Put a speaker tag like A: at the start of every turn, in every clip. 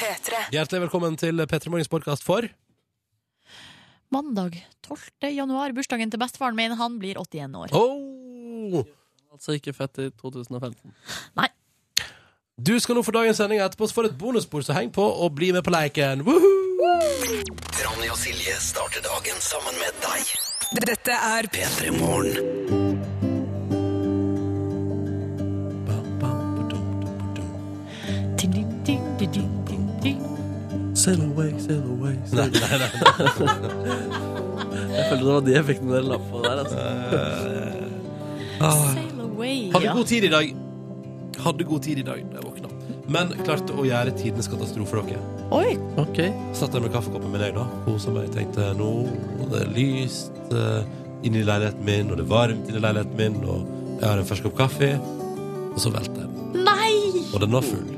A: P3.
B: Hjertelig velkommen til P3 Morgens podkast for
C: Mandag 12. januar, bursdagen til bestefaren min. Han blir 81 år.
B: oh!
D: Altså ikke født i 2015.
B: Du skal nå få dagens sending etterpå, så får du et bonusbord, så heng på og bli med på leiken. Woohoo!
E: Ronny og Silje starter dagen sammen med deg.
A: Dette er
E: P3 Morgen.
C: Ding, ding, ding, ding, ding, ding, ding.
D: Sail away, sail away, sail away.
B: Nei, nei,
D: Jeg følte det var de effektene dere la på der. Altså.
C: Sail away.
B: Ah. Hadde
C: Ja.
B: god tid i dag. Hadde god tid i dag da jeg våkna. Men klarte å gjøre tidenes katastrofe, dere.
C: Oi,
D: Ok,
B: Satt der med kaffekoppen min, jeg, da. Kosa meg. Tenkte nå og det er lyst eh, inne i leiligheten min, og det er varmt inne i leiligheten min, og jeg har en fersk kopp kaffe, og så velter den.
C: nei!
B: Og den var full.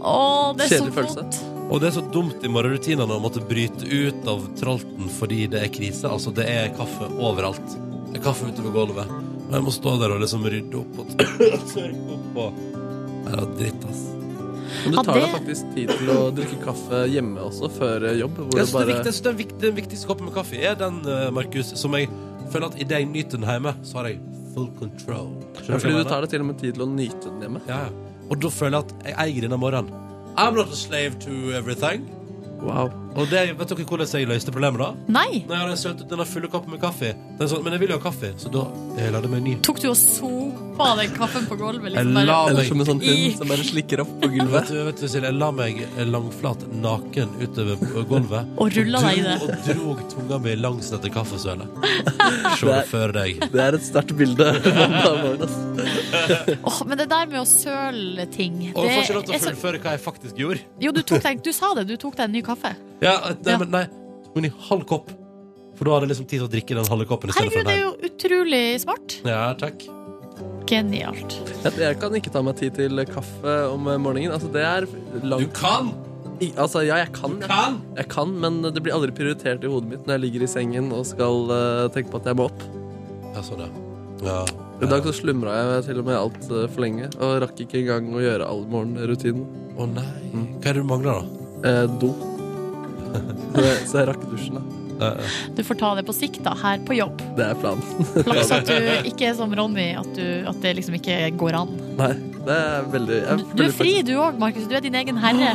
C: Å, det er så
D: Kjedelig følelse.
C: vondt.
B: Og det er så dumt i morgenrutinene å måtte bryte ut av tralten fordi det er krise. Altså, det er kaffe overalt. Det er kaffe utover gulvet. Og jeg må stå der og liksom rydde opp og tørke opp og Nei, Det var dritt, ass.
D: Men du
C: Ja,
D: tar deg
C: det-
D: faktisk tid til å drikke kaffe hjemme også, før eh, jobb. Hvor
B: Jeg
D: du
B: synes det
D: bare
B: er viktig- jeg synes den, vikt- den viktigste koppen med kaffe er den, eh, Markus, som jeg føler at idet jeg nyter den hjemme, så har jeg full control.
D: Ja,
B: Skjønner hva jeg
D: Fordi du
B: mener?
D: tar deg til og med tid til å nyte den hjemme.
B: ja, ja. Og da føler jeg at jeg eier denne morgenen. I'm not a slave to everything.
D: Wow.
B: Og det, vet dere hvordan jeg løste problemet da?
C: Nei!
B: Når jeg hadde sølt ut denne fulle koppen med kaffe Den er sånn, Men jeg vil jo ha kaffe Så da eh, lagde jeg meg en ny
C: Tok du og sopa den kaffen på gulvet? Liksom
B: Jeg la-
C: bare.
D: Eller som en sånn
C: I-
D: hund som bare slikker opp på
B: Vet
D: gulvet.
B: du, vet du Silje, jeg la meg eh, langflat naken utover på gulvet
C: Og rulla deg i det.
B: Og drog tunga mi langs dette kaffesølet Se det før deg
D: Det er et sterkt bilde. mandag morgen, ass.
C: Åh, men det der med å søle ting
B: Og jeg får ikke lov til
C: er
B: å
C: så-
B: fullføre hva jeg faktisk gjorde
C: Jo, du, tok deg, du sa det. Du tok deg en ny kaffe.
B: Ja, nei,
C: Ja.
B: men nei Tok en halv kopp For da hadde jeg liksom tid til å drikke den halve koppen i stedet
C: Herregud,
B: for
C: det er
B: den
C: jo utrolig smart.
B: Ja, takk
C: Genialt.
D: Jeg, jeg kan ikke ta meg tid til kaffe om eh, morgenen. Altså, det er langt
B: kan,
D: i- Altså, ja, jeg kan. Jeg,
B: kan
D: jeg kan, men det blir aldri prioritert i hodet mitt når jeg ligger i sengen og skal eh, tenke på at jeg må opp.
B: Ja, sånn ja Ja,
D: I dag så slumra jeg til og med altfor lenge og rakk ikke engang å gjøre all morgenrutinen. Mm.
B: å nei Hva er det du mangler da?
D: Eh, do. Så jeg, så jeg rakk dusjen, da.
B: Eh, eh.
C: Du får ta det på sikt, da, her på jobb.
D: Det er planen.
C: Flaks at du ikke er som Ronny, at, du, at det liksom ikke går an.
D: Nei, det er veldig jeg
C: Du, du er
D: føler
C: fri, du òg, Markus. Du er din egen herre.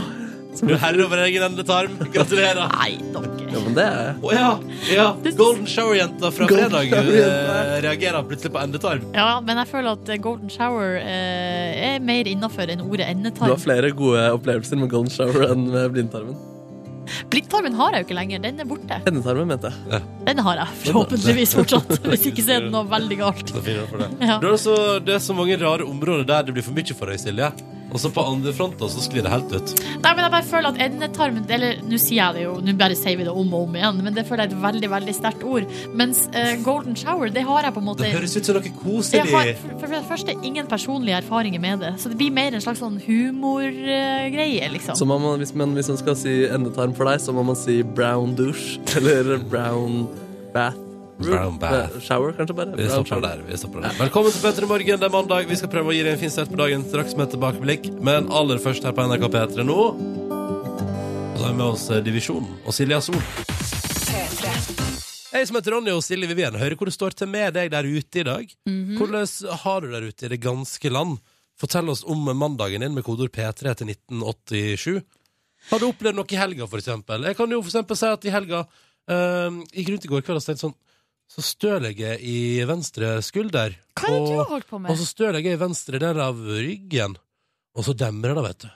B: Du er herre over egen ende tarm Gratulerer
C: Nei,
D: faktisk- Ja,
C: dere.
D: men det er jeg.
B: Å ja, ja.
C: Det-
B: Golden Shower-jenta fra
D: Golden
B: fredag
D: Shower-jenta.
B: eh, reagerer plutselig på endetarm.
C: Ja, men jeg føler at golden shower eh, er mer innafor enn ordet
D: Du har
C: endetarm.
D: flere gode opplevelser med golden shower enn med blindtarmen.
C: Blindtarmen har jeg jo ikke lenger. Den er borte.
D: Endetarmen, mente jeg.
C: Den har jeg forhåpentligvis fortsatt, hvis ikke så er det noe veldig galt.
B: Så fin er det for det.
C: Ja.
B: Du har altså, det er så mange rare områder der det blir for mye for deg, Silje. Og så på andre fronter så sklir det helt ut.
C: Nei, men jeg bare føler at endetarmen Eller nå sier jeg det jo, nå bare sier vi det om og om igjen, men det føler jeg er et veldig veldig sterkt ord. Mens eh, golden shower, det har jeg på en måte
B: Det høres ut som noe
C: jeg har,
B: koselig.
C: for, for det første ingen personlige erfaringer med det, så det blir mer en slags sånn humorgreie, liksom.
D: Så man må, hvis, man, hvis man skal si endetarm for deg, så må man si brown douche. Eller brown bath.
B: Brown bath.
D: Eh, Shower, kanskje bare.
B: Vi
D: Brown
B: stopper
D: shower.
B: der. vi stopper der Velkommen til Petter i morgen. Det er mandag. Vi skal prøve å gi deg en fin start på dagen straks med tilbakeblikk. Men aller først her på NRK P3 nå Og så har vi med oss eh, Divisjonen og Silja Sol. Jeg som heter Ronny og Silje Vivien, hører hvor det står til med deg der ute i dag.
C: Mhm.
B: Hvordan har du der ute i det ganske land? Fortell oss om mandagen din med kodord P3 til 1987. Har du opplevd noe i helga, for eksempel? Jeg kan jo for eksempel si at i helga ehm, gikk rundt i går kveld og tenkte sånn Så støl jeg i venstre skulder.
C: Hva er det du har
B: og,
C: holdt på
B: og
C: med?
B: så støl jeg i venstre del av ryggen. Og så demrer det, vet du.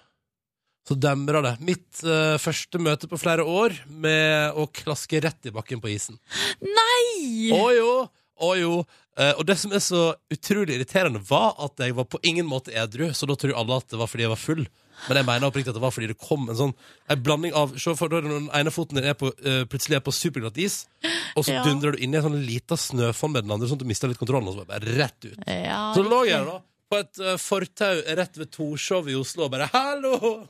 B: Så demrer det. Mitt eh, første møte på flere år med å klaske rett i bakken på isen. Å
C: Nei!
B: jo, å jo. Eh, og det som er så utrolig irriterende, var at jeg var på ingen måte edru, så da tror alle at det var fordi jeg var full. Men jeg mener oppriktig at det var fordi det kom en sånn En blanding av Se for deg når den ene foten din er på, eh, plutselig er på superglatt is, og så
C: Ja.
B: dundrer du inn i en sånn lita snøfonn med den andre, sånn at du mister litt kontrollen, og så bare rett ut.
C: Ja,
B: Så lå jeg
C: riktig.
B: da på et eh, fortau rett ved Torshov i Oslo og bare 'hallo'!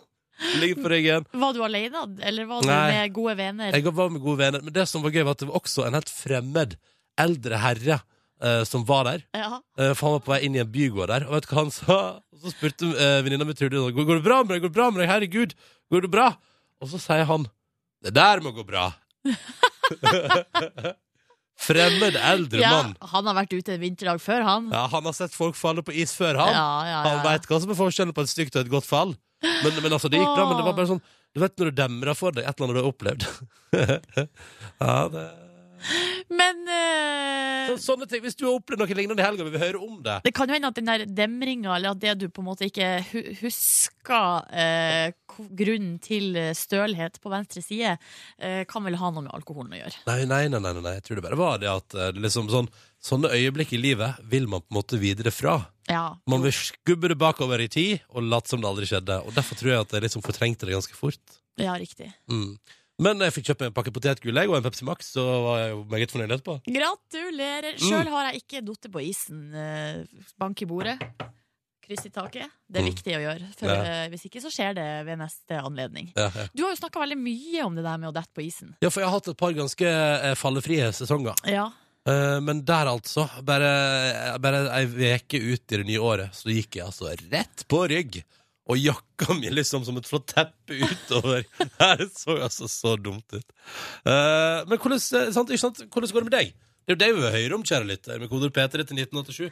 B: Ligger på ryggen.
C: Var du alene, eller var du
B: Nei.
C: med gode venner?
B: Jeg var med gode venner, men det som var gøy var at det var også en helt fremmed eldre herre eh, som var der.
C: Ja.
B: Eh, for han var på vei inn i en bygård der. Og vet du hva han sa? Og så spurte eh, venninna mi Trude går, 'Går det bra med deg? Går det bra med deg? Herregud, går det bra?' Og så sier han 'Det der må gå bra'. Fremmed eldre
C: ja,
B: mann.
C: han har vært ute en vinterdag før, han.
B: Ja, han har sett folk falle på is før, han.
C: Ja, ja,
B: Han
C: ja.
B: veit hva som er forskjellen på et stygt og et godt fall. Men, men altså, det gikk bra, men det var bare sånn Du vet når du demrer for deg et eller annet du har opplevd. ja, det...
C: Men eh,
B: Så, sånne ting. Hvis du har opplevd noe lignende i helga, vil vi høre om det.
C: det kan jo hende at den der demringa, eller at det du på en måte ikke hu- husker eh, ko- grunnen til eh, stølhet på venstre side, eh, kan vel ha noe med alkoholen å gjøre.
B: Nei, nei, nei, nei, nei. jeg tror det bare var det at eh, det liksom sånn, sånne øyeblikk i livet vil man på en måte videre fra.
C: Ja.
B: Man vil skubbe det bakover i tid og late som det aldri skjedde. Og Derfor tror jeg at jeg liksom fortrengte det ganske fort.
C: ja, riktig.
B: Mm. Men jeg fikk kjøpt meg en pakke potetgull jeg, og en Pepsi Max, så var jeg jo meget fornøyd etterpå.
C: Gratulerer!
B: Mm.
C: Sjøl har jeg ikke datt på isen. eh, Bank i bordet, kryss i taket. Det er
B: Mm.
C: viktig å gjøre, for
B: Ja.
C: eh, hvis ikke så skjer det ved neste anledning.
B: Ja, ja.
C: Du har jo snakka veldig mye om det der med å dette på isen.
B: Ja, for jeg har hatt et par ganske eh, fallefrie sesonger.
C: Ja.
B: Eh, men der, altså. Bare, bare ei veke ut i det nye året, så gikk jeg altså rett på rygg. Og jakka mi liksom som et flott teppe utover. Det så altså så dumt ut. Eh, men hvordan, eh, sant, ikke sant? hvordan går det med deg? Det er jo det vi vil høre om, kjære lytter, med koder P3 til 1987.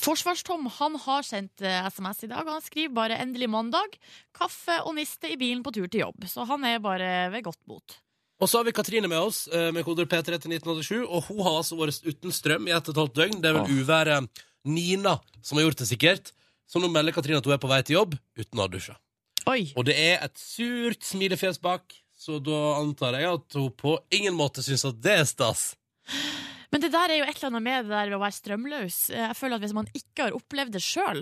C: Forsvars-Tom han har sendt eh, SMS i dag. Han skriver bare 'endelig mandag'. Kaffe og niste i bilen på tur til jobb. Så han er bare ved godt mot.
B: Og så har vi Katrine med oss, eh, med koder P3 til 1987. Og hun har altså vært uten strøm i ett og et halvt døgn. Det er vel uværet Nina som har gjort det, sikkert. Så nå melder Katrine at hun er på vei til jobb uten å ha dusja.
C: Oi!
B: Og det er et surt smilefjes bak, så da antar jeg at hun på ingen måte syns at det er stas.
C: Men det der er jo et eller annet med det der ved å være strømløs. Eh, Jeg føler at Hvis man ikke har opplevd det sjøl,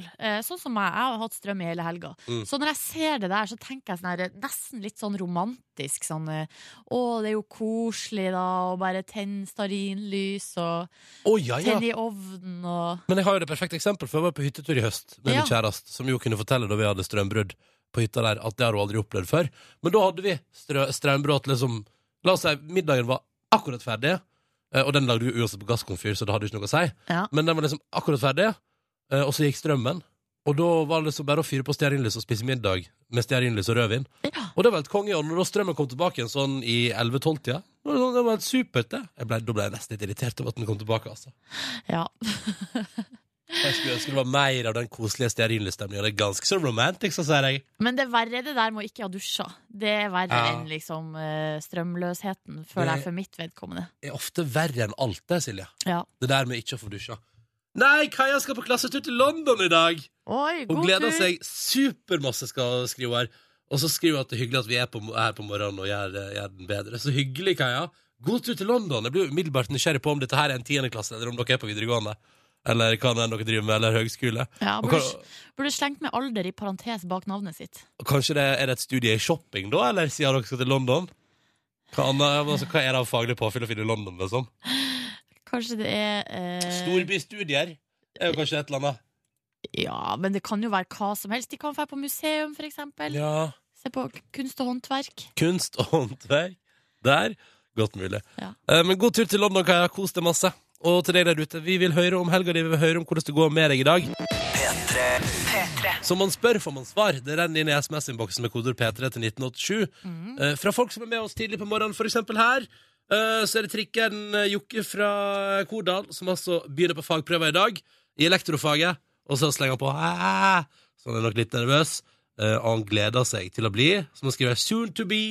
C: sånn som jeg, jeg har hatt strøm i hele helga
B: Mm.
C: Så når jeg ser det der, så tenker jeg sånn her, eh, nesten litt sånn romantisk. Sånn eh, Å, det er jo koselig, da, og bare tenne stearinlys, og
B: Å, ja, ja.
C: tenne i ovnen, og
B: Men jeg har jo det perfekte eksempel, for jeg var på hyttetur i høst med min
C: Ja.
B: kjæreste, som jo kunne fortelle da vi hadde strømbrudd på hytta der, at det har hun aldri opplevd før. Men da hadde vi strø strømbrudd liksom La oss si middagen var akkurat ferdig, eh, og den lagde vi uansett på gasskomfyr, så det hadde ikke noe å si.
C: Ja.
B: Men den var liksom akkurat ferdig, eh, og så gikk strømmen. Og da var det liksom bare å fyre på stearinlys og spise middag med stearinlys og rødvin.
C: Ja.
B: Og det var helt konge, og når da strømmen kom tilbake igjen sånn i 11-12-tida, det var det sånn, det var helt supert, det. Jeg ble, da ble jeg nesten litt irritert over at den kom tilbake, altså.
C: ja.
B: Jeg skulle ønske det var mer av den koselige stearinlysstemninga. Det er ganske så romantic, så sier jeg.
C: Men det verre det der med å ikke ha dusja. Det er verre
B: Ja.
C: enn liksom eh, strømløsheten, føler
B: Det-
C: jeg, for mitt vedkommende.
B: Det er ofte verre enn alt det, Silje.
C: Ja.
B: Det der med ikke å få dusja. Nei, Kaja skal på klassetur til London i dag!
C: Oi,
B: Hun
C: god
B: gleder
C: tur!
B: seg supermasse, skal hun skrive her. Og så skriver hun at det er hyggelig at vi er på, her på morgenen og gjør, eh, gjør den bedre. Så hyggelig, Kaja. God tur til London. Jeg blir jo umiddelbart nysgjerrig på om dette her er en tiendeklasse, eller om dere er på videregående. Eller hva det er dere driver med, eller høgskole.
C: Ja,
B: Og
C: burde,
B: kan-
C: burde slengt med alder i parentes bak navnet sitt.
B: Og Kanskje det er det et studie i shopping, da? Eller siden dere skal til London? Hva, annet, altså, hva er det av faglig påfyll å finne i London? Liksom?
C: Kanskje det er eh,
B: Storbystudier er jo kanskje et eller annet.
C: Ja, men det kan jo være hva som helst. De kan være på museum, for eksempel.
B: Ja,
C: Se på kunst og håndverk.
B: Kunst og håndverk der. Godt mulig.
C: Ja.
B: Eh, Men god tur til London, Kaja. Kos deg masse. Og til deg der ute, vi vil høre om helga di, vi vil høre om hvordan det går med deg i dag. Som man spør, får man svar. Det renner inn i SMS-innboksen med kodeord P3 til 1987. Eh, Fra folk som er med oss tidlig på morgenen, for eksempel her, eh, så er det trikken eh, Jokke fra Kordal, som altså begynner på fagprøver i dag, i elektrofaget, og så slenger han på «Æ», så han er nok litt nervøs, eh, og han gleder seg til å bli, som han skriver, soon to be,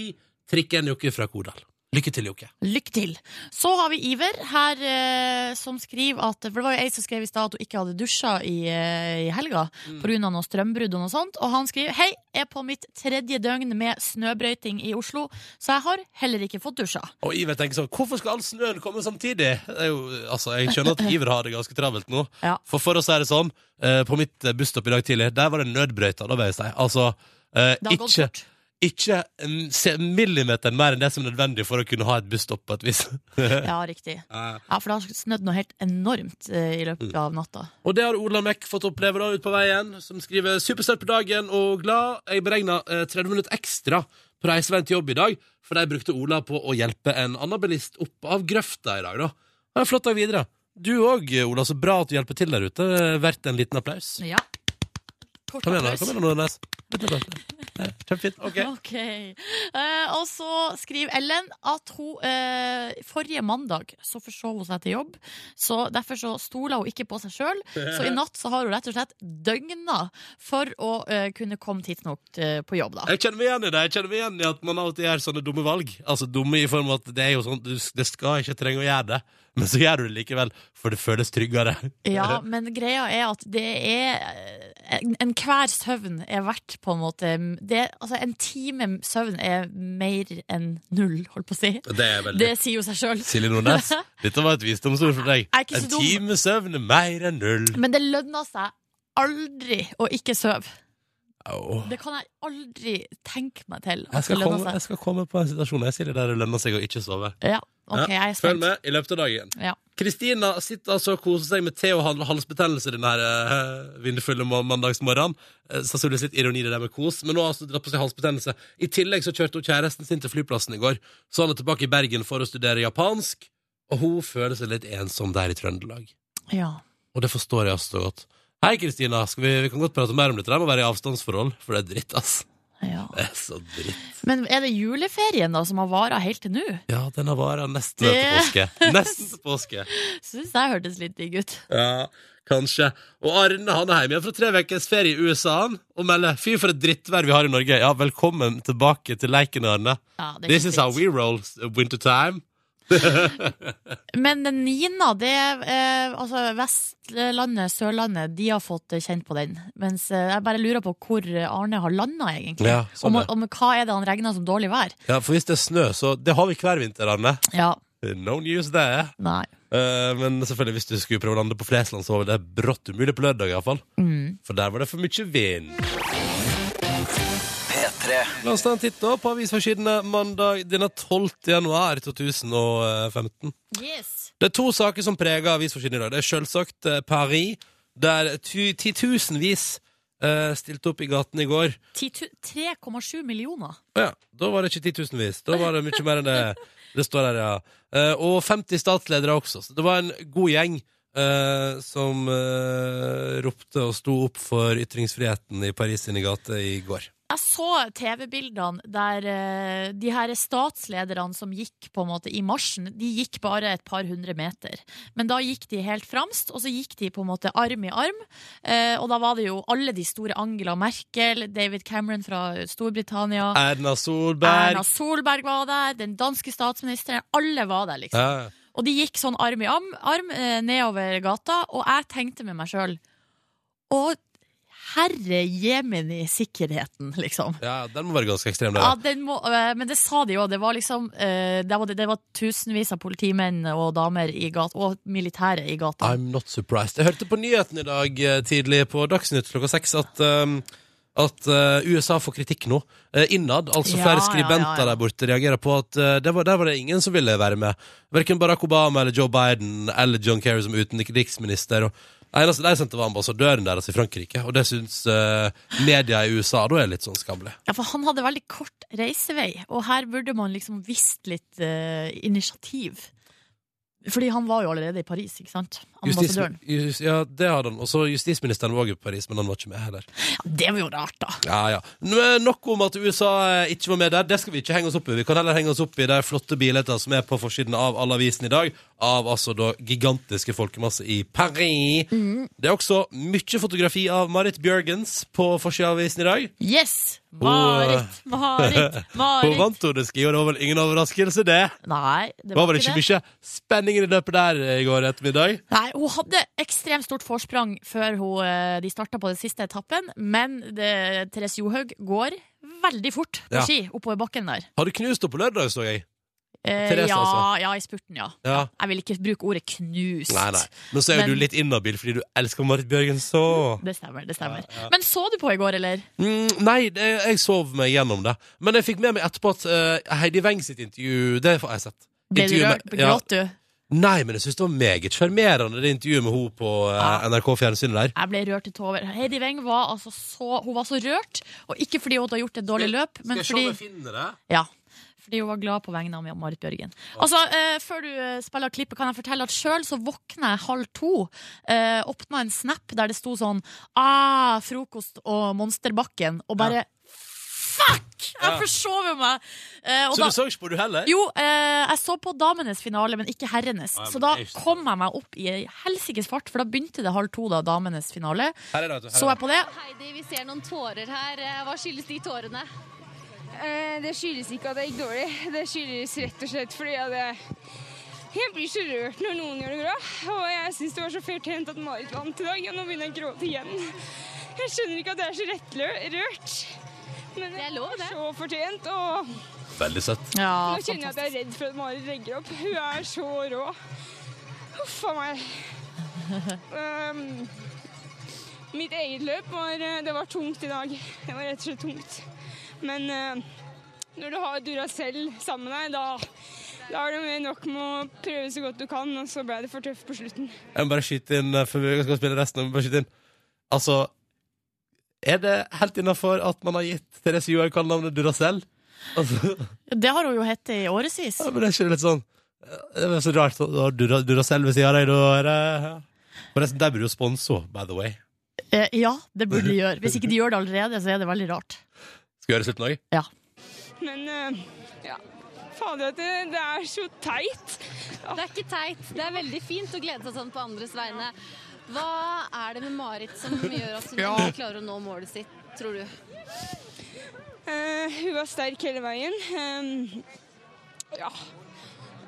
B: trikken Jokke fra Kordal. Lykke til, Jokke.
C: Lykke til. Så har vi Iver her, eh, som skriver at For det var jo ei som skrev i stad at hun ikke hadde dusja i, eh, i helga
B: Mm.
C: pga. noe strømbrudd og noe sånt. Og han skriver Hei, er på mitt tredje døgn med snøbrøyting i Oslo, så jeg har heller ikke fått dusja.
B: Og Iver tenker sånn, hvorfor skal all snøen komme samtidig? Det er jo, altså, jeg skjønner at Iver har det ganske travelt nå.
C: Ja.
B: For for å si det sånn, eh, på mitt eh, busstopp i dag tidlig, der var det nødbrøyta, da vil jeg si. Altså, eh,
C: Det har gått
B: ikke,
C: fort.
B: ikke mm, se- millimeteren mer enn det som er nødvendig for å kunne ha et busstopp på et vis.
C: Ja, riktig. Ja, For det har snødd noe helt enormt eh, i løpet av natta.
B: Og det har Ola Mek fått oppleve da ute på veien, som skriver 'Supersterk på dagen og glad'. Jeg beregna eh, 30 minutter ekstra på reiseveien til jobb i dag, for de brukte Ola på å hjelpe en annen bilist opp av grøfta i dag, da. Det er en flott dag videre. Du òg, Ola. Så bra at du hjelper til der ute. Verdt en liten applaus.
C: Ja. Kort
B: Kom igjen, da.
C: applaus.
B: kom igjen nå, Nes. Litt applaus. Ja, Kjempefint. Ok.
C: Ok. Eh, og så skriver Ellen at hun eh, forrige mandag så forsov hun seg til jobb. Så Derfor så stoler hun ikke på seg sjøl. Så i natt så har hun rett og slett døgna for å eh, kunne komme tidsnok eh, på jobb. da
B: Jeg kjenner meg igjen i det. Jeg kjenner meg igjen i at man alltid gjør sånne dumme valg. Altså dumme i form av at det er jo sånn, du det skal ikke trenge å gjøre det, men så gjør du det likevel, for det føles tryggere.
C: Ja, Men greia er at det er eh, en- Enhver søvn er verdt på en måte det, Altså En time søvn er mer enn null, holdt på å si.
B: Det er veldig
C: Det sier jo seg sjøl.
B: Silje Nordnes, dette var et visdomsord for deg.
C: Jeg er ikke så
B: En
C: dum.
B: time søvn er mer enn null.
C: Men det lønner seg aldri å ikke sove.
B: Au.
C: Det kan jeg aldri tenke meg til.
B: Jeg
C: At det
B: skal,
C: lønner
B: komme,
C: seg.
B: jeg skal komme på en situasjon jeg sier det der det lønner seg å ikke sove.
C: Ja, ok, jeg er
B: Følg
C: spent.
B: med i løpet av dagen.
C: Ja.
B: Kristina sitter altså og koser seg med te og hal- halsbetennelse denne her, eh, vindfulle ma- mandagsmorgenen. Eh, Sannsynligvis litt ironi det der med kos, men nå har hun dratt på seg halsbetennelse. I tillegg så kjørte hun kjæresten sin til flyplassen i går, så han er tilbake i Bergen for å studere japansk, og hun føler seg litt ensom der i Trøndelag.
C: Ja.
B: Og det forstår jeg altså godt. Hei, Kristina, skal vi, vi kan godt prate mer om dette, det må være i avstandsforhold, for det er dritt, ass.
C: Ja.
B: Det er så dritt.
C: Men er det juleferien da som har vara helt til nå?
B: Ja, den har vara nesten
C: Det-
B: til påske. Nesten til påske.
C: Syns jeg hørtes litt digg ut.
B: Ja, kanskje. Og Arne han er hjemme igjen fra tre ukers ferie i USA han, og melder 'fy for et drittvær vi har i Norge'. Ja, velkommen tilbake til leiken, Arne.
C: Ja, det er
B: This
C: ikke
B: is how
C: dritt.
B: we roll wintertime.
C: Men den Nina, det er, eh, altså Vestlandet, Sørlandet, de har fått eh, kjent på den. Mens eh, jeg bare lurer på hvor Arne har landa, egentlig.
B: Ja, sånn
C: om,
B: er det.
C: om hva er det han regner som dårlig vær?
B: Ja, for hvis det er snø, så Det har vi hver vinter, Arne. Eh,
C: Ja,
B: No news there.
C: nei.
B: Eh, men selvfølgelig, hvis du skulle prøve å lande på Flesland, så var det brått umulig på lørdag, iallfall.
C: Mm.
B: For der var det for mye vind.
E: P3.
B: La oss ta en titt da på avisforsidene mandag denne 12. januar 2015.
C: Yes.
B: Det er to saker som preger avisforsiden i dag. Det er selvsagt eh, Paris, der ty- titusenvis eh, stilte opp i gaten i går.
C: 3,7 millioner.
B: Å ja, da var det ikke titusenvis. Da var det mye mer enn det. Det står der, ja. Eh, og 50 statsledere også. Så det var en god gjeng eh, som eh, ropte og sto opp for ytringsfriheten i Paris sine gater i går.
C: Jeg så TV-bildene der eh, de her statslederne som gikk på en måte i marsjen, de gikk bare et par hundre meter. Men da gikk de helt framst, og så gikk de på en måte arm i arm. Eh, og da var det jo alle de store Angela Merkel, David Cameron fra Storbritannia,
B: Erna
C: Ah. Erna
B: Solberg.
C: Solberg var der, den danske statsministeren. Alle var der, liksom.
B: Ja.
C: Og de gikk sånn arm i arm, arm eh, nedover gata, og jeg tenkte med meg sjøl Å, herre jemini sikkerheten, liksom.
B: ja, den må være ganske ekstrem,
C: Ja,
B: der.
C: den må, øh, men det sa de jo. Det var liksom øh, det var, det var tusenvis av politimenn og damer i gata, og militære i gata.
B: I'm not surprised. Jeg hørte på nyheten i dag eh, tidlig på Dagsnytt klokka seks at, um, at eh, USA får kritikk nå. eh, innad. Altså
C: Ja,
B: flere
C: ja,
B: skribenter
C: ja, ja.
B: der borte reagerer på at eh, det var, der var det ingen som ville være med. Verken Barack Obama eller Joe Biden eller John Kerry som utenriksminister. Og eneste de sendte, var ambassadøren deres i Frankrike, og det syns eh, media i USA da er litt sånn skammelig.
C: Ja, for han hadde veldig kort reisevei, og her burde man liksom visst litt øh, initiativ. Fordi han var jo allerede i Paris, ikke sant?
B: Justis-
C: Ambassadøren.
B: jus- ja, det hadde han. Og så justisministeren var også i Paris, men han var ikke med heller.
C: Ja, det var jo rart, da.
B: Ja, ja. Nå- eh, Nok om at USA eh, ikke var med der. Det skal vi ikke henge oss opp i. Vi kan heller henge oss opp i de flotte bildetter som er på forsiden av alle avisene i dag, av altså da gigantiske folkemasser i Paris.
C: Mm.
B: Det er også mye fotografi av Marit Bjørgens på forsida av avisen i dag.
C: Yes! Marit, Marit,
B: eh, Hun
C: Marit.
B: vant Odeski, og det var vel ingen overraskelse, det.
C: Nei, det
B: Det var
C: var
B: vel
C: ikke
B: ikke
C: det.
B: mye spenning i det løpet der eh, i går ettermiddag.
C: Nei, hun hadde ekstremt stort forsprang før hun, eh, de starta på den siste etappen, men det, Therese Johaug går veldig fort på
B: Ja.
C: ski oppover bakken der.
B: Har du knust henne på lørdag, så jeg?
C: Eh,
B: Therese,
C: ja,
B: altså.
C: ja, i spurten, ja.
B: Ja.
C: Jeg vil ikke bruke ordet knust.
B: Nei, nei. Men så er jo
C: Men-
B: du litt inhabil fordi du elsker Marit Bjørgen så.
C: Det stemmer. det stemmer Men så du på i går, eller?
B: Mm, nei, det, jeg sov meg gjennom det. Men jeg fikk med meg etterpå at eh, Heidi Weng sitt intervju Det har jeg sett.
C: Ble du
B: Intervju med-
C: rørt? Gråt du?
B: Nei, men jeg syns det var meget sjarmerende, det intervjuet med henne på eh,
C: Ja.
B: NRK Fjernsynet der.
C: Jeg ble rørt til tårer. Heidi Weng var altså så Hun var så rørt, og ikke fordi hun hadde gjort et dårlig løp, men fordi
B: finner det?
C: Ja. Fordi hun var glad på vegne av Marit Bjørgen. Altså, eh, Før du eh, spiller klippet, kan jeg fortelle at sjøl så våkna jeg halv to. Eh, Åpna en snap der det sto sånn ah, 'Frokost og Monsterbakken', og bare Fuck! Jeg
B: Ja.
C: forsover meg! Eh, og
B: Så du så ikke på du heller?
C: jo, eh, jeg så på damenes finale, men ikke herrenes.
B: Ah, ja,
C: så
B: men
C: da
B: det er jo-
C: kom jeg meg opp i ei helsikes fart, for da begynte det halv to, da, damenes finale.
B: Her er det, vet du, her
C: Så
B: er
C: jeg
B: det.
C: på det.
F: Heidi, vi ser noen tårer her. Eh, Hva skyldes de tårene?
G: Eh, Det skyldes ikke at det gikk dårlig. Det skyldes rett og slett fordi at jeg, jeg blir så rørt når noen gjør det bra. Og jeg syns det var så fortjent at Marit vant i dag, og nå begynner jeg å gråte igjen. Jeg skjønner ikke at jeg er så rettlørt. Men det
F: er lov, det.
G: var så fortjent. Og
B: Veldig søtt.
C: Ja,
G: nå kjenner jeg at jeg er redd for at Marit legger opp. Hun er så rå. Huff a meg. Ehm, mitt eget løp var eh, Det var tungt i dag. Det var rett og slett tungt. Men eh, når du har Duracell sammen med deg, da, da er det mer nok med å prøve så godt du kan, og så ble det for tøft på slutten.
B: Jeg må bare skyte inn eh, før vi skal spille resten. Jeg må bare skyte inn. Altså Er det helt innafor at man har gitt Therese Johaug kallenavnet Duracell? Altså,
C: Det har hun jo hett i årevis.
B: ja, men det er ikke litt sånn Det er så rart at du har Dura- Duracell ved siden av deg, da er det Forresten, der burde du sponse henne, by the way.
C: Eh, ja, det burde de gjøre. Hvis ikke de gjør det allerede, så er det veldig rart.
B: Skal vi gjøre det slutten òg?
C: Ja.
G: Men eh, ja. Fader, at det, det er så teit.
F: Det er ikke teit. Det er veldig fint å glede seg sånn på andres vegne. Hva er det med Marit som gjør at hun ikke klarer å nå målet sitt, tror du?
G: Eh, hun var sterk hele veien. Ehm, ja.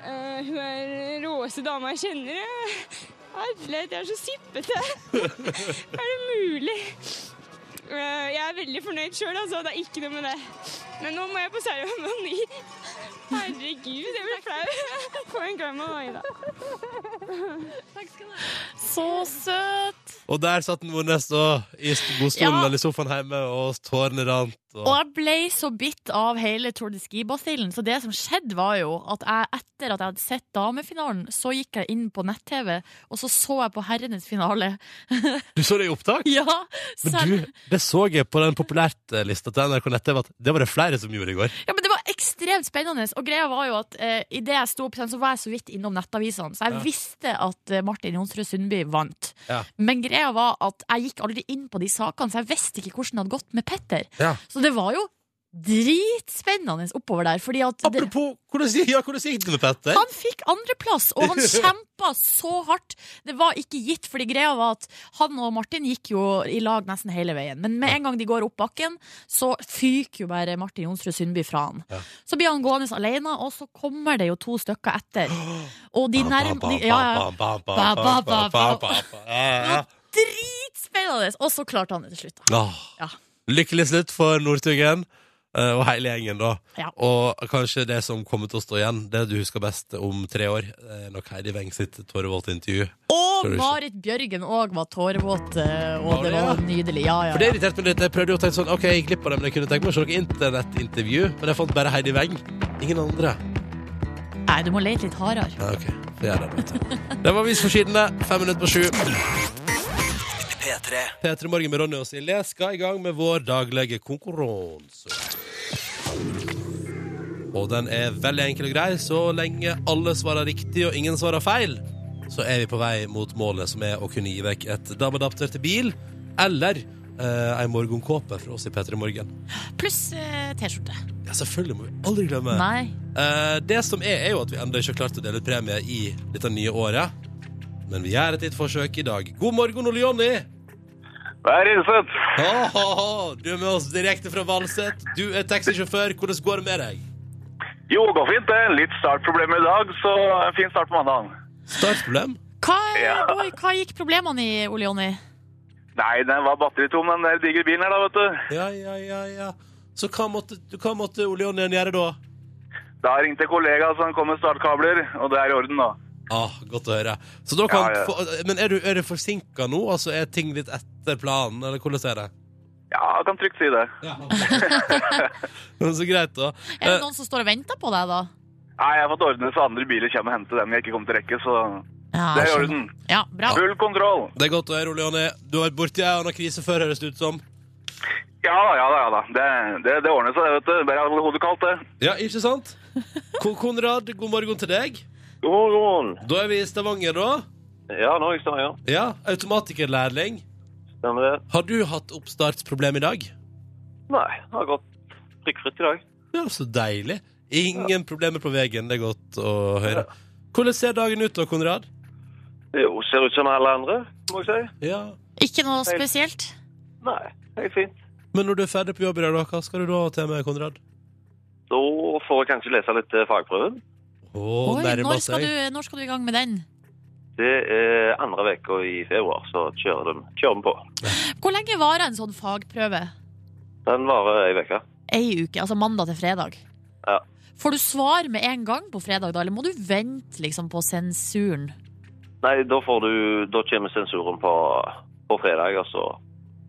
G: Eh, hun er den råeste dama jeg kjenner. Jeg- Herlighet, jeg er så sippete! er det mulig? Eh, jeg er veldig fornøyd sjøl, altså. Det er ikke noe med det. Men nå må jeg på seremoni. Herregud, jeg blir flau. Få en klem av meg, da.
C: Så søt!
B: Og der satt Nordnes da, i godstolen
C: Ja.
B: eller i sofaen hjemme, og tårene rant. Og...
C: Og jeg ble så bitt av hele Tour de Ski-basillen, så det som skjedde, var jo at jeg etter at jeg hadde sett damefinalen, så gikk jeg inn på nett-TV, og så så jeg på herrenes finale.
B: Du så det i opptak?
C: ja!
B: Men
C: selv-
B: du, det så jeg på den populærtlista til NRK Nett-TV at det var det flere som gjorde i går.
C: Ja, men Det var ekstremt spennende. Og greia var jo at eh, idet jeg sto opp, igjen, så var jeg så vidt innom nettavisene. Så jeg visste at eh, Martin Jonsrud Sundby vant.
B: Ja.
C: Men greia var at jeg gikk aldri inn på de sakene, så jeg visste ikke hvordan det hadde gått med Petter.
B: Ja.
C: Så det var jo dritspennende oppover der. Fordi at det,
B: Apropos, hvordan gikk ja, hvordan gikk det med Petter?
C: han fikk andreplass, og han kjempa så hardt. Det var ikke gitt, fordi greia var at han og Martin gikk jo i lag nesten hele veien. Men med en gang de går opp bakken, så fyker jo bare Martin Jonsrud Sundby fra han.
B: Ja.
C: Så blir han gående alene, og så kommer det jo to stykker etter. Og de nærmer
B: Ba, ba,
C: de- ja, ja.
B: ba, ba, ba, ba, ba, ba, ba, ba. Ja, ja.
C: Dritspennende! Og så klarte han det til slutt, da.
B: Åh.
C: Ja.
B: Lykkelig slutt for Northugen eh, og hele gjengen, da.
C: Ja.
B: Og kanskje det som kommer til å stå igjen, det du husker best om tre år, er nok Heidi Weng sitt Torvold-intervju.
C: Og
B: Tror du ikke?
C: Marit Bjørgen òg var tårevåt, eh, og
B: Var
C: det
B: det, ja?
C: var nydelig. Ja, ja,
B: For det
C: ja.
B: irriterte meg litt. Jeg prøvde jo å tenke sånn Ok, jeg gikk glipp av det, men jeg kunne tenke meg å se noe internettintervju. Men jeg fant bare Heidi Weng. Ingen andre.
C: Nei, du må lete litt hardere.
B: Ja, ok. Får gjøre det. vet du. Det var Visforsidene, fem minutter på sju.
E: P3.
B: P3 Morgen med Ronny og Silje skal i gang med vår daglige konkurranse. Og den er veldig enkel og grei. Så lenge alle svarer riktig og ingen svarer feil, så er vi på vei mot målet, som er å kunne gi vekk et DAB-adapter til bil eller eh, ei morgenkåpe fra oss i P3 Morgen.
C: Pluss eh, T-skjorte.
B: Ja, selvfølgelig må vi aldri glemme.
C: Nei.
B: Eh, det som er, er jo at vi ennå ikke har klart å dele ut premie i dette nye året. Men vi gjør et litt forsøk i dag. God morgen, Ole Jonny!
H: Vær innsatt.
B: Åh, åh, åh. Du er med oss direkte fra Valset. Du er taxisjåfør. Hvordan går det med deg?
H: Jo, det går fint. det. Litt startproblemer i dag, så en fin start på mandagen.
B: Startproblem?
C: Hva, er-
H: Ja.
C: oi, hva gikk problemene i, Ole Jonny?
H: Nei, den var batteritom, den der digre bilen her, da, vet du.
B: Ja, ja, ja, ja. Så hva måtte, hva måtte Ole Jonny gjøre da?
H: Da ringte kollega som kom med startkabler, og det er i orden, da.
B: Ah, godt å høre. Så da kan,
H: Ja, ja.
B: få- Men er du, er du forsinka nå? Altså, er ting litt etter planen, eller hvordan er det?
H: Ja, jeg kan trygt si det.
B: Ja. Så greit, da.
C: Er det
B: Eh,
C: noen som står og venter på deg, da?
H: Nei, jeg har fått ordne så andre biler kommer og henter dem jeg ikke kommer til rekke, så det
C: Ja,
H: er i
C: jeg skjønner.
H: orden.
C: Ja, bra.
H: Full kontroll.
B: Det er godt å høre, Ole Jonny. Du har vært borti ei anna krise før, høres det ut som.
H: Ja da, ja da, ja da. Det, det, det ordner seg, det, vet du. Bare hold hodet alt det.
B: Ja, ikke sant? Ko- Konrad, god morgen til deg.
H: God morgen.
B: Da er vi i Stavanger, da.
H: Ja, nå er jeg Stavanger.
B: Ja, Automatikerlærling.
H: Stemmer det?
B: Har du hatt oppstartsproblem i dag?
H: Nei, det har gått prikkfritt i dag.
B: Ja, så deilig. Ingen problemer på veien. Det er godt å høre. Hvordan ser dagen ut da, Konrad?
H: Jo, ser ut som alle andre, må jeg si.
B: Ja.
C: Ikke noe spesielt.
H: Nei, helt fint.
B: Men når du er ferdig på jobb i dag, da, hva skal du da til med, Konrad?
H: Da får jeg kanskje lese litt eh, fagprøven.
B: Oh,
C: Oi, når, skal du, når skal du i gang med den?
H: Det er andre veka i februar, så kjører de, kjører de på.
C: Hvor lenge varer en sånn fagprøve?
H: Den varer ei uke.
C: Ei uke, altså mandag til fredag.
H: Ja.
C: Får du svar med en gang på fredag, da, eller må du vente liksom på sensuren?
H: Nei, da får du Da kommer sensuren på, på fredag, og så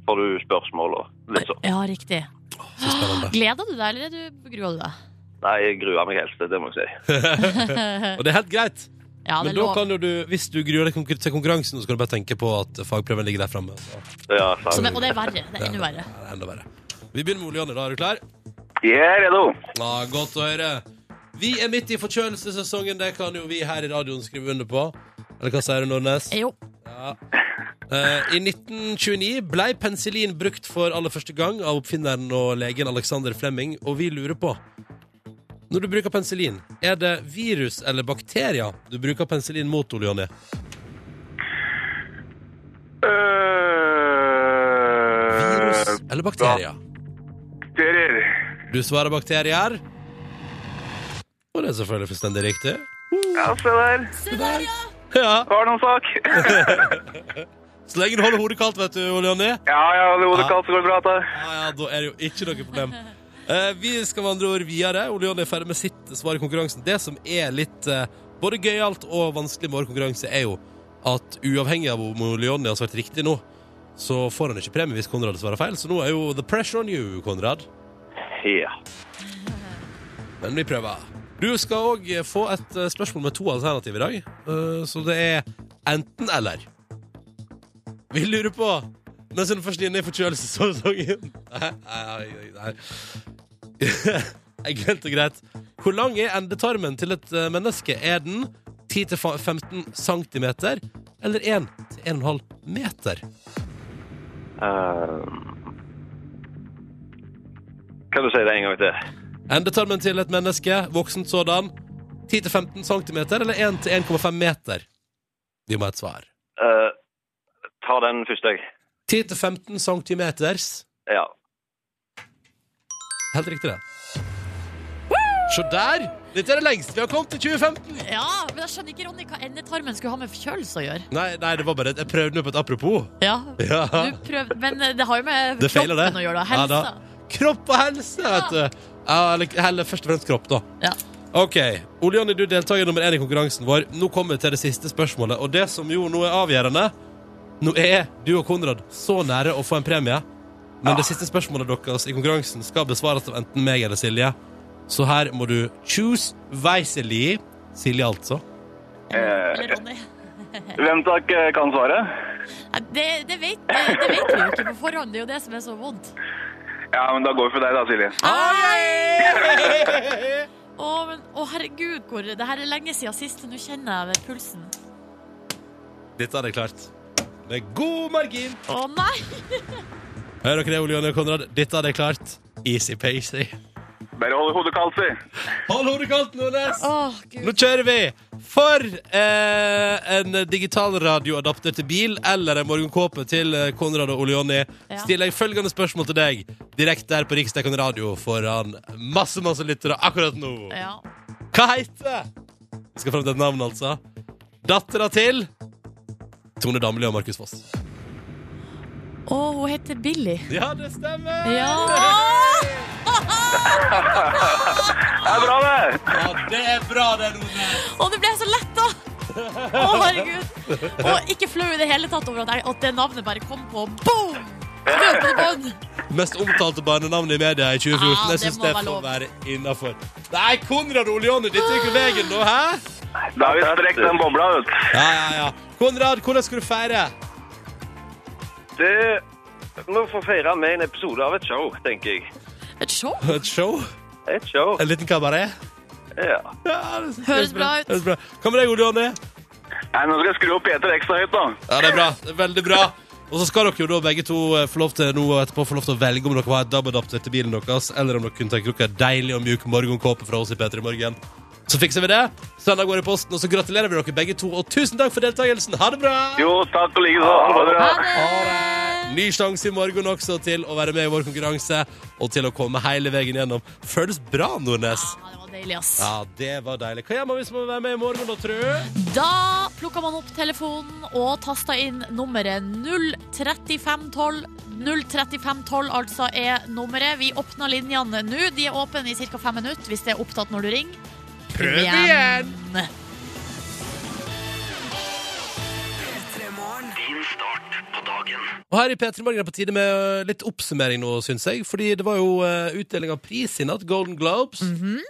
H: får du spørsmål og litt sånn.
C: Ja, riktig.
B: Så spennende.
C: Gleder du deg, eller er du, gruer du deg?
H: Nei, jeg gruer meg helt, det må jeg si.
B: Og det er helt greit.
C: Ja, det
B: Men
C: er
B: da
C: lov.
B: kan jo du, hvis du gruer deg konkur- til konkurransen, så kan du bare tenke på at fagprøven ligger der framme.
H: Ja,
C: Så det,
H: sant.
C: og det er verre. Det er enda verre.
B: Vi begynner med Ole-Janne. Da er du klar?
H: Jeg er redo.
B: Ja, godt å høre. Vi er midt i forkjølelsessesongen. Det kan jo vi her i radioen skrive under på. Eller hva sier du, Nordnes?
C: Jo.
B: Eh, I 1929 ble penicillin brukt for aller første gang av oppfinneren og legen Alexander Flemming, og vi lurer på Når du bruker penicillin, er det virus eller bakterier du bruker penicillin mot, Ole Jonny?
H: Øh, Eh,
B: Virus eller bakterier?
H: Bakterier.
B: Du svarer bakterier. Og det er selvfølgelig fullstendig riktig.
H: Ja, se der.
B: Ja,
H: Har noen sak.
B: Så lenge du holder hodet kaldt, vet du, Ole Jonny.
H: Ja, ja, det
B: hodet kaldt,
H: så går det bra. Da.
B: Ja, ja, da er det jo ikke noe problem. Eh, vi skal med andre ord videre. Ole Jonny er ferdig med sitt svar i konkurransen. Det som er litt eh, både gøyalt og vanskelig med vår konkurranse, er jo at uavhengig av om Ole Jonny har svart riktig nå, så får han ikke premie hvis Konrad svarer feil. Så nå er jo the pressure on you, Konrad.
H: Ja.
B: Men vi prøver. Du skal òg få et eh, spørsmål med to alternativ i dag. Eh, Så det er enten eller. Vi lurer på Mens hun først er inne i forkjølelsessesongen Nei, nei, nei. Jeg glemte greit. Hvor lang er endetarmen til et eh, menneske? Er den 10-15 cm eller 1-1,5 meter?
H: Eh, kan du si det en gang til?
B: Endetarmen til et menneske, voksent sådan, 10-15 cm eller 1-1,5 meter? Vi må ha et svar.
H: Eh, ta den første, jeg.
B: 10-15 centimeters.
H: Ja.
B: Helt riktig, det. Se der! Dette er det lengste vi har kommet til 2015.
C: Ja, men jeg skjønner ikke, Ronny, hva endetarmen skulle ha med forkjølelse å gjøre.
B: Nei, nei, det var bare Jeg prøvde meg på et apropos.
C: Ja,
B: Ja.
C: du prøv, Men eh, det har jo med
B: Det feiler,
C: kroppen
B: det.
C: å gjøre, da.
B: Ja,
C: Helsa.
B: da. Kropp og helse, vet du. Ja, eller, eller først og fremst kropp, da.
C: Ja.
B: OK. Ole Jonny, du er deltaker nummer én i konkurransen vår. Nå kommer vi til det siste spørsmålet, og det som jo nå er avgjørende Nå er du og Konrad så nære å få en premie, men det siste spørsmålet deres i konkurransen skal besvares av enten meg eller Silje. Så her må du choose wisely. Silje, altså.
C: Eller Ronny.
H: Eh, Hvem takk eh, kan svaret?
C: Nei, Det, det, vet, det, det vet vi jo ikke på forhånd. Det er jo det som er så vondt.
H: Ja, men da går vi for deg da, Silje.
C: Ah. Å, men, å herregud, hvor Det her er lenge siden sist. Nå kjenner jeg ved pulsen.
B: Dette er det klart. Med god margin.
C: Å nei!
B: Hører dere det, Ole Jonny og Konrad? Dette er det klart. Easy pacey.
H: Bare hold hodet kaldt, si.
B: Hold hodet kaldt, Nordnes!
C: Å, Gud.
B: Nå kjører vi! For eh, en digital radioadapter til bil eller en morgenkåpe til eh, Konrad og Ole Jonny
C: Ja.
B: stiller jeg følgende spørsmål til deg direkte der på Riksdekken radio foran masse, masse lyttere akkurat nå.
C: Ja.
B: Hva heter Vi skal fram til et navn, altså. Dattera til Tone Damli og Markus Foss.
C: Å, hun heter Billy.
B: Ja, det stemmer!
C: Ja!
H: Det er bra, det!
B: Ja, det er bra, det, Nordnes.
C: Å, det ble jeg så lett da! Å, herregud. Og ikke flau i det hele tatt over at, jeg, at det navnet bare kom på. Boom! Løpende bånd.
B: Mest omtalte barnenavnet i media i 2014.
C: Ja,
B: jeg
C: det
B: syns
C: må
B: det
C: være
B: får
C: lov.
B: være innafor. Nei, Konrad og Ole Jonny, dette er ikke veien nå, hæ?
H: Da har vi strekt den bobla ut.
B: Ja, ja, ja. Konrad, hvordan skal du feire?
H: Det må få feire med en episode av et show, tenker jeg.
C: Et show?
B: Et show?
H: Et show.
B: En liten kabaret?
H: Ja.
B: Ja, det synes jeg
C: Høres
B: er
C: bra ut.
B: Høres bra. Hva med deg, Ole Jonny?
H: Nei, nå skal jeg skru opp Peter ekstra høyt, da.
B: Ja, det er bra. Det er veldig bra. Og så skal dere jo da begge to eh, få lov til nå og etterpå få lov til å velge om dere vil ha et DAB-adapter til bilen deres, eller om dere kunne tenke dere en deilig og mjuk morgenkåpe fra oss i P3 Morgen. Så fikser vi det. Søndag går i posten, og så gratulerer vi dere begge to. Og tusen takk for deltakelsen. Ha det bra!
H: Jo, takk og like så.
B: Ah.
H: Ha det bra.
B: Ny sjanse i morgen også til å være med i vår konkurranse, og til å komme hele veien gjennom. Føles bra, Nordnes.
C: Ja, det var deilig, ass.
B: Ja, det var deilig. Hva gjør man hvis man vil være med i morgen, da, tru?
C: Da plukka man opp telefonen og tasta inn nummeret 03512. 03512 altså er nummeret. Vi åpner linjene nå. De er åpne i ca. fem minutter hvis det er opptatt når du ringer. Prøv igjen!
E: Din start på dagen.
B: Og her i P3 Morgen er det på tide med øh, litt oppsummering nå, syns jeg. Fordi det var jo eh, utdeling av pris i natt, Golden Globes.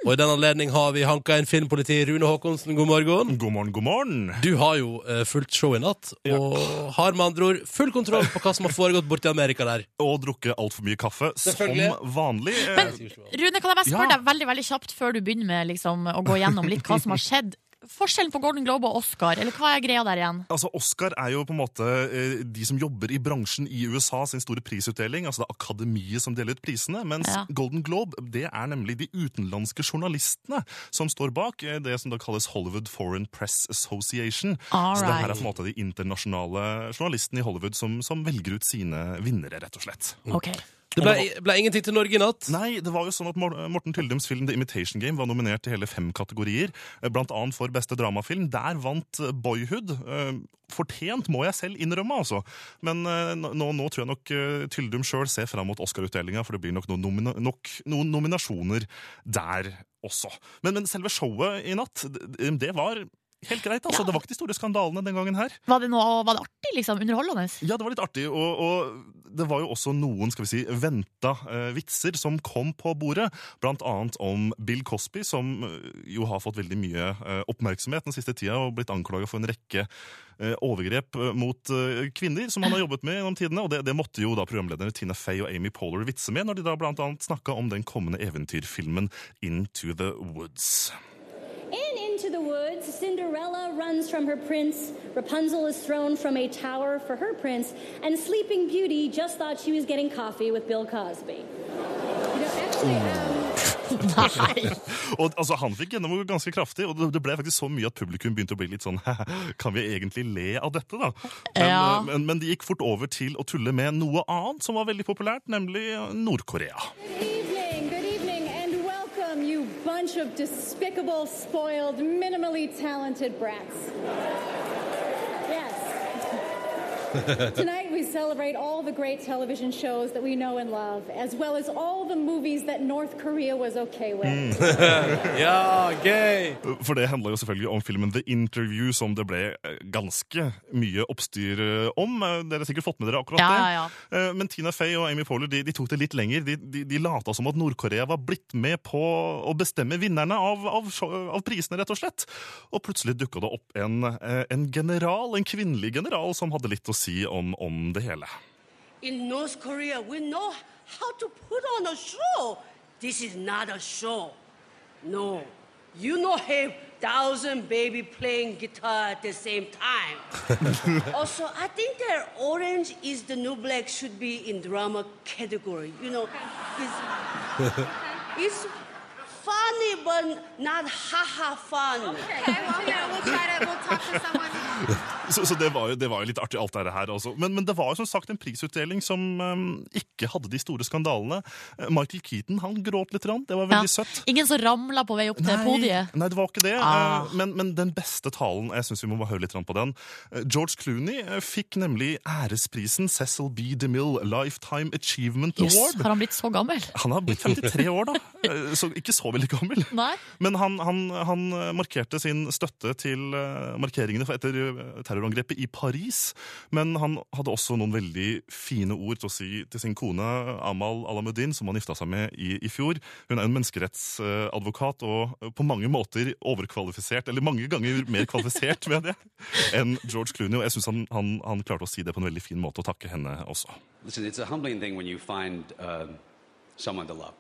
B: Og i den anledning har vi hanka inn filmpoliti Rune Håkonsen, god morgen.
I: God morgen, god morgen.
B: Du har jo eh, fulgt show i natt,
I: Ja.
B: og har med andre ord full kontroll på hva som har foregått borti Amerika der.
I: Og drukket altfor mye kaffe, som
B: Selvfølgelig.
I: vanlig. Eh,
C: Rune, kan jeg bare spørre
I: Ja.
C: deg veldig veldig kjapt før du begynner med liksom, å gå gjennom litt hva som har skjedd? Forskjellen på Golden Globe og Oscar, eller hva er greia der igjen?
I: Altså, Oscar er jo på en måte eh, de som jobber i bransjen i USA sin store prisutdeling. altså Det er akademiet som deler ut prisene. Mens
C: Ja.
I: Golden Globe det er nemlig de utenlandske journalistene som står bak eh, det som da kalles Hollywood Foreign Press Association.
C: All
I: Så det her er
C: right.
I: på en måte de internasjonale journalistene i Hollywood som, som velger ut sine vinnere, rett og slett.
C: Ok.
B: Mm. Det ble, ble ingenting til Norge i natt.
I: Nei, det var jo sånn at Mor- Morten Tyldums film The Imitation Game var nominert til hele fem kategorier, eh, blant annet for beste dramafilm. Der vant eh, Boyhood. Eh, Fortjent, må jeg selv innrømme, altså. Men eh, nå, nå tror jeg nok eh, Tyldum sjøl ser fram mot Oscar-utdelinga, for det blir nok noen, nomina nok noen nominasjoner der også. Men, men selve showet i natt, det, det var Helt greit, altså. Det var ikke de store skandalene den gangen her.
C: Var det, noe, var det artig, liksom? Underholdende?
I: Ja, det var litt artig, og, og det var jo også noen skal vi si, venta eh, vitser som kom på bordet. Blant annet om Bill Cosby, som eh, jo har fått veldig mye eh, oppmerksomhet den siste tida og blitt anklaga for en rekke eh, overgrep eh, mot eh, kvinner som han har jobbet med gjennom tidene. Og det, det måtte jo da programlederne Tina Fey og Amy Polar vitse med når de da blant annet snakka om den kommende eventyrfilmen Into the Woods.
J: In Into the Woods, Cinderella runs from her prince, Rapunzel is thrown from a tower for her prince, and Sleeping Beauty just thought she was getting coffee with Bill Cosby.
C: Nei!
I: Og altså, Han fikk gjennomgå ganske kraftig, og det- det ble faktisk så mye at publikum begynte å bli litt sånn Kan vi egentlig le av dette, da? Men,
C: Ja.
I: eh, men, men det gikk fort over til å tulle med noe annet som var veldig populært, nemlig Nord-Korea.
J: Good evening, good evening, and welcome, you bunch of despicable, spoiled, minimally talented brats. Yes. Tonight we celebrate all the great television shows that we know and love, as well as all the movies that North Korea was okay with.
I: Hmm.
B: Ja, gøy!
I: Mm. For det handla jo selvfølgelig om filmen The Interview, som det ble eh, ganske mye oppstyr eh, om. Eh, Dere har sikkert fått med dere akkurat
C: Ja,
I: det. Eh, Men Tina Fey og Amy Poehler de, de tok det litt lenger. De, de, de lata som at Nord-Korea var blitt med på å bestemme vinnerne av, av, show- av prisene, rett og slett. Og plutselig dukka det opp en, eh, en general, en kvinnelig general, som hadde litt å si om, om det hele.
J: In North Korea, we know how to put on a show. This is not a show. No, you know have thousand baby playing guitar at the same time. also, I think that orange is the new black should be in drama category. You know, it's, it's funny but not haha fun.
I: Så, så det, var jo, det var jo litt artig, alt det her. Også. Men, men det var jo som sagt en prisutdeling som eh, ikke hadde de store skandalene. Eh, Michael Keaton han gråt litt, grann. det var veldig
C: Ja.
I: søtt.
C: Ingen som ramla på vei opp til podiet?
I: nei, det var ikke det.
C: Ah.
I: Eh, Men, men den beste talen, jeg syns vi må bare høre litt på den. Eh, George Clooney eh, fikk nemlig æresprisen Cecil B. DeMille Lifetime Achievement
C: Jøss,
I: Award.
C: har han blitt så gammel?
I: Han har blitt 53 år, da, Eh, så ikke så veldig gammel.
C: Nei?
I: Men han, han, han eh, markerte sin støtte til eh, markeringene for- etter eh, terrorangrepet i Paris. Men han hadde også noen veldig fine ord til å si til sin kone Amal Alamuddin, som han gifta seg med i, i fjor. Hun er en menneskerettsadvokat og eh, på mange måter overkvalifisert, eller mange ganger mer kvalifisert, mener jeg, enn George Clooney. Og jeg syns han, han, han klarte å si det på en veldig fin måte, og takke henne også.
K: Listen, it's a humbling thing when you find um, someone to love.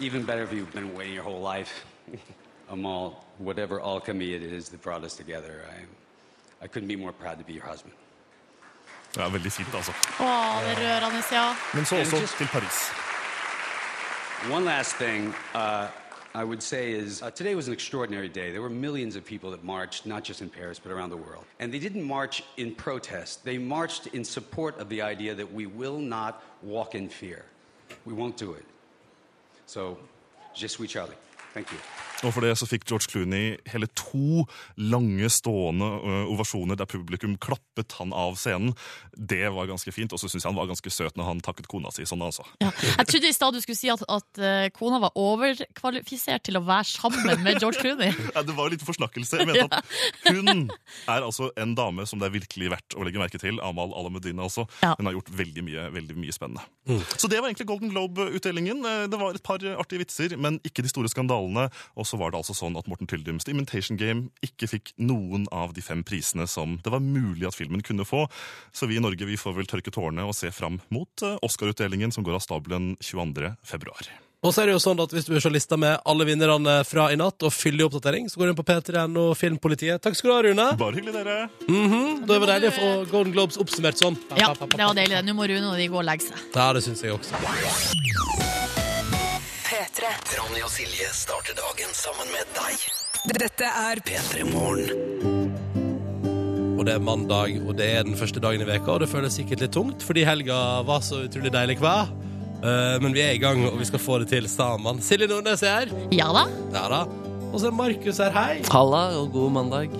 K: Even better if you've been waiting your whole life. I'm all, whatever alchemy it is that brought us together, I, I couldn't be more proud to be your husband.
I: Det er veldig fint, altså.
C: Å, det er rørende, ja.
I: Men så også til Paris.
K: One last thing uh, I would say is uh, today was an extraordinary day. There were millions of people that marched, not just in Paris, but around the world. And they didn't march in protest, they marched in support of the idea that we will not walk in fear. We won't do it. So, je suis Charlie. Thank you.
I: Og for det så fikk George Clooney hele to lange stående ø, ovasjoner der publikum klappet han av scenen. Det var ganske fint, og så syns jeg han var ganske søt når han takket kona si sånn, altså.
C: Jeg trodde i stad du skulle si at, at eh, kona var overkvalifisert til å være sammen med George Clooney.
I: Ja, det var jo litt forsnakkelse. Jeg mente at hun er altså en dame som det er virkelig verdt å legge merke til. Amal Alamudina også. Hun har gjort veldig mye, veldig mye spennende. Så det var egentlig Golden Globe-utdelingen. Eh, Det var et par eh, artige vitser, men ikke de store skandalene. Og så var det altså sånn at Morten Tyldums The Imitation Game ikke fikk noen av de fem prisene som det var mulig at filmen kunne få. Så vi i Norge vi får vel tørke tårene og se fram mot eh, Oscar-utdelingen som går av stabelen 22. februar.
B: Og så er det jo sånn at Hvis du vil se lista med alle vinnerne fra i natt og fyldig oppdatering, så går du inn på p3.no Filmpolitiet. Takk skal du ha, Rune. Mhm.
I: Bare hyggelig, dere.
B: det var deilig å få Golden Globes oppsummert sånn.
C: Ja, det var deilig. det. Nå må Rune og de gå og legge seg.
B: Ja, det syns jeg også.
A: P3.
E: Ronny og Silje starter dagen sammen med deg.
A: Dette er
E: P3 Morgen.
B: Og det er mandag, og det er den første dagen i veka, og det føles sikkert litt tungt, fordi helga var så utrolig deilig hva? Eh, men vi er i gang, og vi skal få det til sammen. Silje Nordnes er her.
C: Ja da.
B: Ja da. Og så er Markus her. Hei.
D: Halla, og god mandag.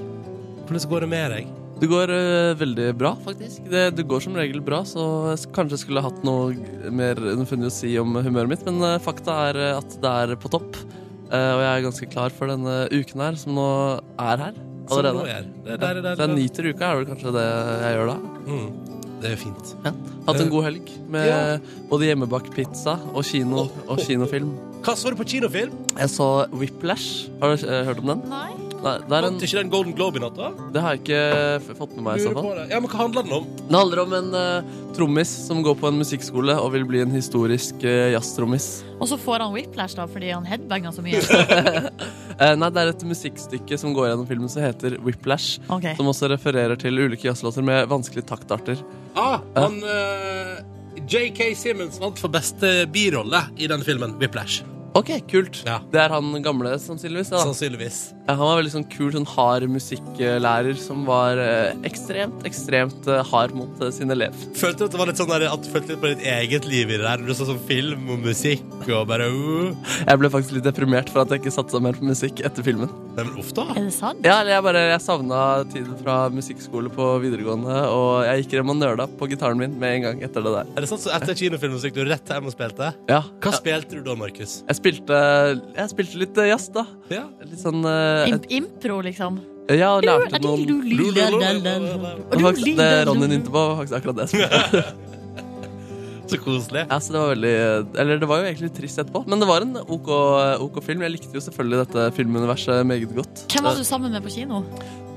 B: Hvordan går det med deg?
D: Det går eh, veldig bra, faktisk. Det, det går som regel bra, så jeg sk- kanskje jeg skulle hatt noe g- mer funnet å si om humøret mitt, men eh, fakta er eh, at det er på topp. Eh, og jeg er ganske klar for denne uken her, som nå er her
B: Som
D: allerede.
B: nå er. Det er der,
D: Ja,
B: der,
D: så jeg
B: der.
D: nyter uka, er vel kanskje det jeg gjør da.
B: Det er fint. Eh,
D: Ja. Hatt en god helg med
B: Ja.
D: både hjemmebakt pizza og kino og kinofilm.
B: Hva så du på kinofilm?
D: Jeg så Whiplash. Har du eh, hørt om den?
C: Nei.
D: det er en,
B: Vant ikke den Golden Globe i natt, da?
D: det har jeg ikke f- fått med meg. i så
B: Lurer
D: fall
B: på det. Ja, men Hva handler den om?
D: Det handler om en eh, trommis som går på en musikkskole og vil bli en historisk uh, jazztrommis.
C: Og så får han whiplash da, fordi han headbanger så mye.
D: Eh, nei, det er et musikkstykke som går gjennom filmen som heter Whiplash.
C: Ok.
D: Som også refererer til ulike jazzlåter med vanskelige taktarter.
B: Ah, han eh, J.K. Simmons vant for beste birolle i den filmen, Whiplash.
D: Ok, kult. Det er han gamle, sannsynligvis. Da.
B: Sannsynligvis.
D: Ja, han var veldig sånn kul, sånn hard musikklærer som var eh, ekstremt, ekstremt eh, hard mot eh, sin elev.
B: Følte at det var litt sånn der, at du følte litt på ditt eget liv i det der. Du så sånn film og musikk og bare uh.
D: Jeg ble faktisk litt deprimert for at jeg ikke satsa mer på musikk etter filmen.
B: Nei, men uff da.
C: Er det sant?
D: Ja, eller jeg bare jeg savna tiden fra musikkskole på videregående, og jeg gikk hjem og nøla på gitaren min med en gang etter det der.
B: Er det sant? Så etter kinofilmen så gikk du rett hjem og spilte?
D: Ja.
B: Hva spilte du da, Markus?
D: Jeg spilte, jeg spilte litt eh, jazz, da.
B: Ja.
D: Litt sånn eh,
C: Imp impro, liksom.
D: et- Ja, og lærte noen Og faktisk, Det Ronny nynte på, var faktisk akkurat det jeg spilte.
B: Så koselig.
D: Ja, så det var veldig eh, Eller det var jo egentlig trist etterpå, men det var en OK, OK film. Jeg likte jo selvfølgelig dette filmuniverset meget godt.
C: Hvem var du sammen med på kino?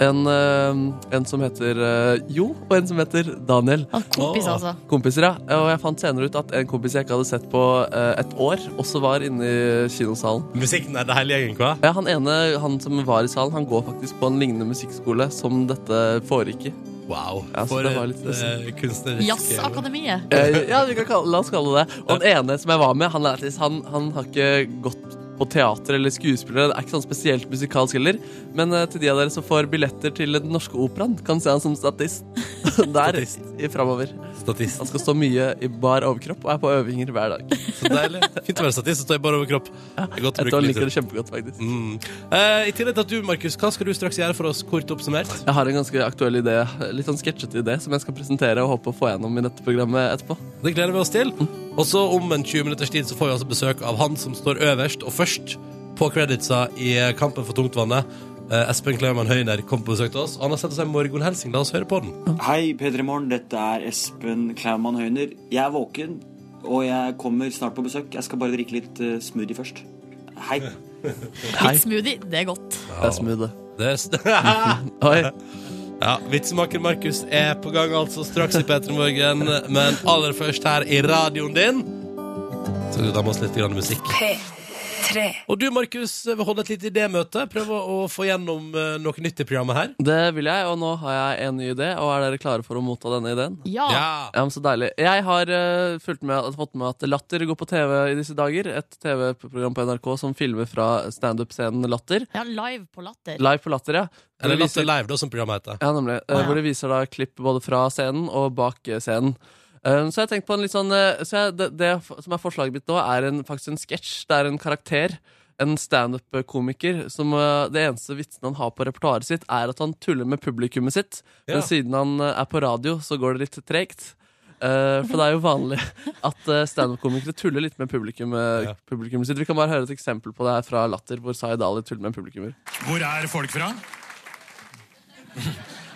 D: En, eh, en som heter eh, Jo, og en som heter Daniel.
C: kompis, Åh. altså.
D: Kompiser, ja. Og jeg fant senere ut at en kompis jeg ikke hadde sett på eh, et år, også var inne i kinosalen.
B: Musikken er det hele gjengen, hva?
D: Ja, Han ene han som var i salen, han går faktisk på en lignende musikkskole som dette foregikk i.
B: Wow.
D: Ja, så
B: For
D: det var
B: et
D: litt spesielt.
B: eh, kunstnerisk
C: Jazzakademiet.
D: Eh, ja, vi kan kalle, la oss kalle det det. Og den ene som jeg var med, han, er artist. han, han har ikke gått på teater eller skuespillere. Det er ikke sånn spesielt musikalsk heller. Men eh, til de av dere som får billetter til Den norske operaen, kan se han som statist. Der i framover.
B: Statist.
D: Han skal stå mye i bar overkropp og er på øvinger hver dag.
B: Så deilig. Fint å være statist og stå i bar overkropp. Det er godt å
D: Jeg
B: bruke
D: tror han
B: litt
D: liker det kjempegodt, faktisk.
B: Mm. Eh, I tillegg til at du, Markus, hva skal du straks gjøre for oss, kort oppsummert?
D: Jeg har en ganske aktuell idé, litt sånn sketsjete idé, som jeg skal presentere og håpe å få gjennom i dette programmet etterpå.
B: Det gleder vi oss til. Og så om en 20 minutters tid så får vi altså besøk av han som står øverst og først på creditsa i kampen for tungtvannet. Eh, Espen Klevemann Høyner kom på besøk til oss. og Han har sendt oss en morgenhelsing. La oss høre på den.
L: Hei, P3 Morgen. Dette er Espen Klaumann Høyner. Jeg er våken, og jeg kommer snart på besøk. Jeg skal bare drikke litt eh, smoothie først. Hei.
C: Litt smoothie, det er godt.
D: Det er smooth, det.
B: Det er st- ja, Vitsemaker Markus er på gang altså straks i P3 Morgen, men aller først her i radioen din. Så skal vi ta med oss litt grann musikk.
A: P3. P3.
B: Og du, Markus, vil holde et lite idémøte. Prøve å få gjennom eh, noe nytt i programmet her.
D: Det vil jeg, og nå har jeg en ny idé. Og er dere klare for å motta denne ideen?
C: Ja. Ja.
D: men Så deilig. Jeg har eh, fulgt med, fått med at Latter går på TV i disse dager. Et TV-program på NRK som filmer fra standup-scenen Latter.
C: Ja, live på Latter.
D: Live på Latter, ja.
B: Eller Latter Live, da, som programmet heter.
D: Ja, nemlig. Eh,
B: Å, ja.
D: Hvor de viser da klipp både fra scenen og bak eh, scenen. Eh, så jeg tenkte på en litt sånn eh, så jeg, det, det som er forslaget mitt nå, er en, faktisk en sketsj. Det er en karakter. En standup-komiker som eh, det eneste vitsen han har på repertoaret sitt, er at han tuller med publikummet sitt.
M: Ja.
D: Men siden han eh, er på radio, så går det litt tregt. Eh, for det er jo vanlig at eh, standup-komikere tuller litt med publikum, eh, publikummet sitt. Vi kan bare høre et eksempel på det her fra Latter, hvor Zaid Ali tuller med publikummer.
N: Hvor er folk fra?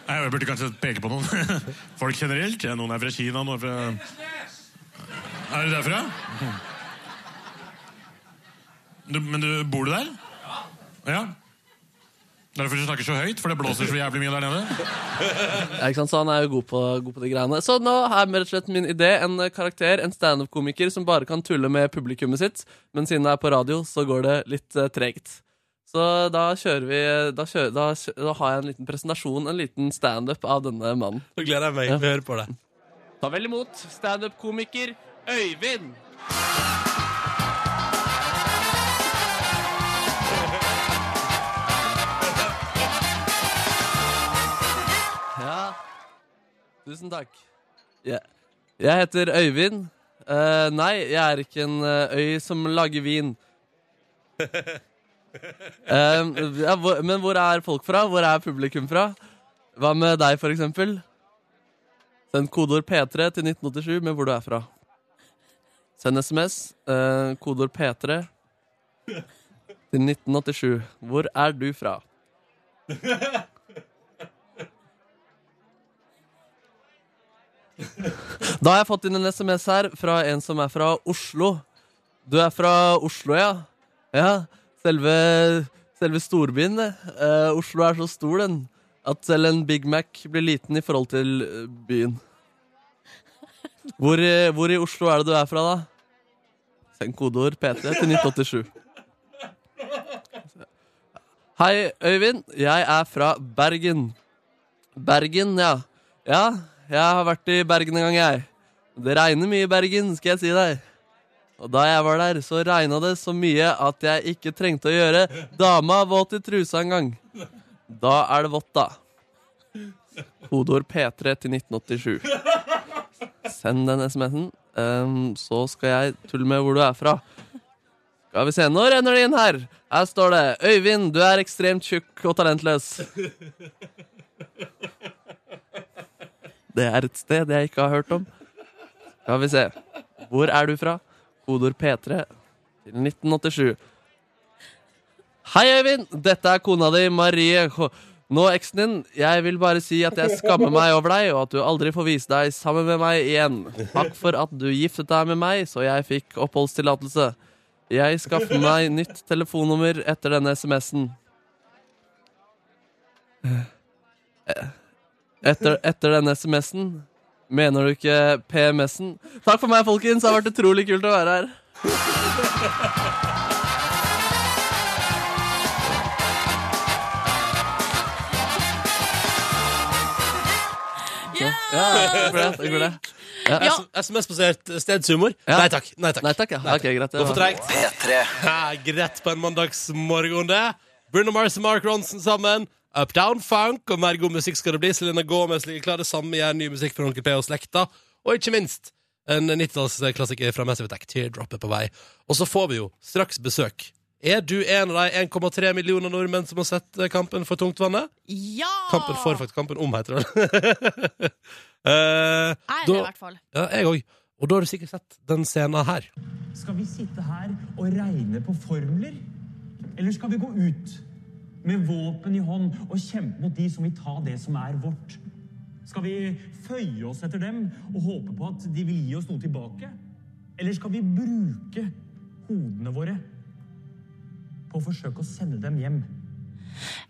N: Nei, Jeg burde kanskje peke på noen. Folk generelt. Ja, Noen er fra Kina, noen er fra Er du derfra? Du, men du, bor du der? Ja. Derfor du snakker så høyt, for det blåser så jævlig mye der nede.
D: Ja, ikke sant? Så han er jo god på, god på de greiene. Så nå er rett og slett min idé en eh, karakter, en standup-komiker som bare kan tulle med publikummet sitt, men siden det er på radio, så går det litt eh, tregt. Så da kjører vi da, kjører, da, kjø- da har jeg en liten presentasjon, en liten standup av denne mannen.
B: Nå gleder jeg meg. Vi hører på det.
D: Ta vel imot standup-komiker Øyvind. Ja. Tusen takk. Ja. Jeg heter Øyvind. Eh, nei, jeg er ikke en eh, øy som lager vin. Eh, ja, hvor, men hvor er folk fra? Hvor er publikum fra? Hva med deg, for eksempel? Send kodeord P3 til 1987 med hvor du er fra. Send SMS, eh, kodeord P3 til 1987. Hvor er du fra? Da har jeg fått inn en SMS her fra en som er fra Oslo. Du er fra Oslo, ja? Ja. Selve, selve storbyen, det. Eh, Oslo er så stor, den, at selv en Big Mac blir liten i forhold til eh, byen. Hvor, i- hvor i Oslo er det du er fra, da? Send kodeord PT til 1987. Hei, Øyvind. Jeg er fra Bergen. Bergen, ja. Ja, jeg har vært i Bergen en gang, jeg. Det regner mye i Bergen, skal jeg si deg. Og da jeg var der, så regna det så mye at jeg ikke trengte å gjøre dama våt i trusa en gang. Da er det vått, da. Kodeord P3 til 1987. Send den SMS-en, ehm, så skal jeg tulle med hvor du er fra. Skal vi se, nå renner det inn her. Her står det Øyvind, du er ekstremt tjukk og talentløs. Det er et sted jeg ikke har hørt om. Skal vi se. Hvor er du fra? Kodord P3 til 1987. Hei, Øyvind! Dette er kona di, Marie. H- Nå, eksen din, jeg vil bare si at jeg skammer meg over deg, og at du aldri får vise deg sammen med meg igjen. Takk for at du giftet deg med meg, så jeg fikk oppholdstillatelse. Jeg skaffer meg nytt telefonnummer etter denne SMS-en. Etter, etter den SMS-en Mener du ikke PMS-en? Takk for meg, folkens. Det har vært utrolig kult å være her. Ja, det går det. det, går det. Ja.
B: S- SMS-basert stedshumor? Nei takk. Nei takk.
D: ja. Ok, greit, det
B: det var for
D: var-
B: treigt. Ja, Greit på en mandagsmorgen, det. Bruno Mars og Mark Ronson sammen. Updown Funk og mer god musikk skal det bli. Selena Gomez ligger klar. Det samme gjør ny musikk fra Onkel P og slekta. Og ikke minst en 90-tallsklassiker fra Massive Attack, Teardrop, er på vei. Og så får vi jo straks besøk. Er du en av de 1,3 millioner nordmenn som har sett eh, Kampen for tungtvannet?
C: Ja!
B: Kampen for faktisk kampen om, heter det. uh,
C: Jeg er det i hvert fall.
B: Ja, jeg òg. Og da har du sikkert sett den scenen her.
O: Skal vi sitte her og regne på formler? Eller skal vi gå ut med våpen i hånd og kjempe mot de som vil ta det som er vårt? Skal vi føye oss etter dem og håpe på at de vil gi oss noe tilbake? Eller skal vi bruke hodene våre på å forsøke å sende dem hjem?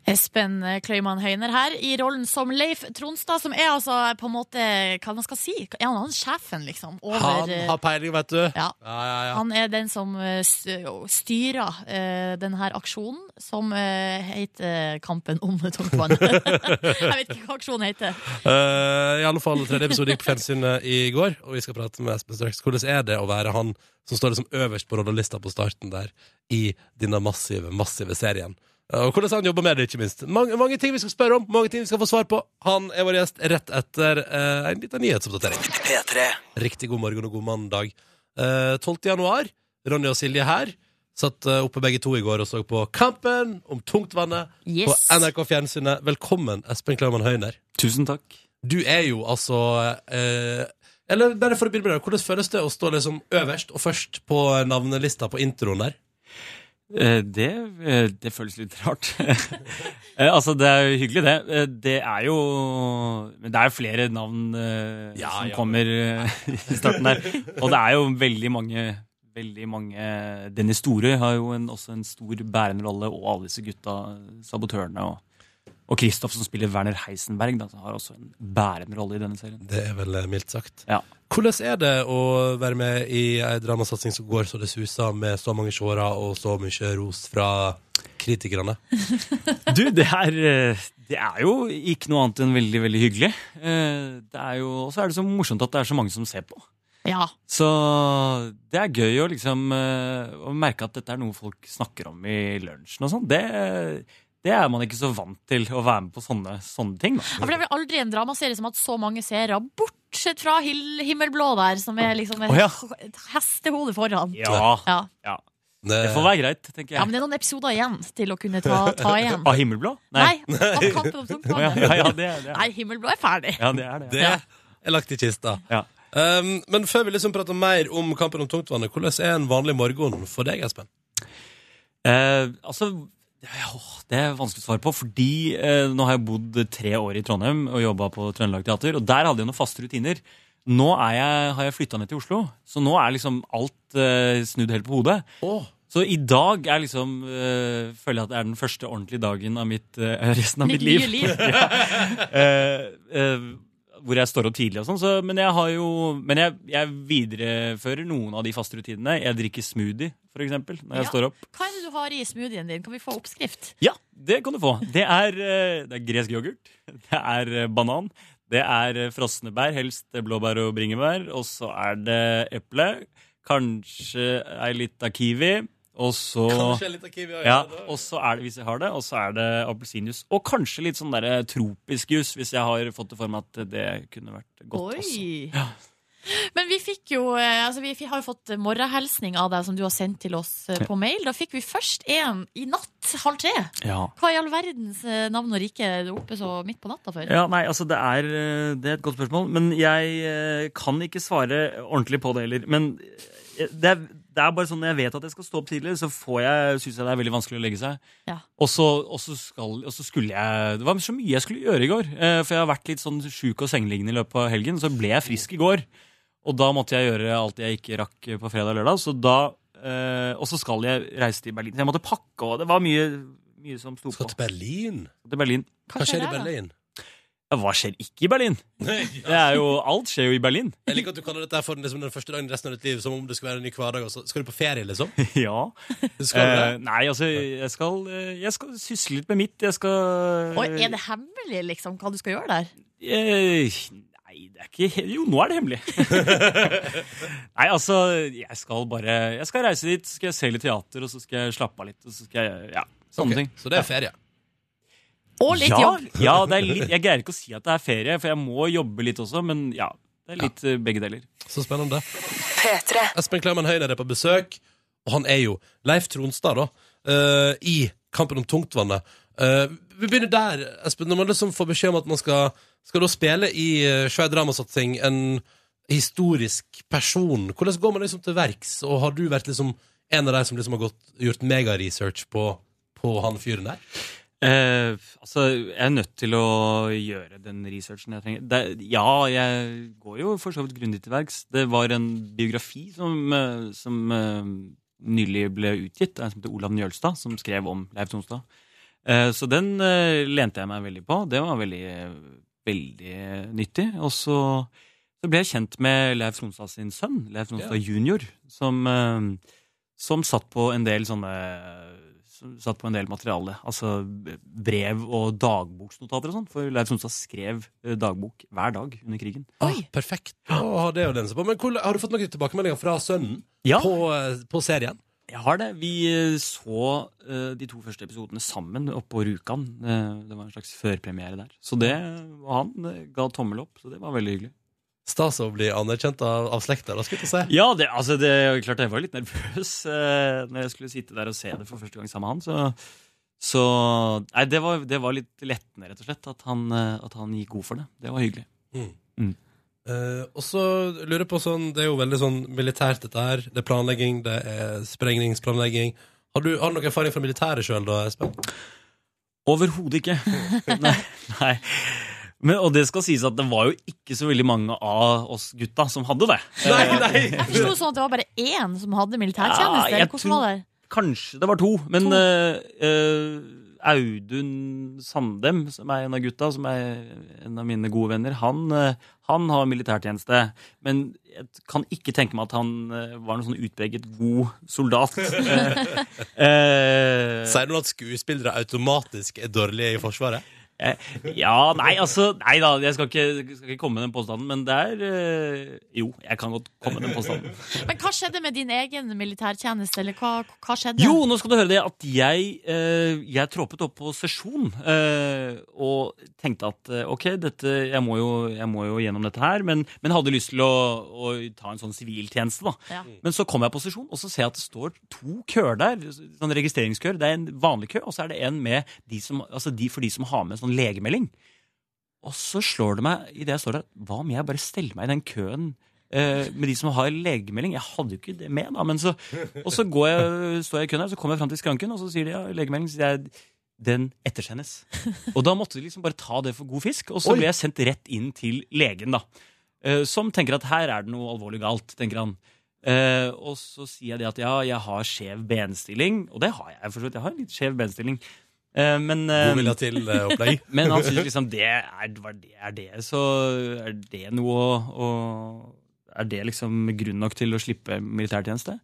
C: Espen eh, Kløyman Høyner her, i rollen som Leif Tronstad, som er altså på en måte Hva man skal si? Er han, han sjefen, liksom? Over,
B: Han har peiling, vet du.
C: Ja.
B: Ja, ja, ja.
C: Han er den som eh, st- styrer eh, den her aksjonen, som eh, heter Kampen om tungtvann. Jeg vet ikke hva aksjonen heter.
B: Eh, I alle fall tredje episode gikk på fjernsynet i går, og vi skal prate med Espen straks. Hvordan er det å være han som står liksom øverst på rollelista på starten der, i denne massive, massive serien? Eh, Og hvordan han jobber med det, ikke minst. Mange, mange ting vi skal spørre om, mange ting vi skal få svar på. Han er vår gjest rett etter eh, en liten nyhetsoppdatering.
E: P3.
B: Riktig god morgen og god mandag. Eh, 12. januar, Ronny og Silje her. Satt eh, oppe begge to i går og så på Kampen om tungtvannet på
M: Yes.
B: NRK Fjernsynet. Velkommen, Espen Klaumann Høyner.
L: Tusen takk.
B: Du er jo altså eh, Eller bare for å begynne med det, hvordan føles det å stå liksom øverst og først på navnelista på introen der?
M: Eh, Det, eh, det føles litt rart. Eh, altså, det er jo hyggelig, det. Eh, Det er jo Men det er jo flere navn eh, som
B: ja.
M: kommer eh, i starten der. Og det er jo veldig mange veldig mange Dennis Storøy har jo en, også en stor bærende rolle, og alle disse gutta, eh, sabotørene og og Kristoff, som spiller Werner Heisenberg, da, som har også en bærende rolle i denne serien.
B: Det er vel eh, mildt sagt.
M: Ja.
B: Hvordan er det å være med i ei dramasatsing som går så det suser, med så mange seere og så mye ros fra kritikerne?
M: Du, det er, eh, det er jo ikke noe annet enn veldig, veldig hyggelig. Eh, Det er jo, og så er det så morsomt at det er så mange som ser på.
C: Ja.
M: Så det er gøy å liksom eh, å merke at dette er noe folk snakker om i lunsjen og sånn. Det, det er man ikke så vant til, å være med på sånne, sånne ting.
C: Ja, For
M: Da.
C: det er vel aldri en dramaserie som har hatt så mange seere, bortsett fra Hil Himmelblå der, som er liksom et,
M: Å, ja.
C: et hestehode foran.
M: Ja.
C: ja.
M: Ja. Det får være greit, tenker jeg.
C: Ja, men det er noen episoder igjen til å kunne ta, ta igjen.
M: Av Himmelblå?
C: Nei, av Kampen om tungtvannet.
M: Ja, ja, det er det.
C: Nei, Himmelblå er ferdig.
M: Ja, det er det.
B: Det er lagt i kista. Um, men før vi liksom prater mer om kampen om tungtvannet, hvordan er en vanlig morgen for deg, Espen?
M: Eh, altså, åh, det er vanskelig å svare på, fordi eh, nå har jeg bodd tre år i Trondheim og jobba på Trøndelag Teater, og der hadde jeg noen faste rutiner. Nå er jeg, har jeg flytta ned til Oslo, så nå er liksom alt eh, snudd helt på hodet. Så i dag er liksom, eh, føler jeg at det er den første ordentlige dagen av mitt, eh, resten av
C: Ditt
M: mitt liv.
C: nye liv.
M: ja. eh, eh, hvor jeg står opp tidlig og sånn. Så, men jeg, har jo, men jeg, jeg viderefører noen av de faste rutinene. Jeg drikker smoothie, for eksempel, når jeg
C: Ja.
M: står opp.
C: Hva er det du har i smoothien din? Kan vi få oppskrift?
M: Ja, det kan du få. Det er, eh, det er gresk yoghurt, det er eh, banan, det er eh, frosne bær, helst blåbær og bringebær, og så er det eple, kanskje ei lita kiwi, og så
B: Kanskje en liten kiwi, ja,
M: ja,
B: ja, det-
M: og så er det, hvis jeg har det, og så er det appelsinjuice. Og kanskje litt sånn der eh, tropisk juice, hvis jeg har fått det for meg at det kunne vært godt. også.
C: Oi. Men vi fikk jo eh, altså Vi fi- har jo fått morgenhelsning av deg som du har sendt til oss eh, på mail. Da fikk vi først en i natt halv tre.
M: Ja.
C: Hva i all verdens eh, navn og rike er du oppe så midt på natta for?
M: Ja, nei, altså det er, eh, det er et godt spørsmål, men jeg eh, kan ikke svare ordentlig på det heller. Men eh, det er, det er bare sånn når jeg vet at jeg skal stå opp tidlig, så får jeg, synes jeg det er veldig vanskelig å legge seg.
C: Ja.
M: Og så, og så skal, og så skulle jeg Det var så mye jeg skulle gjøre i går, eh, for jeg har vært litt sånn sjuk og sengeliggende i løpet av helgen, så ble jeg frisk i går. Og da måtte jeg gjøre alt jeg ikke rakk på fredag og lørdag, så da eh, Og så skal jeg reise til Berlin. Så jeg måtte pakke, og det var mye, mye som sto på. Skal
B: til Berlin?
M: Til Berlin.
B: Hva Hva skjer skjer i der, da? Berlin?
M: Ja, hva skjer ikke i Berlin? Det er jo, alt skjer jo i Berlin.
B: Jeg liker at du kaller dette her for liksom, den første dagen i resten av ditt liv, som om det skulle være en ny hverdag. og så Skal du på ferie, liksom?
M: Ja.
B: Skal
M: Eh, nei, altså, jeg skal, eh, jeg skal sysle litt med mitt. Jeg skal
C: Oi, er det hemmelig liksom hva du skal gjøre der?
M: Eh, Nei, det er ikke he- Jo, nå er det hemmelig. nei, altså, jeg skal bare Jeg skal reise dit, så skal jeg se litt teater, og så skal jeg slappe av litt, og så skal jeg Ja, sånne ting.
B: Så det er ferie?
C: Og litt
M: ja,
C: jobb.
M: Ja, det er litt, jeg greier ikke å si at det er ferie, for jeg må jobbe litt også, men ja. Det er litt eh, begge deler.
B: Så spennende. Espen Kleiman Høyner er på besøk, og han er jo Leif Tronstad, da, eh, i Kampen om tungtvannet. Eh, vi begynner der, Espen. Når man liksom får beskjed om at man skal, skal da spille i eh, svær dramasatsing en historisk person, hvordan går man liksom til verks? Og har du vært liksom en av de som liksom har gått, gjort megaresearch på, på han fyren der?
M: Eh, altså, jeg er nødt til å gjøre den researchen jeg trenger. Det, ja, jeg går jo for så vidt grundig til verks. Det var en biografi som, eh, som eh, nylig ble utgitt, av en som heter Olav Njølstad, som skrev om Leif Tonstad. Eh, Så den eh, lente jeg meg veldig på. Det var veldig, eh, veldig nyttig. Og så, så ble jeg kjent med Leif Tronstad sin sønn, Leif Tronstad
P: Ja.
M: junior, som, eh, som satt på en del sånne som satt på en del materiale, altså brev og dagboksnotater og sånn, for Leif Sonstad skrev eh, dagbok hver dag under krigen.
B: Ah, perfekt. Å, ha det å lense på. Men hvor, har du fått noen tilbakemeldinger fra sønnen
M: Ja.
B: på, eh, på serien?
M: Jeg har det. Vi eh, så eh, de to første episodene sammen oppå Rjukan. Eh, Det var en slags førpremiere der. Så det, og han eh, ga tommel opp, så det var veldig hyggelig.
B: Stas å bli anerkjent av, av slekta, da, skulle jeg til å si.
M: Ja, det, altså, det er jo klart jeg var litt nervøs eh, når jeg skulle sitte der og se det for første gang sammen med han. Så, så Nei, det var, det var litt lettende, rett og slett, at han, eh, at han gikk god for det. Det var hyggelig. Mm.
B: Eh, og så lurer jeg på sånn Det er jo veldig sånn militært, dette her. Det er planlegging, det er sprengningsplanlegging. Har du, har du noen erfaring fra militæret sjøl, da, Espen?
M: Overhodet ikke. nei. nei. Men, og det skal sies at det var jo ikke så veldig mange av oss gutta som hadde det. Eh, Nei, nei.
C: Jeg forsto sånn at det var bare én som hadde militærtjeneste.
M: Ja,
C: eller
M: jeg
C: Hvordan var det?
M: Kanskje det var to, men eh, eh, Audun Sandem, som er en av gutta, som er en av mine gode venner, han, eh, han har militærtjeneste. Men jeg kan ikke tenke meg at han eh, var noen sånn utpreget god soldat. Eh,
B: Sier du at skuespillere automatisk er dårlige i Forsvaret?
M: Eh, ja, nei, altså Nei da, jeg skal ikke, skal ikke komme med den påstanden, men det er eh, Jo, jeg kan godt komme med den påstanden.
C: Men hva skjedde med din egen militærtjeneste? Eller hva, hva skjedde?
M: Jo, nå skal du høre det at jeg, eh, jeg troppet opp på sesjon eh, og tenkte at eh, ok, dette, jeg, må jo, jeg må jo gjennom dette her, men, men hadde lyst til å, å ta en sånn siviltjeneste, da.
P: Ja.
M: Men så kom jeg på sesjon, og så ser jeg at det står to køer der. Sånn registreringskøer. Det er en vanlig kø, og så er det en med de som, altså de for de som har med en sånn legemelding. Og så slår det meg i det jeg står der, hva om jeg bare steller meg i den køen eh, med de som har legemelding? Jeg hadde jo ikke det med, da. Men så, og så går jeg, står jeg i køen her, så kommer jeg fram til skranken, og så sier de ja, legemelding. Så sier jeg den ettersendes. Og da måtte de liksom bare ta det for god fisk, og så
P: Oi.
M: ble jeg sendt rett inn til legen, da. Eh, som tenker at her er det noe alvorlig galt, tenker han. Eh, og så sier jeg det at ja, jeg har skjev benstilling, og det har jeg for så vidt. Jeg har en litt skjev benstilling. Eh, men, eh,
B: God vilje til, eh, opplegg.
M: men han syns liksom det er, var det, er det så Er det noe å, å Er det liksom grunn nok til å slippe militærtjeneste?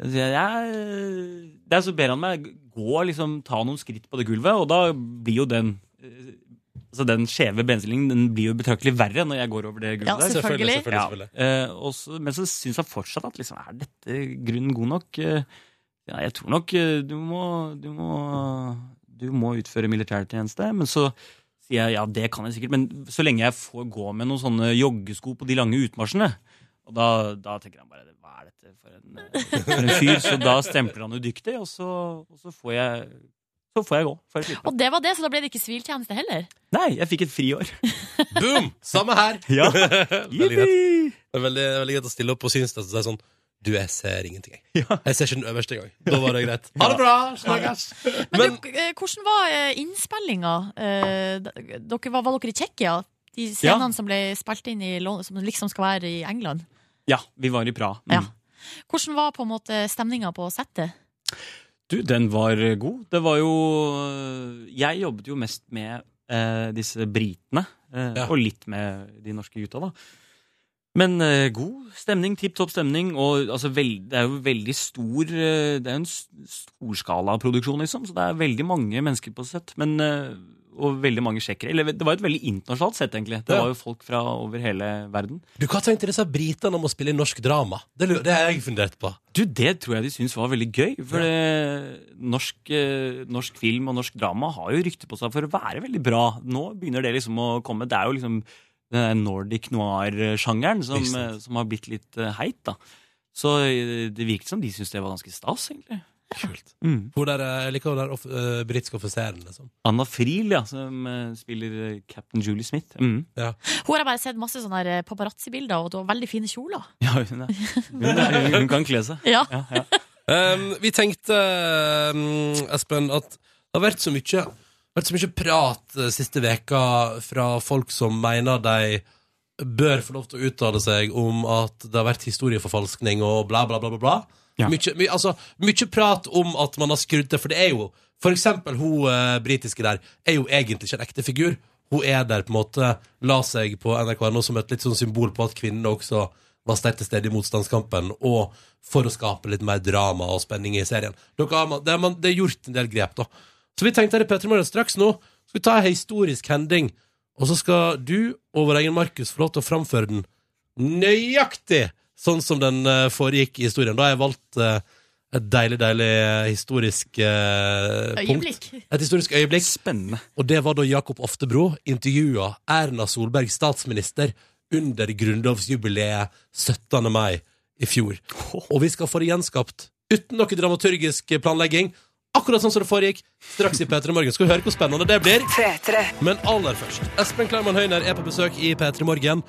M: Så jeg, jeg, der så ber han meg gå liksom, ta noen skritt på det gulvet, og da blir jo den eh, Altså Den skjeve benstillingen den blir jo betraktelig verre når jeg går over det gulvet.
P: Ja,
M: der.
P: selvfølgelig. Selvfølgelig, selvfølgelig,
M: Ja, eh, og så- men så syns han fortsatt at liksom, er dette grunnen god nok? Eh, Ja, jeg tror nok eh, du må, du må, du må utføre militærtjeneste. Men så sier jeg ja, det kan jeg sikkert, men så lenge jeg får gå med noen sånne joggesko på de lange utmarsjene og da, da tenker han bare hva er dette for en, eh, for en fyr? Så da stempler han udyktig, og så, og så, får, jeg, så får jeg gå. Får jeg slippe.
C: Og det var det, så da ble det ikke siviltjeneste heller?
M: Nei, jeg fikk et friår.
B: Boom! Samme her!
M: Ja.
B: veldig greit. Det er veldig, veldig greit å stille opp og synes det. Så det er sånn Du, jeg ser ingenting, jeg. Jeg ser ikke den øverste engang. Da var det greit. Ha det bra! Snakkes!
C: Men, du, eh, hvordan var eh, innspillinga? Eh, d- Dere, var, var dere i Tsjekkia? De scenene
M: Ja.
C: som ble spilt inn i London, som liksom skal være i England.
M: Ja, vi var i Praha. Mm.
C: Hvordan var på en måte stemninga på settet?
M: Du, den var eh, god. Det var jo øh, Jeg jobbet jo mest med øh, disse britene, øh, og litt med de norske gutta, da. Men øh, god stemning, tipp topp stemning, og altså, vel, det er jo veldig stor øh, Det er jo en s- storskalaproduksjon, liksom, så det er veldig mange mennesker på sett. Men, øh, og veldig mange tsjekkere. Eller det var jo et veldig internasjonalt sett, egentlig. Det
B: Ja.
M: var jo folk fra over hele verden.
B: Du, Hva tenkte disse britene om å spille i norsk drama? Det, lu- det har jeg fundert på.
M: Du, det tror jeg de syns var veldig gøy. For det, norsk, eh, norsk film og norsk drama har jo rykte på seg for å være veldig bra. Nå begynner det liksom å komme. Det er jo liksom den der nordic noir-sjangeren som,
P: Ikke sant.
M: eh, som har blitt litt eh, heit, da. Så eh, det virket som de syntes det var ganske stas, egentlig. Kult. Mm.
B: Hun der, eh, jeg liker hun der off, eh, britiske offiseren, liksom.
M: Anna Friel, ja, som eh, spiller eh, Captain Julie Smith. Mm.
B: Ja.
C: Hun har jeg bare sett masse sånne her, eh, paparazzi-bilder, og du har veldig fine kjoler.
M: hun, er, hun, er, hun kan kle seg.
C: Ja.
B: Um, vi tenkte, um, Espen, at det har vært så mye, vært så mye prat eh, siste veka fra folk som mener de bør få lov til å uttale seg om at det har vært historieforfalskning og bla, bla, bla. bla, bla. Mykje, my, altså, mykje prat om at man har skrudd til, for det er jo For eksempel hun eh, britiske der er jo egentlig ikke en ekte figur. Hun er der på en måte, la seg på NRK.no som et litt sånn symbol på at kvinnene også var sterkt til stede i motstandskampen, og for å skape litt mer drama og spenning i serien. Dere har, man- det, er man, det er gjort en del grep, da. Så vi tenkte her i Petter Morgen straks nå skal vi ta en historisk hending, og så skal du og vår egen Markus få lov til å framføre den nøyaktig sånn som den eh, foregikk i historien. Da har jeg valgt eh, et deilig, deilig eh, historisk eh, punkt.
C: Øyeblikk.
B: Et historisk øyeblikk. Spennende. Og det var da Jakob Oftebro intervjua Erna Solberg, statsminister, under grunnlovsjubileet 17. mai i fjor. Og vi skal få det gjenskapt uten noe dramaturgisk planlegging. Akkurat sånn som det foregikk straks i P3 Morgen. Skal vi høre hvor spennende det blir? Men aller først, Espen Kleiman Høyner er på besøk i P3 Morgen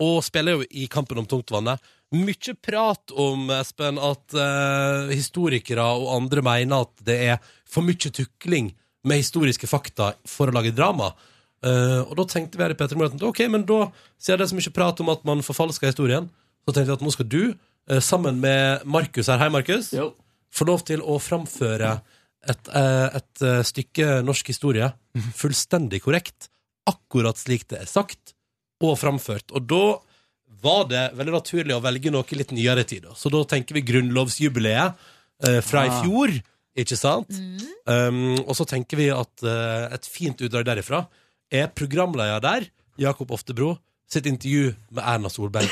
B: og spiller jo i Kampen om tungtvannet. Mykje prat om, Espen, at eh, historikere og andre mener at det er for mye tukling med historiske fakta for å lage drama. Eh, og da tenkte vi her i Petter Morten, ok, men da sier det er så mye prat om at man forfalsker historien, så tenkte jeg at nå skal du, eh, sammen med Markus her, hei Markus, få lov til å framføre et, eh, et eh, stykke norsk historie fullstendig korrekt, akkurat slik det er sagt, og framført. Og da var det veldig naturlig å velge noe litt nyere tid. da. Så da tenker vi grunnlovsjubileet eh, fra i
G: Ah.
B: fjor, ikke sant? Um, og så tenker vi at eh, et fint utdrag derifra er programleder der, Jakob Oftebro, sitt intervju med Erna Solberg.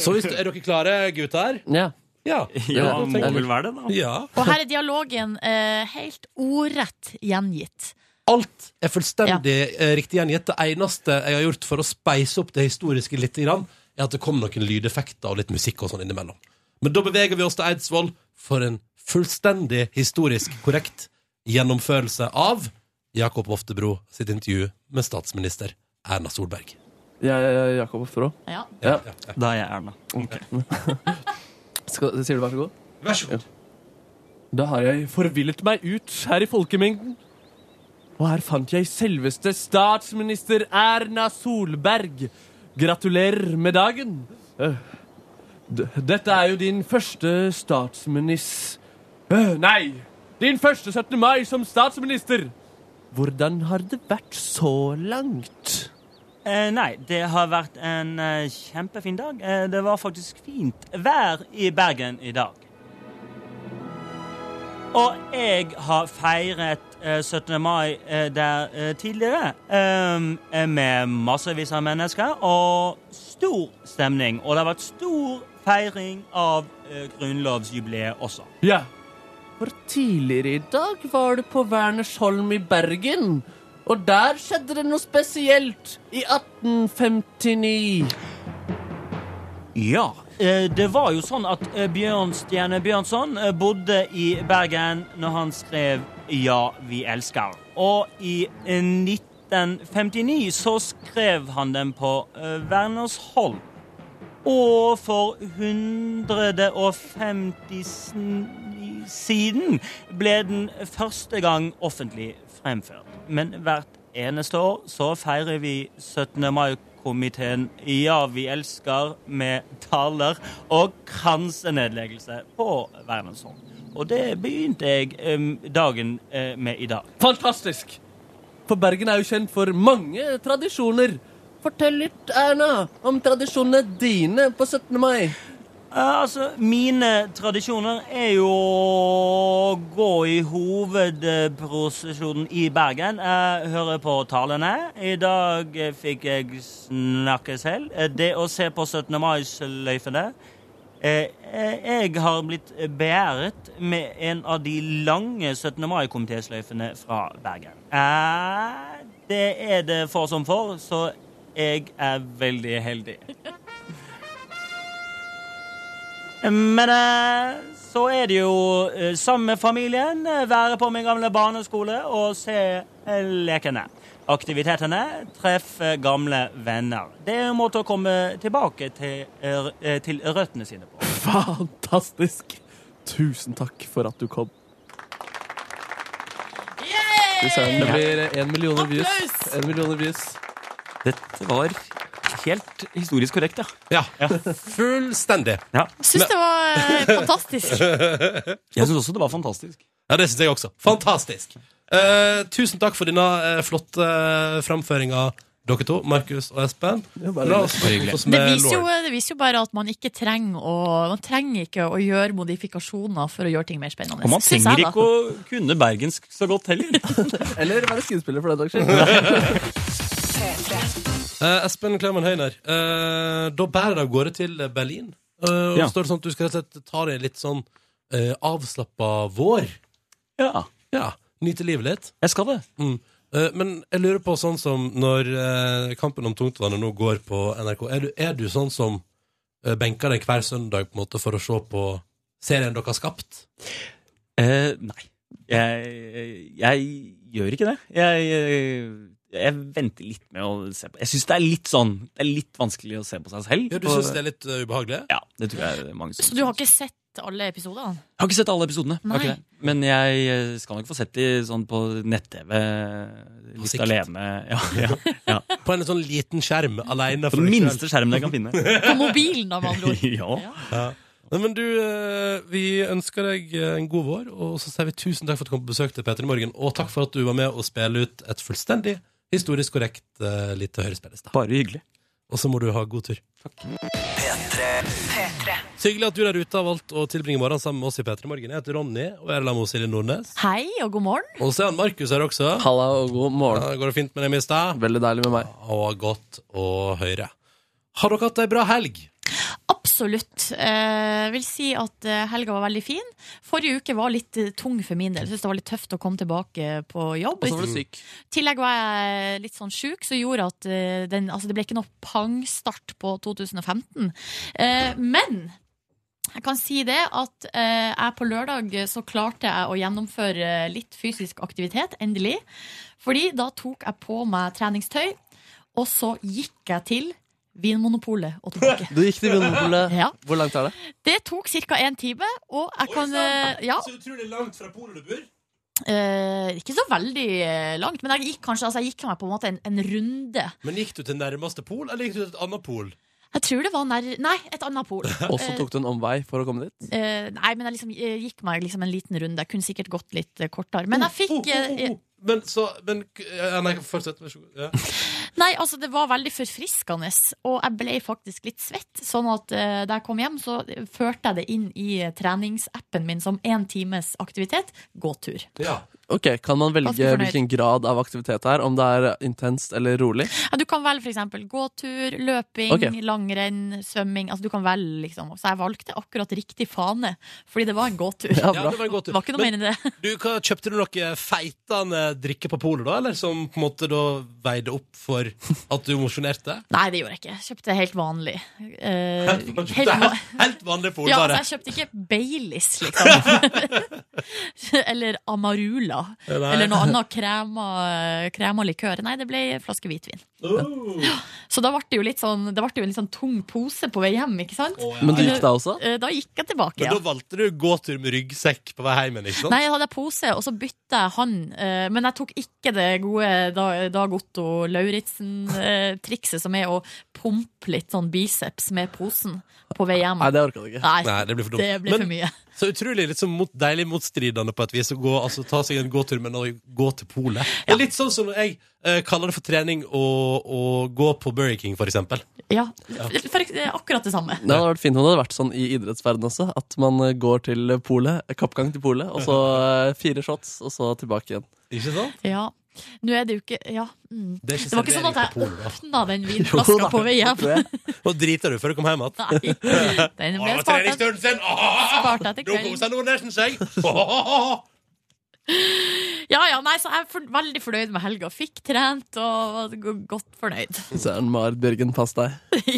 B: Så hvis du, er dere klare, gutter?
D: Ja.
B: Ja,
P: Ja,
B: Da
P: må
B: tenker vi-
P: vel være det, da.
B: Ja.
C: Og her er dialogen eh, helt ordrett gjengitt.
B: Alt er fullstendig eh, riktig gjengitt. Det eneste jeg har gjort for å speise opp det historiske litt, grann, er at det kom noen lydeffekter og litt musikk og sånn innimellom. Men da beveger vi oss til Eidsvoll for en fullstendig historisk korrekt gjennomførelse av Jakob Oftebro sitt intervju med statsminister Erna Solberg.
D: Jeg er Jakob Oftebro.
C: Ja.
P: Da er jeg Erna.
D: Skal, sier du vær så god?
B: Vær så god.
D: Da har jeg forvillet meg ut her i folkemengden. Og her fant jeg selveste statsminister Erna Solberg. Gratulerer med dagen. Eh, d- Dette er jo din første statsminister... Nei! Din første 17. mai som statsminister! Hvordan har det vært så langt?
G: Eh, nei, det har vært en eh, kjempefin dag. Eh, det var faktisk fint vær i Bergen i dag.
P: Og jeg har feiret eh, 17. mai eh, der eh, tidligere ehm, eh, med massevis av mennesker og stor stemning. Og det har vært stor feiring av eh, grunnlovsjubileet også.
D: Ja. For tidligere i dag var du på Wernersholm i Bergen. Og der skjedde det noe spesielt i 1859.
P: Ja. eh, Det var jo sånn at eh, Bjørn Stjerne Bjørnson eh, bodde i Bergen når han skrev 'Ja, vi elsker'. Og i eh, 1959 så skrev han den på eh, Wernersholm. Og for 150 sn- siden ble den første gang offentlig fremført. Men hvert eneste år så feirer vi 17. mai-komiteen Ja, vi elsker med taler og kransenedleggelse på Verdensholm. Og det begynte jeg em, dagen eh, med i dag.
D: Fantastisk! For Bergen er jo kjent for mange tradisjoner. Fortell litt, Erna, om tradisjonene dine på 17. mai.
P: Eh, altså, mine tradisjoner er jo å gå i hovedprosesjonen i Bergen. Jeg hører på talene. I dag eh, fikk jeg snakke selv. Eh, Det å se på 17. mai-sløyfene eh, eh, Jeg har blitt beæret med en av de lange 17. mai-komitésløyfene fra Bergen. Eh, det er det få som får, så jeg er veldig heldig. Men eh, så er det jo eh, sammen med familien eh, være på min gamle barneskole og se eh, lekene. Aktivitetene treffe gamle venner. Det er en måte å komme tilbake til, eh, eh, til røttene sine på.
D: Fantastisk. Tusen takk for at du kom. Det blir én million views. En million views.
P: Dette var
M: helt historisk korrekt, ja.
B: Ja. Fullstendig.
C: Syns det var eh, fantastisk.
M: Jeg syns også det var fantastisk.
B: Ja, det syns jeg også. Fantastisk. Eh, tusen takk for denne eh, flotte uh, framføringa, dere to, Markus og Espen. La oss
M: hyggelig.
B: oss
C: Det
B: med
C: viser, jo,
B: Lord.
C: det viser jo bare at man ikke trenger å, man trenger ikke å gjøre modifikasjoner for å gjøre ting mer spennende.
M: Og man
C: Synes
M: trenger
C: jeg, da.
M: ikke å kunne bergensk så godt heller.
D: Eller være skuespiller, for den saks skyld.
B: Eh, Espen Klemen Høyner, eh, da bærer det av gårde til Berlin. Eh, og
M: Ja.
B: står det sånn at Du skal rett og slett ta deg litt sånn uh, avslappa vår.
M: Ja.
B: Nyte livet litt.
M: Jeg skal det.
B: Mm. Eh, men jeg lurer på sånn som når eh, kampen om tungtvannet nå går på NRK, er du, er du sånn som eh, benker deg hver søndag på en måte for å se på serien dere har skapt?
M: Eh, nei. Jeg, jeg gjør ikke det. Jeg, jeg, jeg venter litt med å se på. Jeg syns det er litt sånn Det er litt vanskelig å se på seg selv.
B: Ja, du
M: På-
B: syns det er litt eh, ubehagelig?
M: Ja, det tror jeg det er mange som
C: Så du har ikke sett alle episodene?
M: Jeg har ikke sett alle episodene. jeg har
C: Nei.
M: Ikke det. Men jeg eh, skal nok få sett de sånn på nett-TV. Litt
B: sikt.
M: alene. Ja, ja, ja.
B: På en sånn liten skjerm alene.
M: På den minste skjermen jeg kan finne.
C: På mobilen, da, med andre ord.
M: ja.
B: Nei, men du, eh, vi ønsker deg eh, en god vår, og så sier vi tusen takk for at du kom på besøk til Peter i morgen, og takk for at du var med og spille ut et fullstendig historisk korrekt uh, lite hørespill i stad.
M: Bare hyggelig.
B: Og så må du ha god tur. Så hyggelig at du der ute har valgt å tilbringe morgenen sammen med oss i Peter i morgen. Jeg heter Ronny, og jeg er sammen med Silje Nordnes.
C: Hei og god morgen.
B: Og så er han Markus her også.
D: Halla og god morgen.
B: Ja, går det fint med deg, Mista?
D: Veldig deilig med meg.
B: Og godt å høre. Har dere hatt ei bra helg?
C: Absolutt. Eh, vil si at eh, helga var veldig fin. Forrige uke var litt eh, tung for min del. Jeg synes det var litt tøft å komme tilbake eh, på jobb.
D: Og så var du syk.
C: I tillegg var jeg litt sånn sjuk, som gjorde at eh, den, altså det ble ikke noe pangstart på 2015. Eh, men jeg kan si det at eh, jeg på lørdag så klarte jeg å gjennomføre litt fysisk aktivitet, endelig. Fordi da tok jeg på meg treningstøy, og så gikk jeg til Vinmonopolet og tilbake.
D: Du gikk til Vinmonopolet.
C: Ja.
D: Hvor langt er det?
C: Det tok ca. én time, og jeg kan
B: sånn.
C: eh, ja,
B: Så utrolig langt fra polet du bor.
C: eh, Ikke så veldig eh, langt, men jeg gikk kanskje altså, jeg gikk meg på en måte en, en runde.
B: Men gikk du til nærmeste pol, eller gikk du til et annet pol?
C: Jeg tror det var nær Nei, et annet pol.
D: Og så tok du en omvei for å komme dit?
C: Eh, eh, nei, men jeg liksom, eh, gikk meg liksom en liten runde. Jeg kunne sikkert gått litt eh, kortere.
D: Oh,
C: Men jeg fikk eh,
B: Men så men, ja, Nei, fortsett. Vær så god. Ja.
C: Nei, altså det var veldig forfriskende, og jeg ble faktisk litt svett. Sånn at eh, da jeg kom hjem, så førte jeg det inn i eh, treningsappen min som én times aktivitet gåtur.
D: Ok, Kan man velge
C: Ganske fornøyd.
D: hvilken grad av aktivitet det er? Om det er intenst eller rolig?
C: Ja, du kan velge f.eks. gåtur, løping,
D: Ok.
C: langrenn, svømming. Altså, du kan velge, liksom. Så jeg valgte akkurat riktig fane, fordi det var en gåtur.
B: Ja, bra. Ja, det var en gåtur.
C: ikke noe
B: Men-
C: mer enn det.
B: Du, hva, kjøpte du noe feitende drikke på polet, da? Eller som på en måte da veide opp for at du mosjonerte?
C: Nei, det gjorde jeg ikke. Jeg kjøpte helt vanlig. Eh,
B: Helt,
C: helt
B: helt,
C: va-
B: helt vanlig pol,
C: Ja,
B: bare.
C: altså, jeg kjøpte ikke Baileys, liksom. Eller Amarula.
B: Nei.
C: Eller noe annet krema, krema likør. Nei, det ble en flaske hvitvin.
B: Oh.
C: Så da ble det jo litt sånn, det ble jo en litt sånn tung pose på vei hjem, ikke sant?
D: Men du gikk da også?
C: Eh, Da gikk jeg tilbake,
B: Men
C: ja.
B: da valgte du gåtur med ryggsekk på vei hjem igjen, ikke sant?
C: Nei, jeg hadde pose, og så bytta jeg han. eh, Men jeg tok ikke det gode Da- Dag Otto Lauritzen-trikset, som er å pumpe litt sånn biceps med posen på vei hjem.
D: Nei, det orka du ikke.
C: Mm. Nei,
B: Nei, det blir for dumt.
C: Det blir
B: Men-
C: for mye.
B: Så utrolig litt sånn mot, deilig motstridende på et vis å gå, altså, ta seg en gåtur, men å gå til polet. Det er Litt sånn som når jeg eh, kaller det for trening å å gå på Burger King, for eksempel.
C: Ja, for, det er akkurat det samme.
D: Det hadde vært fint om det hadde vært sånn i idrettsverdenen også. At man eh, går til polet, eh, kappgang til polet, og så eh, fire shots, og så tilbake igjen.
B: Ikke sant?
C: Ja. Nå er det jo ikke Ja. Mm.
B: Det er
C: Det,
B: ikke
C: var ikke sånn
B: servering
C: at jeg
B: på polet, da.
C: åpna den
B: Jo da,
C: vinflaska på vei hjem.
B: det Og driter du før du kom hjem igjen?
C: Nei. Den ble spart til-
B: sin!
C: spart til
B: Nå
C: kvelden.
B: koser Nordnesen seg! Åh!
C: Ja, ja, nei, så jeg er for, veldig fornøyd med helga. Fikk trent og var go- godt fornøyd.
D: Søren Marit Bjørgen, pass deg.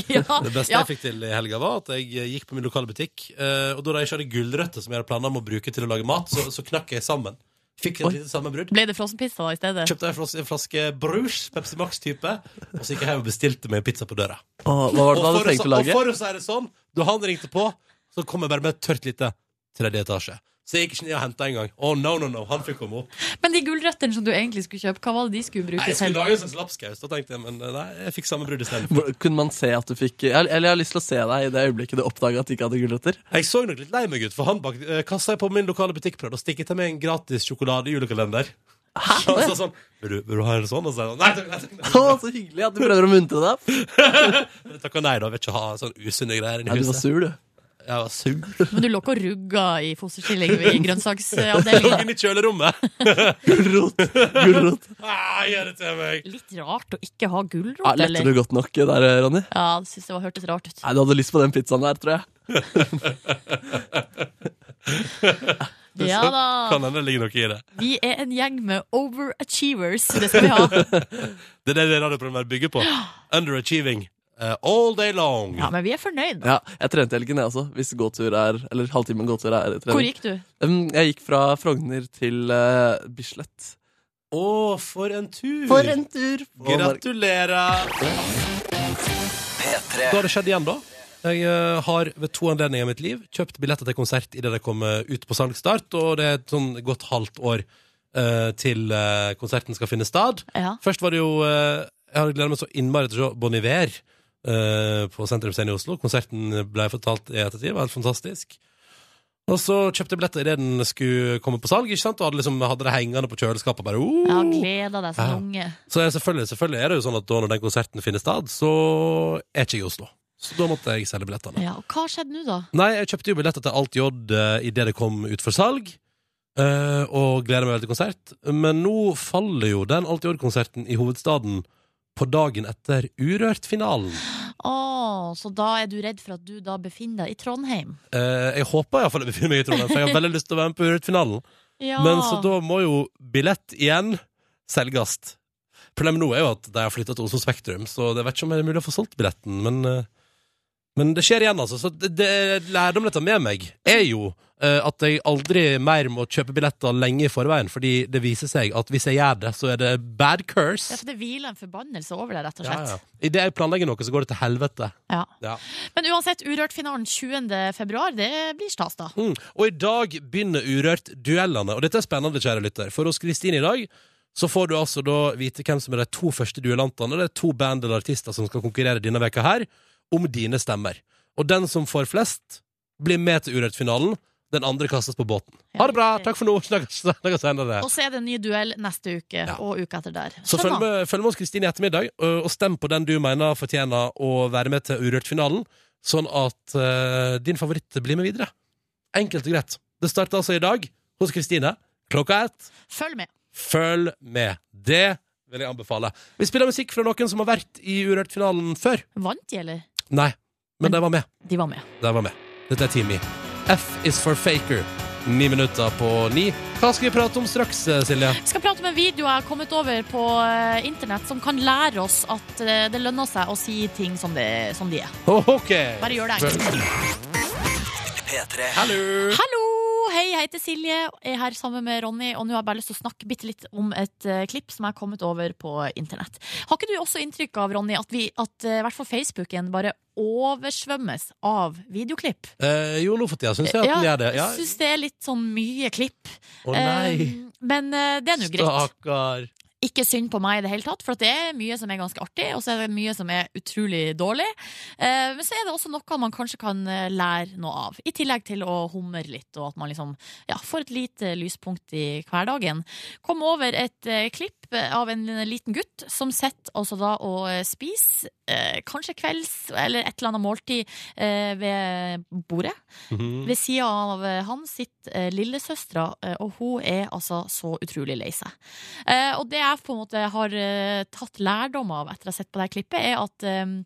C: Ja,
B: Det beste
C: ja.
B: jeg fikk til i helga, var at jeg gikk på min lokale butikk. eh, Og da jeg ikke hadde gulrøtter som jeg hadde planer om å bruke til å lage mat, så, så knakk jeg sammen. Fikk et lite sammenbrudd.
C: Ble det frossenpizza da i stedet?
B: Kjøpte en flaske, en flaske Bruges, Pepsi Max-type, og så gikk jeg hjem og bestilte meg pizza på døra.
D: Åh, hva var det du
B: Og
D: hadde
B: for å
D: tenkt
B: si-
D: å lage?
B: Og for å si det sånn, da han ringte på, så kom jeg bare med et tørt lite tredje etasje. Så jeg gikk ikke ned og henta engang. Å, no, no, no. Han fikk komme opp.
C: Men de gulrøttene som du egentlig skulle kjøpe, hva var det de skulle
B: Nei,
C: bruke
B: jeg skulle lage sånn en slags lapskaus, da tenkte jeg, men eh, nei, jeg fikk samme brudd isteden.
D: Hvor- Kunne man se at du fikk jeg- Eller jeg har lyst til å se deg i det øyeblikket du oppdaga at du ikke hadde gulrøtter.
B: Jeg så nok litt lei meg ut, for han bak, eh, kassa jeg på min lokale butikk prøvde å stikke til meg en gratis sjokoladejulekalender. Og han sa sånn vil du, vil du ha en sånn? Og så sa jeg sånn, nei takk, nei takk.
D: Å, Så hyggelig at du prøver å muntre deg opp.
B: Jeg takka nei, da. Jeg vil ikke ha sånne usunne greier inni
D: Nei, du var sur, du.
B: Jeg var sur.
C: Men du lå ikke og rugga i fosterstilling i
B: Jeg lå
C: grønnsaksavdelingen.
B: inne i kjølerommet.
D: Gulrot. Gulrot.
B: Ah, gjør det til meg.
C: Litt rart å ikke ha gulrot,
D: Ja, lette du godt nok eh, der, Ronny?
C: Ja, det synes jeg var, hørtes rart ut.
D: Nei, du hadde lyst på den pizzaen der, tror jeg.
C: Ja da.
B: Kan hende det ligger noe i det.
C: Vi er en gjeng med overachievers, det skal vi ha.
B: Det er det det radioprogrammet her bygger på. Underachieving eh, all day long.
C: Ja, Men vi er fornøyd.
D: Ja, jeg trente i helgen, jeg også. Hvis gåtur er Eller halvtimen gåtur er trening.
C: Hvor gikk du?
D: Um, Jeg gikk fra Frogner til eh, Bislett.
B: Å, for en tur!
D: For en tur!
B: Gratulerer! Da har det skjedd igjen, da. Jeg eh, har ved to anledninger i mitt liv kjøpt billetter til konsert idet de kommer ut på salgsstart, og det er et sånn godt halvt år eh, til eh, konserten skal finne sted.
C: Ja.
B: Først var det jo eh, Jeg har gledet meg så innmari til å se Bon Iver eh, på Sentrum Scene i Oslo. Konserten ble fortalt i ettertid, var helt fantastisk. Og så kjøpte jeg billetter idet den skulle komme på salg, ikke sant? og hadde, liksom, hadde det hengende på kjøleskapet. Bare, oh!
C: Ja, gleder deg som
B: Ja.
C: unge.
B: Så er selvfølgelig, selvfølgelig er det jo sånn at da når den konserten finner sted, så er ikke jeg i Oslo. Så da måtte jeg selge billettene.
C: Ja, og hva skjedde nå, da?
B: Nei, jeg kjøpte jo billetter til Alt J eh, idet det kom ut for salg, eh, og gleder meg veldig til konsert. Men nå faller jo den Alt J-konserten i hovedstaden på dagen etter Urørt-finalen.
C: Å, så da er du redd for at du da befinner deg i Trondheim?
B: Eh, jeg håper iallfall jeg befinner meg i Trondheim, for jeg har veldig lyst til å være med på Urørt-finalen.
C: Ja.
B: Men så da må jo billett igjen selges. Problemet nå er jo at de har flytta til Oslo Spektrum, så det vet ikke om det er mulig å få solgt billetten. Men, eh, men det skjer igjen, altså. Så det, det lærdom dette med meg, er jo eh, at jeg aldri mer må kjøpe billetter lenge i forveien, fordi det viser seg at hvis jeg gjør det, så er det bad
C: Ja,
B: curse.
C: for det hviler en forbannelse over deg, rett og
B: Ja,
C: slett.
B: ja. Idet jeg planlegger noe, så går det til helvete.
C: Ja.
B: Ja.
C: Men uansett, Urørt-finalen 20. februar, det blir stas, da.
B: Mm. Og i dag begynner Urørt-duellene. Og dette er spennende, kjære lytter. For hos Kristine i dag så får du altså da vite hvem som er de to første duellantene. Det er to band eller artister som skal konkurrere denne veka her om dine stemmer. Og den som får flest, blir med til Urørt-finalen. Den andre kastes på båten. Ha det bra! Takk for nå! Snakkes snakkes senere.
C: Og så er det en ny duell neste uke og uka etter der.
B: Så følg med, følg med oss Kristine i ettermiddag, ø, og stem på den du mener fortjener å være med til Urørt-finalen, sånn at ø, din favoritt blir med videre. Enkelt og greit. Det starter altså i dag hos Kristine klokka ett.
C: Følg med.
B: Følg med. Det vil jeg anbefale. Vi spiller musikk fra noen som har vært i Urørt-finalen før.
C: Vant de, eller?
B: Nei, men de var med.
C: De var med.
B: De var med. Dette er Timmy. F is for faker. Ni minutter på ni. Hva skal vi prate om straks, øh, Silje?
C: Vi skal prate om en video jeg har kommet over på eh, internett som kan lære oss at eh, det lønner seg å si ting som, det, som de er.
B: Ok.
C: Bare gjør det enkelt.
B: Hallo.
C: Hallo! Hei, jeg heter Silje, er her sammen med Ronny, og nå har jeg bare lyst til å snakke bitte litt om et eh, klipp som jeg har kommet over på internett. Har ikke du også inntrykk av, Ronny, at, vi, at eh, i hvert fall Facebooken bare oversvømmes av videoklipp?
B: Eh, jo, nå for tida syns jeg at den gjør det. Ja.
C: jeg syns det er litt sånn mye klipp.
B: Å, nei.
C: Eh, men eh, det er nå greit.
B: Stakkar.
C: Ikke synd på meg i det hele tatt, for at det er mye som er ganske artig, og så er det mye som er utrolig dårlig. Eh, Men så er det også noe man kanskje kan eh, lære noe av, i tillegg til å humre litt, og at man liksom ja, får et lite lyspunkt i hverdagen. Kom over et eh, klipp av en liten gutt som sitter altså da og eh, spiser, eh, kanskje kvelds eller et eller annet måltid eh, ved bordet. Ved sida av eh, han sitter eh, lillesøstera, eh, og hun er altså så utrolig lei seg. Eh, og det jeg på en måte har eh, tatt lærdom av etter å ha sett på det her klippet, er at eh,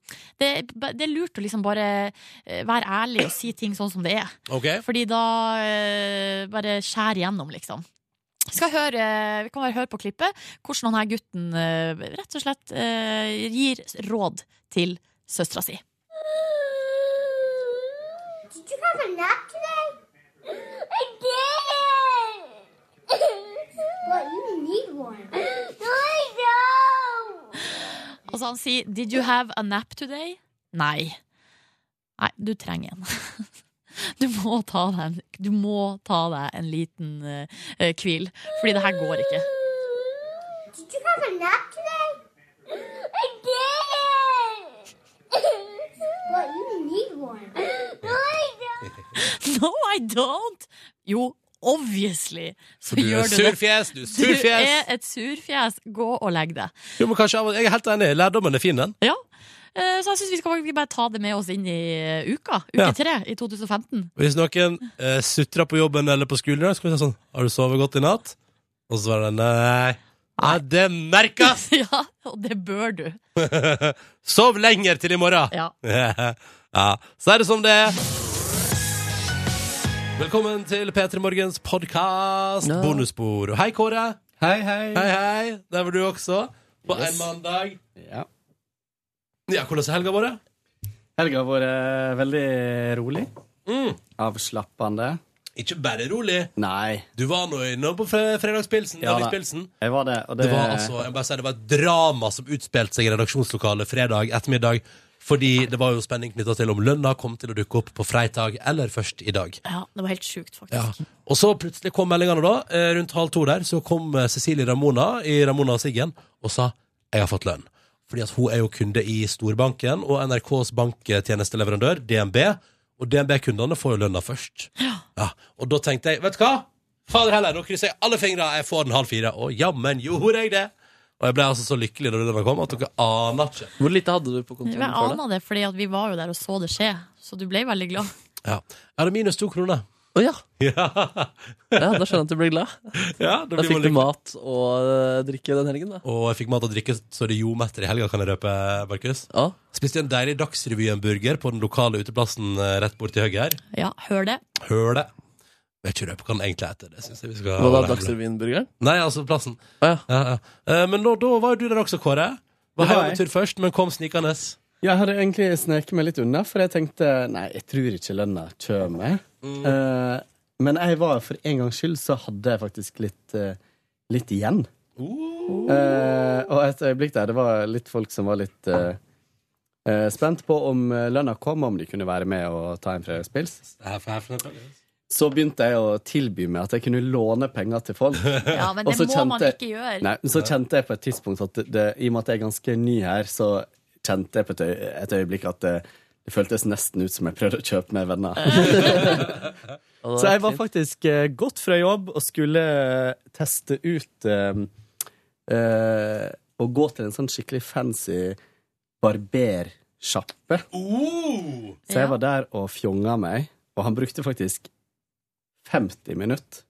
C: det, det er lurt å liksom bare eh, være ærlig og si ting sånn som det er.
B: Ok.
C: Fordi da eh, bare skjærer gjennom, liksom. Vi, skal høre, eh, vi kan bare høre på klippet hvordan han her gutten eh, rett og slett eh, gir råd til søstera si.
Q: Did you have a nap today? I did! well, you need one. No, I don't!
C: Og så Altså, han sier 'Did you have a nap today?' Nei. Nei, du trenger en. Du må ta deg en, du må ta deg en liten eh, eh, hvil, fordi det her går ikke.
Q: Did you have a nap today? I did. well, you need one. no, I
C: No, I don't! Jo, obviously så
B: For du er
C: gjør du det.
B: surfjes, du er surfjes.
C: Du er et surfjes. Gå og legg deg.
B: Jo, men kanskje, av og- Jeg er helt enig. Lærdommen er fin, den.
C: Ja. Eh, Så jeg syns vi skal faktisk bare ta det med oss inn i eh, uka.
B: Ja.
C: Uke tre i 2015.
B: Hvis noen eh, sutrer på jobben eller på skolen, i dag, så kan vi si sånn Har du sovet godt i natt? Og så svarer de nei. Nei, det merkes!
C: ja, og det bør du.
B: Sov lenger til i morgen!
C: Ja.
B: ja. Så er det som det er. Velkommen til P3 Morgens podkast,
R: Ja.
B: bonusbord. Hei, Kåre.
R: Hei, hei.
B: Hei, hei. Der var du også. På en mandag.
R: Ja.
B: Ja, hvordan har helga vært?
R: Helga har vært veldig rolig. Avslappende.
B: Mm. Ikke bare rolig.
R: Nei.
B: Du var nå innom på fre- fredagspilsen.
R: Ja, da.
B: dagligspilsen.
R: Jeg var det, og det,
B: Det var altså, jeg må bare si, det var et drama som utspilte seg i redaksjonslokalet fredag ettermiddag. Fordi det var jo spenning knytta til om lønna kom til å dukke opp på fredag eller først i dag.
C: Ja, det var helt sjukt, faktisk.
B: Ja. Og så plutselig kom meldingene, da. Eh, Rundt halv to der så kom eh, Cecilie Ramona i Ramona og Siggen og sa 'jeg har fått lønn'. Fordi at hun er jo kunde i storbanken og NRKs banktjenesteleverandør, DNB. Og DNB-kundene får jo lønna først. Ja. Og da tenkte jeg, vet du hva? Fader heller, nå krysser jeg alle fingre, jeg får den halv fire. Og jammen gjorde jeg det! Og jeg ble altså så lykkelig når den kom, at dere aner ikke.
D: Hvor lite hadde du på kontoen
C: Jeg aner det, fordi at vi var jo der og så det skje, så du ble veldig glad.
B: Ja. Jeg hadde minus to kroner.
D: Å ja.
B: Ja.
D: ja. Da skjønner jeg at du ble glad.
B: Ja, da
D: da
B: blir man
D: fikk du
B: lykkelig.
D: mat og eh, drikke den helgen, da.
B: Og jeg fikk mat og drikke, så det jometter i helga, kan jeg røpe, Markus. Spiste en deilig Dagsrevyen-burger på den lokale uteplassen eh, rett borti høyre her.
C: Ja, hør det.
B: Hør det. Vet ikke røpe hva den egentlig heter. Det synes jeg vi skal
D: Hva da,
B: holde hemmelig.
D: Dagsrevyen-burgeren?
B: Nei, altså plassen. Ja, ja. Eh, Men nå, da var jo du der også, Kåre.
R: Det
B: Var
R: var
B: hjemmetur først, men kom snikende.
R: Ja, Jeg hadde egentlig sneket meg litt unna, for jeg tenkte nei, jeg tror ikke lønna kommer.
B: Mm.
R: Eh, men jeg var for en gangs skyld så hadde jeg faktisk litt, eh, litt igjen.
B: Oh.
R: Eh, og et øyeblikk der det var litt folk som var litt eh, eh, spent på om eh, lønna kom, om de kunne være med og ta en fredagspils. Så begynte jeg å tilby meg at jeg kunne låne penger til folk.
C: Ja, men
R: Og
C: det
R: så
C: må man
R: kjente-
C: ikke gjøre.
R: Nei, men så kjente jeg på et tidspunkt at det, det, I og med at jeg er ganske ny her, så kjente jeg på et, øy, et øyeblikk at det, det føltes nesten ut som jeg prøvde å kjøpe meg venner. så jeg var faktisk eh, godt fra jobb og skulle teste ut eh, eh, Å gå til en sånn skikkelig fancy barbersjappe. Så jeg var der og fjonga meg, og han brukte faktisk 50 minutter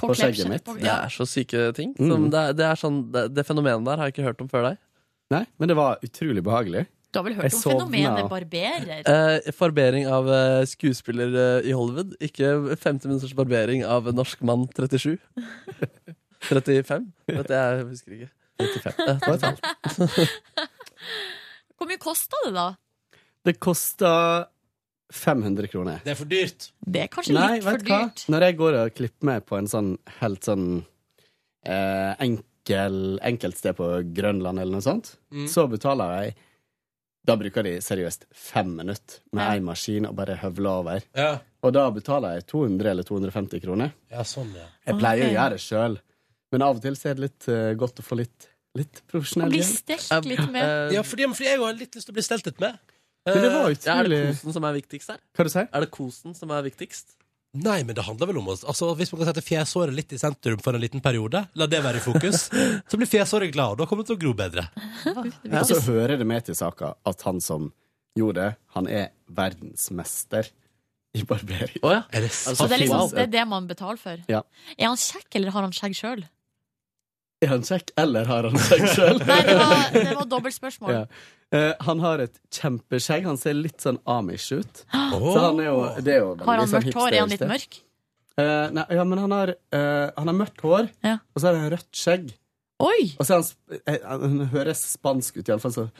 R: på, skjegget mitt.
D: Det er så syke ting. Som
R: Mm.
D: det, er, det, er sånn, det, det fenomenet der har jeg ikke hørt om før deg.
R: Nei, men det var utrolig behagelig.
C: Du har vel
D: Jeg
C: hørt om
D: sovna.
C: fenomenet barberer?
D: Eh, Farbering av eh, skuespiller eh, i Hollywood. Ikke 50 minutters barbering av en norsk mann 37. 35? Vet jeg, jeg husker ikke. Eh,
R: 35. Det var et tall.
C: Hvor mye kosta det, da?
R: Det kosta 500 kroner.
B: Det er for dyrt.
C: Det er kanskje litt for
R: vet du hva?
C: dyrt.
R: Når jeg går og klipper meg på en sånn helt sånn eh, enkel, enkelt sted på Grønland eller noe sånt, så betaler jeg Da bruker de seriøst fem minutter med ei maskin og bare høvler over.
B: Ja.
R: Og da betaler jeg 200 eller 250 kroner.
B: Ja, sånn, ja.
R: Jeg pleier å gjøre det sjøl, men av og til så er det litt eh, godt å få litt, litt profesjonell
C: stelt
R: litt
B: Eh, Ja, fordi, fordi jeg har litt lyst til å bli stelt litt med.
R: Men det var
B: Eh,
R: utrolig-
D: Ja, er det kosen som er viktigst her?
R: Hva du sier?
D: Er det kosen som er viktigst?
B: Nei, men det handler vel om oss. Altså, Hvis man kan sette fjeshåret litt i sentrum for en liten periode, la det være i fokus, så blir fjeshåret glad, og da kommer det til å gro bedre.
R: Og så hører det med til saka at han som gjorde det, han er verdensmester i barbering. Altså,
D: Oh,
R: Er det
C: Så det er liksom det, er det man betaler for.
R: Ja.
C: Er han kjekk, eller har han skjegg sjøl?
R: Er han kjekk, eller har han skjegg sjøl?
C: Nei, det var, det var dobbeltspørsmål.
R: Ja. Eh, han har et kjempeskjegg. Han ser litt sånn Amish ut. Så han er jo, det er jo veldig
C: Har han
R: sånn
C: mørkt hår? Er han litt
R: hipsterstil.
C: mørk?
R: Eh, nei, ja, men han har, eh, han har mørkt hår, og så har han rødt skjegg. Og så er han, sp- eh, han høres spansk ut, iallfall.
D: Var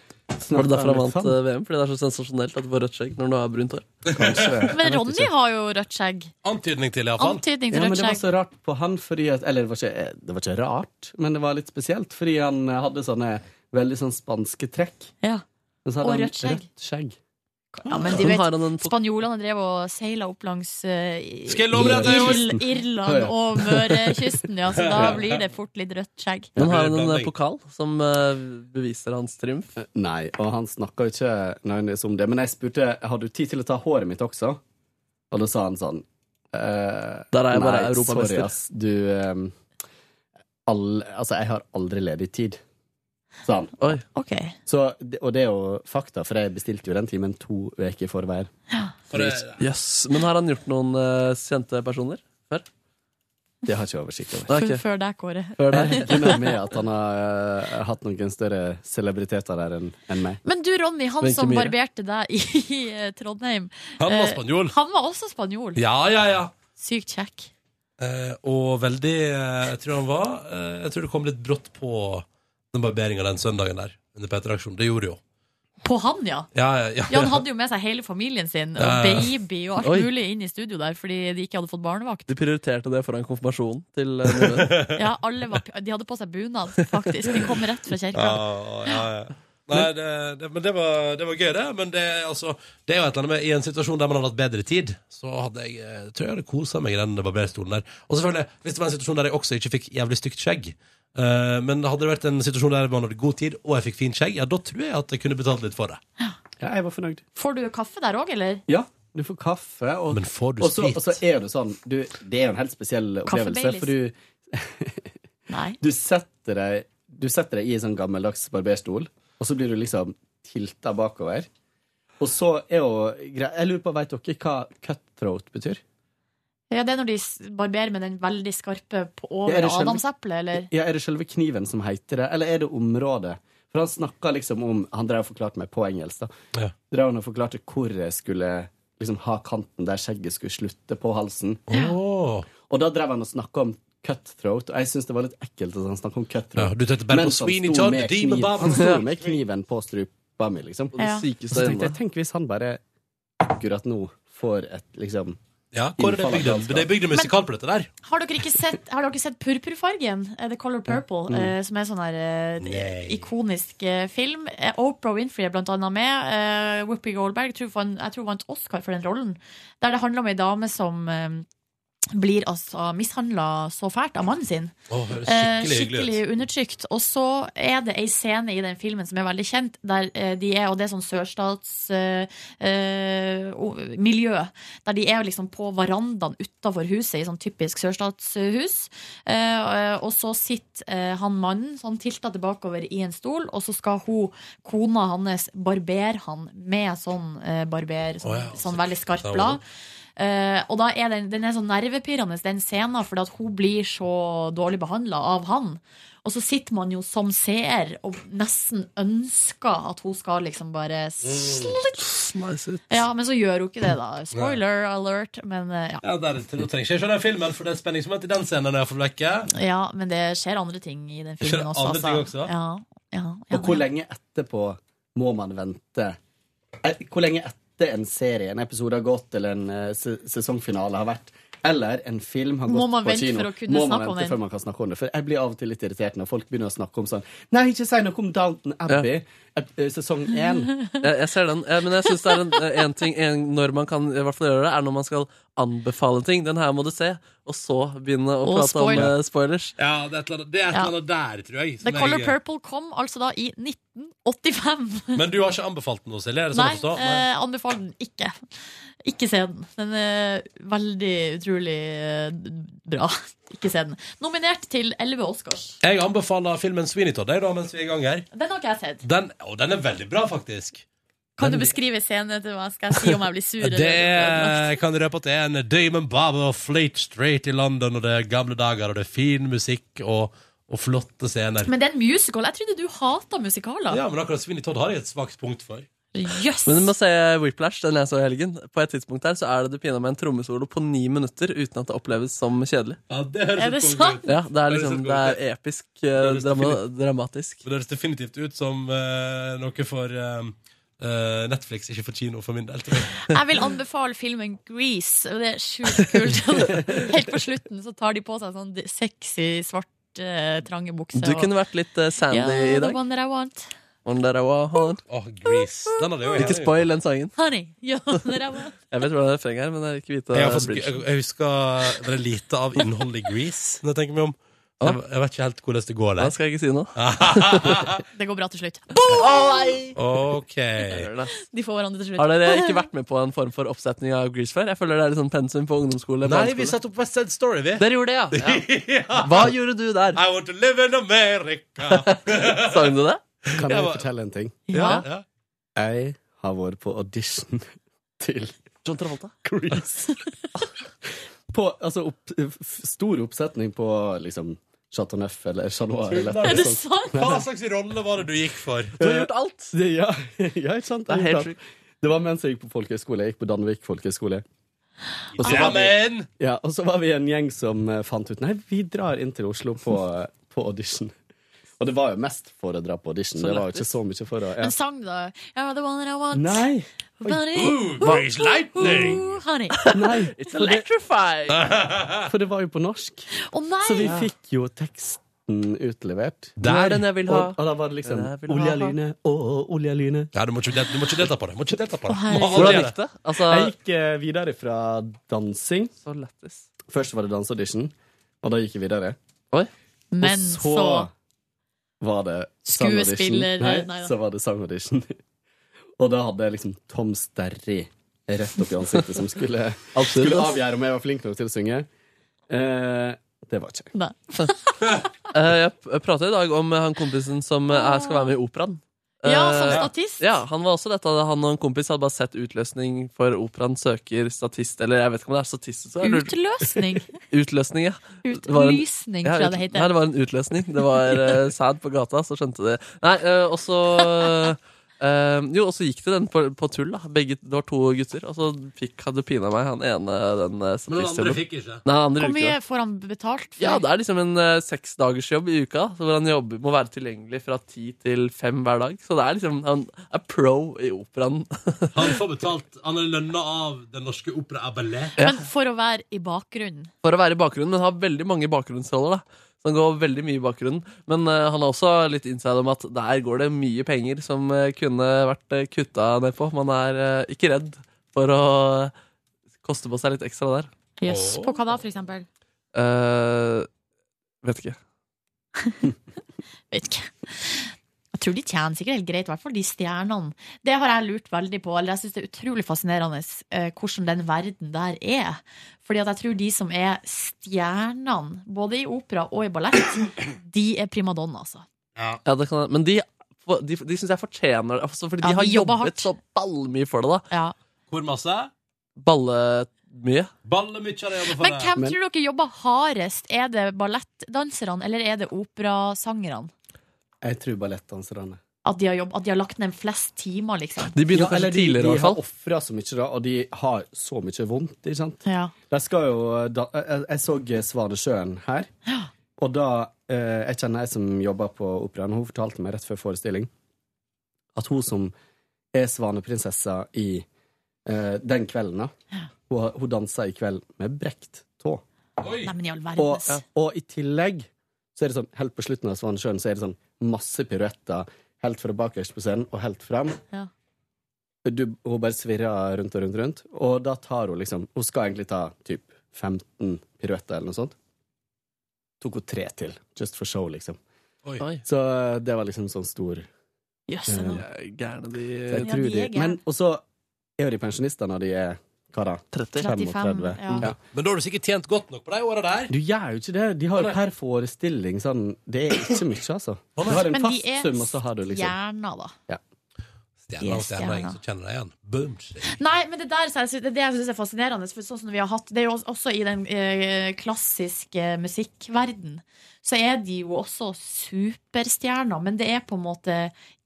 D: det derfor han vant
R: sånn.
D: eh, VM? Fordi det er så sensasjonelt at du får rødt skjegg når du har brunt hår?
C: Men Ronny har jo rødt skjegg.
B: Antydning til,
C: iallfall. Antydning til
R: ja, men
C: rødt
R: det var
C: skjegg.
R: så rart på han fordi at Eller det var, ikke, det var ikke rart, men det var litt spesielt, fordi han eh, hadde sånne veldig sånn spanske trekk.
C: Ja.
R: Men så hadde
C: Og
R: han
C: rødt skjegg.
R: Rødt skjegg.
C: Ja, men de
D: Men
C: vet,
D: har han en fot-
C: Spanjolene drev og seila opp langs eh, i-
D: Skal jeg love deg at det er
C: Irl-
D: Osten?
C: Irland og Mørekysten, ja, så da blir det fort litt rødt skjegg.
D: Men har han en eh, pokal som eh, beviser hans triumf?
R: Eh, Nei, og han snakka jo ikke nødvendigvis om det. Men jeg spurte har du tid til å ta håret mitt også. Og da sa han sånn eh,
D: Der er jeg bare
R: nei,
D: europamester.
R: Sorry, ass. Du ehm, all, Altså, jeg har aldri ledig tid, sa han. Så, det- og det er jo fakta, for jeg bestilte jo den timen to uker i forveien.
D: Yes. Men har han gjort noen eh, kjente personer før?
R: Det har jeg ikke oversikt over.
D: Nei, ok.
C: Før- før deg, Kåre.
R: Før deg. Jeg regner med at han har eh, hatt noen større celebriteter der enn enn meg.
C: Men du, Ronny, han
R: Wenche
C: som
R: Myhre.
C: barberte deg i, eh, Trondheim
B: Han var
C: eh,
B: spanjol.
C: Han var også spanjol.
B: Ja, ja, ja.
C: Sykt kjekk.
B: Eh, og veldig eh, Jeg tror han var eh, Jeg tror det kom litt brått på den barberinga den søndagen der. Under P3-aksjonen. Det gjorde det jo.
C: På han, ja.
B: Ja, ja, ja.
C: Ja, Han hadde jo med seg hele familien sin, og
D: Ja, ja, ja.
C: baby og alt
D: Oi.
C: mulig inn i studio der fordi de ikke hadde fått barnevakt.
D: De prioriterte det foran konfirmasjonen til eh, nye venner.
C: Ja, alle var, De hadde på seg bunad, faktisk. De kom rett fra kirka.
B: Ja, ja, ja. Nei, det, det, men det var, det var gøy, det. Men det, er altså, det er jo et eller annet med I en situasjon der man hadde hatt bedre tid, så hadde jeg, eh, tror jeg hadde kosa meg i den barberstolen der. Og selvfølgelig, hvis det var en situasjon der jeg også ikke fikk jævlig stygt skjegg, eh, men hadde det vært en situasjon der man hadde god tid, og jeg fikk fint skjegg, ja, da tror jeg at jeg kunne betalt litt for det.
R: Ja, jeg var fornøyd.
C: Får du kaffe der òg, eller?
R: Ja, du får kaffe. Og,
B: Men får du
R: og så-
B: sprit?
R: Og så er det sånn du, Det er jo en helt spesiell opplevelse,
C: Baileys.
R: for du Du setter deg Du setter deg i en sånn gammeldags barberstol, og så blir du liksom tilta bakover. Og så er jo grei- Jeg lurer på, veit dere hva cutthroat betyr?
C: Ja, Det er når de s- barberer med den veldig skarpe på over
R: Ja, er det skjønt?
C: adamseplet, eller?
R: Ja, Er det selve kniven som heter det, eller er det området? For han snakka liksom om Han drev og forklarte meg på engelsk, da.
B: Ja.
R: Drev han og forklarte hvor jeg skulle liksom ha kanten der skjegget skulle slutte på halsen. Og da drev han og snakka om cutthroat, og jeg syntes det var litt ekkelt at han snakka om cutthroat.
B: Ja, du tenkte bare på
R: Mens han
B: Sweeney
R: sto
B: Todd, the
R: med
B: Demon
R: kniv-
B: Barber.
R: Han sto med kniven på strupa mi, liksom.
B: det Ja.
R: Og
B: sykeste
R: så tenkte jeg,
B: øyeblikk.
R: tenk hvis han bare akkurat nå får et liksom
B: Ja, hvor er det bygd en- det er bygd en musikal på dette der?
C: Har dere ikke sett, har dere ikke sett Purpurfargen? eh, The Color Purple,
R: Mm.
C: eh, som er sånn her eh,
R: Nei.
C: ikonisk eh, film. Eh, Oprah Winfrey er blant annet med. Eh, Whoopi Goldberg tror fan, jeg tror vant Oscar for den rollen. Der det handler om ei dame som eh, blir altså mishandla så fælt av mannen sin.
B: Å, det høres
C: Eh,
B: skikkelig hyggelig ut.
C: skikkelig undertrykt. Og så er det ei scene i den filmen som er veldig kjent, der eh, de er, og det er sånn eh, sørstatsmiljø, der de er liksom på verandaen utafor huset, i sånn typisk sørstatshus. Eh, og så sitter eh, han mannen sånn tilta tilbakeover i en stol, og så skal hun, kona hans, barbere han med sånn eh, barber, sånn,
S: Å ja,
C: sånn veldig skarpt
S: Ja,
C: blad. Eh, og da er den, den er så nervepirrende, den scenen, fordi at hun blir så dårlig behandla av han. Og så sitter man jo som seer og nesten ønsker at hun skal liksom bare slitt. Ja, men så gjør hun ikke det, da. Spoiler alert. Men eh, ja.
B: Ja, der, Nå trenger jeg ikke se den filmen, for det er spenningsmoment i den scenen. når jeg får vekke.
C: ja, men det skjer andre ting i den
B: Skjer det
C: filmen også. altså.
B: andre ting også?
C: Ja, ja.
R: Og hvor lenge etterpå må man vente? Eh, Hvor lenge etter en serie, en episode har gått, eller en eh, se- sesongfinale har vært, eller en film har
C: Må
R: gått
C: man
R: på
C: vente
R: kino,
C: for å kunne
R: må
C: snakke
R: man
C: om
R: vente
C: den?
R: før man kan snakke om det? For jeg blir av og til litt irritert når folk begynner å snakke om sånn Nei, ikke si noe om Downton Abbey, ep- eh, sesong én.
D: Jeg, jeg ser den, eh, men jeg synes det er en, eh, en ting en, Når man kan i hvert fall gjøre det, er når man skal anbefale ting. Den her må du se, og så begynne å
B: Og
D: prate
B: spoil.
D: om eh, spoilers.
B: Ja, det er et eller annet, det er et
C: Ja.
B: eller annet der, tror jeg. som
C: The Color
B: jeg-
C: Purple kom altså da i 1985.
B: Men du har ikke anbefalt den noe, Silje? Er det sånn
C: Nei,
B: å forstå?
C: eh, anbefaler den ikke. Ikke se den. Den er veldig utrolig eh, bra. Ikke se den. Nominert til 11 Oscars.
B: Jeg anbefaler filmen Sweeney Todd jeg, da, mens vi er i gang her.
C: Den har ikke jeg sett.
B: Den, og den er veldig bra, faktisk.
C: Kan du beskrive scenen til meg? Skal jeg si om jeg blir sur? eller-
B: Det er, jeg kan røpe at det er en Damon Barber og Fleet Straight i London, og det er gamle dager, og det er fin musikk og, og flotte scener.
C: Men det er en musical. Jeg trodde du hata musikaler.
B: Ja, men akkurat Sweeney Todd har jeg et svakt punkt for.
C: Jøss!
D: Men du må se Whiplash, den jeg så i helgen. På et tidspunkt der så er det du pina med en trommesolo på ni minutter uten at det oppleves som kjedelig.
B: Ja, det høres
D: Er det
B: ut som-
D: sant? Ja, det er liksom-
B: ut som-
D: det er episk, eh, drama- dramatisk.
B: Men det høres definitivt ut som eh, noe for eh, eh, Netflix, ikke for kino, for min del. tror jeg.
C: Jeg vil anbefale filmen Grease. og Det er sjukt kult. Helt på slutten så tar de på seg sånn sexy, svart, eh, trange bukser.
D: Du
C: og-
D: kunne vært litt eh, Sandy
C: yeah,
D: i dag.
C: The one that I want.
D: One that I want.
B: Grease. Den hadde jeg også
D: Ikke
B: gjerne
D: spoil den sangen.
C: Honey, you're the one.
D: Jeg vet hvordan refrenget er, men jeg vil ikke vite
B: Jeg, har faktisk-
D: bridgen.
B: jeg, jeg husker det er lite av innholdet i Grease, når jeg tenker meg om. Så Jeg, jeg vet ikke helt hvordan det går der.
D: Det skal jeg ikke si nå.
C: Det går bra til slutt.
B: OK.
C: De får hverandre til slutt.
D: Har dere ikke vært med på en form for oppsetning av Grease før? Jeg føler det er litt sånn pensum på ungdomsskole.
B: Nei, vi satte opp West Side Story, vi.
D: Dere gjorde det, ja. Hva gjorde du der?
B: I want to live in America.
D: Sang du det?
R: Kan
B: Jeg
R: jeg
B: var-
R: fortelle en ting?
B: Ja. Ja.
R: Jeg har vært på audition til
D: John Travolta?
R: Grease. på, altså, opp, f- stor oppsetning på liksom Chateauneuf eller Chat Noir. eller et eller annet sånt.
B: Hva slags rolle var det du gikk for?
D: alt.
R: Eh, Ja, ja ikke sant?
B: Det er
R: Jeg har
B: helt
R: gjort alt. Det var mens jeg gikk på folkehøyskole. Jeg gikk på Danvik folkehøyskole. Og så, var
B: vi,
R: ja, og så var vi en gjeng som eh, fant ut Nei, vi drar inn til Oslo på, eh, på audition. Og det var jo mest for å dra på audition.
C: Så
R: Det var jo
C: lættis.
R: ikke så mye for å ja.
C: Men sang, da. You're the one that I want.
R: Nei.
C: Honey.
R: Ooh, Grease Lightning.
C: Ooh, honey.
R: Nei.
D: It's
R: for det-
D: electrified.
R: For det var jo på norsk.
C: Å nei!
R: Så vi fikk jo teksten utlevert.
B: Det er den jeg vil ha.
R: Og, og da var det liksom
B: Den jeg vil ha.
R: Olja lyne, å, olja lyne.
B: Ja, du må ikke, del- du må ikke delta på det. Du Må ikke delta på det. Du må aldri
R: Hvordan
B: gjøre
R: gikk det?
B: det.
D: Altså-
R: Jeg gikk eh, videre fra dansing. Først var det danseaudition, og da gikk jeg videre.
C: Men
R: og så,
C: så-
R: var det sangaudition.
C: Skuespiller-
R: Nei,
C: nei da.
R: så var det sangaudition. Og da hadde jeg liksom Tom Sterry rett opp i ansiktet, som skulle,
D: Absolutt,
R: skulle
D: ass.
R: avgjøre om jeg var flink nok til å synge. Eh, det var ikke jeg.
D: Eh, Jeg p- prater i dag om eh, han kompisen som eh, er- skal være med i operaen.
C: Ah. Ja,
D: Eh,
C: som statist.
D: Ja, han var også dette. Han og en kompis hadde bare sett utløsning for operaen søker statist, eller jeg vet ikke om det er statist. så jeg lurer-
C: Utløsning?
D: Utløsning, ja. Det var en-
C: Utlysning, tror jeg det
D: ut-
C: heter.
D: Nei, det var en utløsning. Det var eh, sad på gata, så skjønte de Nei, eh, og så eh, Jo, og så gikk det den på, på tull, da. Begge, det var to gutter, og så fikk hadde pina meg han ene den eh,
B: Men den
D: statisten.
B: andre fikk ikke.
D: Nei, den andre
C: Hvor
D: gjorde
C: mye
D: ikke det.
C: får han betalt for?
D: Ja, det er liksom en eh, seksdagersjobb i uka, så hvor han jobber, må være tilgjengelig fra ti til fem hver dag. Så det er liksom Han er pro i operaen.
B: Han får betalt Han er lønna av Den norske opera er ballet.
C: Men for å være i bakgrunnen.
D: for å være i bakgrunnen, men har veldig mange bakgrunnsroller. da. Så han går veldig mye i bakgrunnen. Men eh, han har også litt innside om at der går det mye penger som eh, kunne vært uh, kutta ned på. Man er eh, ikke redd for å koste på seg litt ekstra der.
C: Yes. På hva da, for eksempel?
D: Eh, vet ikke.
C: Vet ikke. Jeg tror de tjener sikkert helt greit, i hvert fall de stjernene. Det har jeg lurt veldig på. Eller jeg syns det er utrolig fascinerende eh, hvordan den verden der er. Fordi at jeg tror de som er stjernene, både i opera og i ballett, de er primadonna, altså.
B: Ja,
D: det kan, Men de, de, de syns jeg fortjener det, altså, fordi
C: Ja,
D: de har
C: de jobber
D: jobbet så ballmye for det. da.
B: Hvor masse?
D: Ballemye.
B: Ballemye har de jobba for.
C: Men hvem tror dere jobber hardest? Er det ballettdanserne, eller er det operasangerne?
R: Jeg tror ballettdanserne.
C: At de har, jobb, at de har lagt ned flest timer, liksom?
R: Ja, eller de- De har ofra så mye, da, og de har så mye vondt. Ikke sant?
C: Ja.
R: De skal jo eh, da, jeg, jeg så Svanesjøen her, og da eh, Jeg kjenner ei som jobber på operaen, og hun fortalte meg rett før forestilling at hun som er svaneprinsessa i eh, den kvelden, da hun, har- hun dansa i kveld med brekt tå.
C: Nei, men i all
R: Og,
C: verdens.
R: og i tillegg så er det sånn, helt på slutten av Svanesjøen så er det sånn masse piruetter, helt fra bakerst på scenen og helt fram.
C: Ja.
R: Du, hun bare svirrer rundt og rundt og rundt, og da tar hun liksom Hun skal egentlig ta typ 15 piruetter eller noe sånt. Tok hun tre til, just for show, liksom.
B: Oi.
R: Så det var liksom sånn stor
D: Jøsse,
R: eh,
D: de er gærne, de.
R: så jeg tror de, men også er jo de pensjonister når de er hva da? 35,
B: ja. Men da har du sikkert tjent godt nok på de åra der.
R: Du gjør jo ikke det. De har jo per forestilling sånn Det er ikke mye, altså. Du har en
C: Men de
R: fast
C: er
R: sum, og så har du liksom
C: stjerner, da.
R: ja.
B: Stjerna og stjerna, jeg
C: Stjerna.
B: så kjenner deg igjen. Boom.
C: Nei, men det der så jeg sy- det, er det jeg synes er fascinerende. For sånn som vi har hatt Det er jo også- også i den eh, klassiske musikkverden Så er de jo også superstjerner, men det er på en måte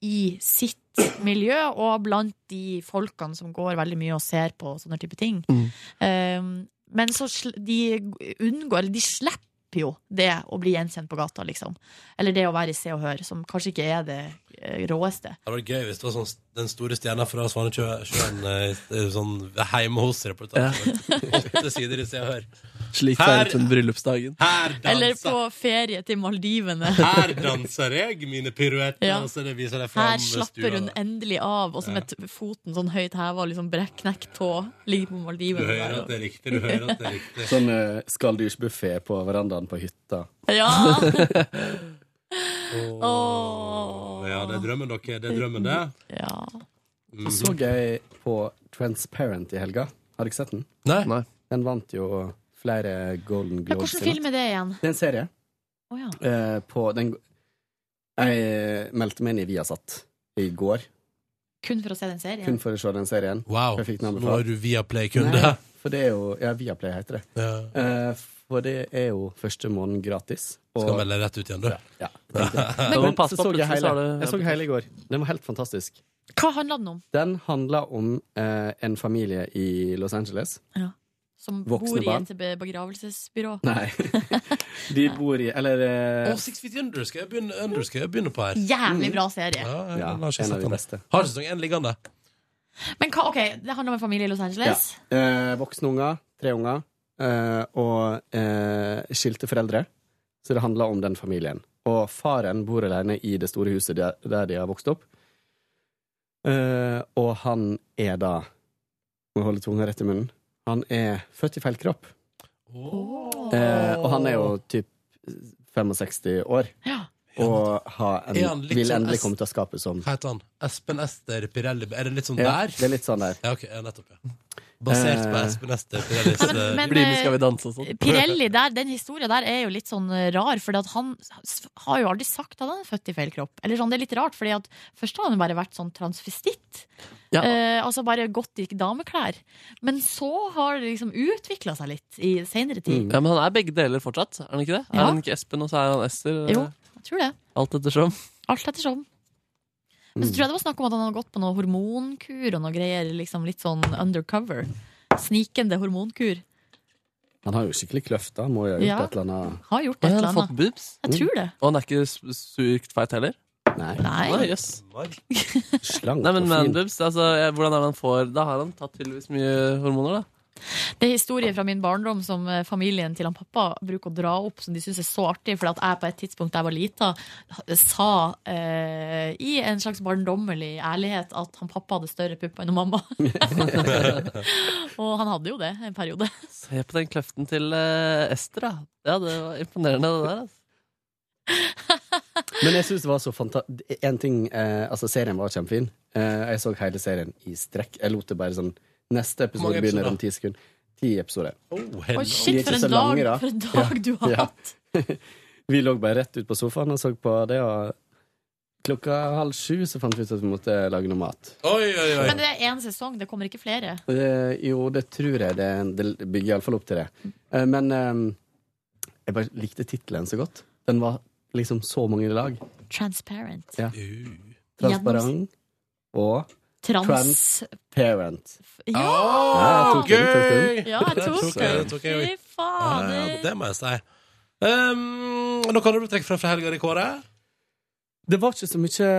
C: i sitt miljø og blant de folkene som går veldig mye og ser på sånne type ting. Um, men så sl de unngår Eller de slipper jo det å bli gjenkjent på gata, liksom. Eller det å være i Se og Hør, som kanskje ikke er det eh, råeste.
B: Det hadde vært gøy hvis det var sånn den store stjerna fra eh, Svanesjøen eh, sånn hjemme hos reportasje. Åtte sider i Se og Hør.
D: Slik
B: Her-
D: feiret hun bryllupsdagen.
B: Her
C: Eller
B: danser,
C: på ferie til Maldivene.
B: her danser jeg mine piruetter,
C: Ja.
B: og så det viser jeg fram
C: Her slapper hun endelig av, og så med t- foten sånn høyt heva, liksom brekk, knekt tå, ligger på
B: Du
C: Maldivene.
B: hører at det er riktig, du hører at det er riktig.
R: Sånn uh, skalldyrsbuffé på verandaen på hytta.
C: Ja.
B: Åh. Ja, det er drømmen, dere. Det er drømmen, det.
C: Ja.
R: Og
B: Mhm.
R: Så jeg på Transparent i helga. Har dere sett den?
D: Nei.
R: Den vant jo flere Golden
C: Ja,
R: Globes.
C: hvordan film er det igjen?
R: Det er en serie.
C: Å ja.
R: eh, på den Jeg meldte meg inn i Viasat i går,
C: Kun for å se den serien?
R: kun for å se den serien.
B: Wow,
R: For jeg fikk den
B: så
R: anbefalt.
B: nå er du Viaplay-kunde.
R: Nei, For det er jo Ja, Viaplay heter det.
B: Ja.
R: Eh, for det er jo første måneden gratis.
B: Skal melde rett ut igjen, du.
R: Ja. ja
B: Men-
R: Men,
B: Pass
R: så
B: på,
R: så jeg
B: plutselig så
R: hele.
B: er det-
R: Jeg så hele i går. Den var helt fantastisk.
C: Hva handla den om?
R: Den handla om eh, en familie i Los Angeles.
C: Som
R: Voksne
C: bor i
R: barn.
C: et be- begravelsesbyrå?
R: Nei. De bor i Eller eh,
B: Og Six Feet Under skal jeg begynne, under skal jeg begynne på her.
C: Jævlig bra serie.
B: Mm. Ja, jeg,
R: Ja,
B: den har ikke sett
R: en av de
B: den.
R: beste.
B: Har sesong én liggende.
C: Men hva, ok, Det handler om en familie i Los
R: ja.
C: Angeles?
R: eh, Voksne unger. Tre unger. Eh, og eh, skilte foreldre. Så det handla om den familien. Og faren bor alene i det store huset der, der de har vokst opp. Eh, og han er da Må holde tunga rett i munnen. Han er født i feil kropp. Eh, og han er jo typ 65 år. Og har en,
B: Er han litt
R: vil
B: sånn
R: endelig
B: est-
R: komme til å skape som
B: Hva heter han? Espen Ester Pirelli Er det litt sånn
R: Ja,
B: der?
R: det er litt sånn der.
B: Ja, ok, ja, nettopp, ja. Basert på
R: Eh.
B: Espen Ester Pirellis
C: Nei, men-
B: eh,
C: men, eh,
D: sånn?
R: sånn.
C: Pirelli, der, den historien der er jo litt sånn eh, rar, for han s- har jo aldri sagt at han er født i feil kropp. Eller sånn, Det er litt rart, fordi at først har han jo bare vært sånn transvestitt.
D: Ja.
C: Eh, altså bare gått i dameklær. Men så har det liksom utvikla seg litt i seinere tid.
D: Mm, Ja, Men han er begge deler fortsatt, er han ikke det?
C: Mm. Ja.
D: Er han ikke Espen, og så er han Ester? eh,
C: Jo, jeg tror det.
D: Alt ettersom.
C: Alt ettersom. Men
D: Mm.
C: så tror jeg det var snakk om at han hadde gått på noe hormonkur og noe greier. liksom Litt sånn undercover. Snikende hormonkur.
R: Han har jo skikkelig kløft, da. Må jo ha gjort
C: Ja.
R: et eller annet.
C: Har
D: Og
C: gjort et
D: han
C: eller
D: har fått
C: annet.
D: boobs?
C: Jeg tror det.
D: Og han er ikke su- sykt feit heller?
R: Nei.
C: Nei.
D: jøss.
R: Slank
D: Nei, men
R: og fin.
D: manboobs, altså, jeg- hvordan er det han får Da har han tatt tydeligvis mye hormoner, da.
C: Det er historier fra min barndom som eh, familien til han pappa bruker å dra opp, som de syns er så artig, for at jeg på et tidspunkt da jeg var lita, sa eh, i en slags barndommelig ærlighet at han pappa hadde større pupper enn mamma. og han hadde jo det en periode.
D: Se på den kløften til eh, Ester, da. Ja, det var imponerende, det der. Altså.
R: Men jeg syns det var så fantastisk En ting eh, Altså, serien var kjempefin. Eh, jeg så hele serien i strekk. Jeg lot det bare sånn Neste
B: Mange
R: episode begynner
B: episoder?
R: om ti sekunder. Ti episoder.
C: Oh,
B: hell-
C: Oi, shit,
R: De er ikke
C: for en
R: så lange,
C: dag-
R: da.
C: for en dag du har hatt.
R: vi lå bare rett ut på sofaen og så på det, og klokka halv sju så fant vi ut at vi måtte lage noe mat.
B: Oi, oi, oi.
C: Men det er én sesong, det kommer ikke flere.
R: Eh, jo, det tror jeg. Det, det bygger iallfall opp til det. Eh, men eh, jeg bare likte tittelen så godt. Den var liksom så mange lag.
C: Transparent.
R: Ja. Transparent og
C: Trans-
R: Transparent.
C: Ja!
R: Ja, jeg tok den, tok den.
B: Gøy!
C: Ja, jeg tok den.
B: jeg også.
C: Fy fader.
B: Ja, ja, Det må jeg si. Um, nå kan du trekke fram fra helga di, Kåre.
R: Det var ikke så mye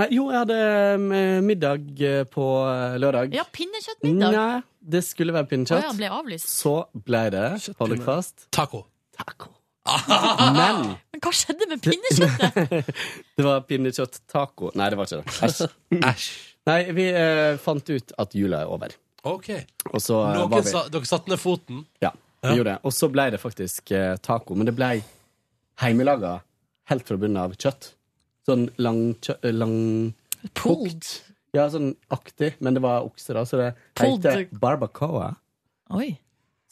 R: Men jo, jeg hadde eh, middag eh, på eh, lørdag.
C: Ja, pinnekjøttmiddag.
R: Nei, det skulle
C: Å
R: være
C: ja,
R: pinnekjøtt.
C: ble avlyst.
R: Så ble det, hold dere fast,
B: taco.
R: Men
C: Men hva skjedde med pinnekjøttet?
R: det var pinnekjøtt-taco. Nei, det var ikke det. Æsj. Nei, vi eh, fant ut at jula er over.
B: Ok.
R: Og så eh,
B: Noen
R: var vi
B: sa, dere satte ned foten.
R: Ja, vi gjorde det. Og så ble det faktisk eh, taco. Men det ble heimelaga helt fra bunnen av kjøtt. Sånn lang, kjø, eh, lang
C: Pulled.
R: Ja, sånn aktig. Men det var okse, da, så det
C: Pulled.
R: heter barbacoa.
C: Oi.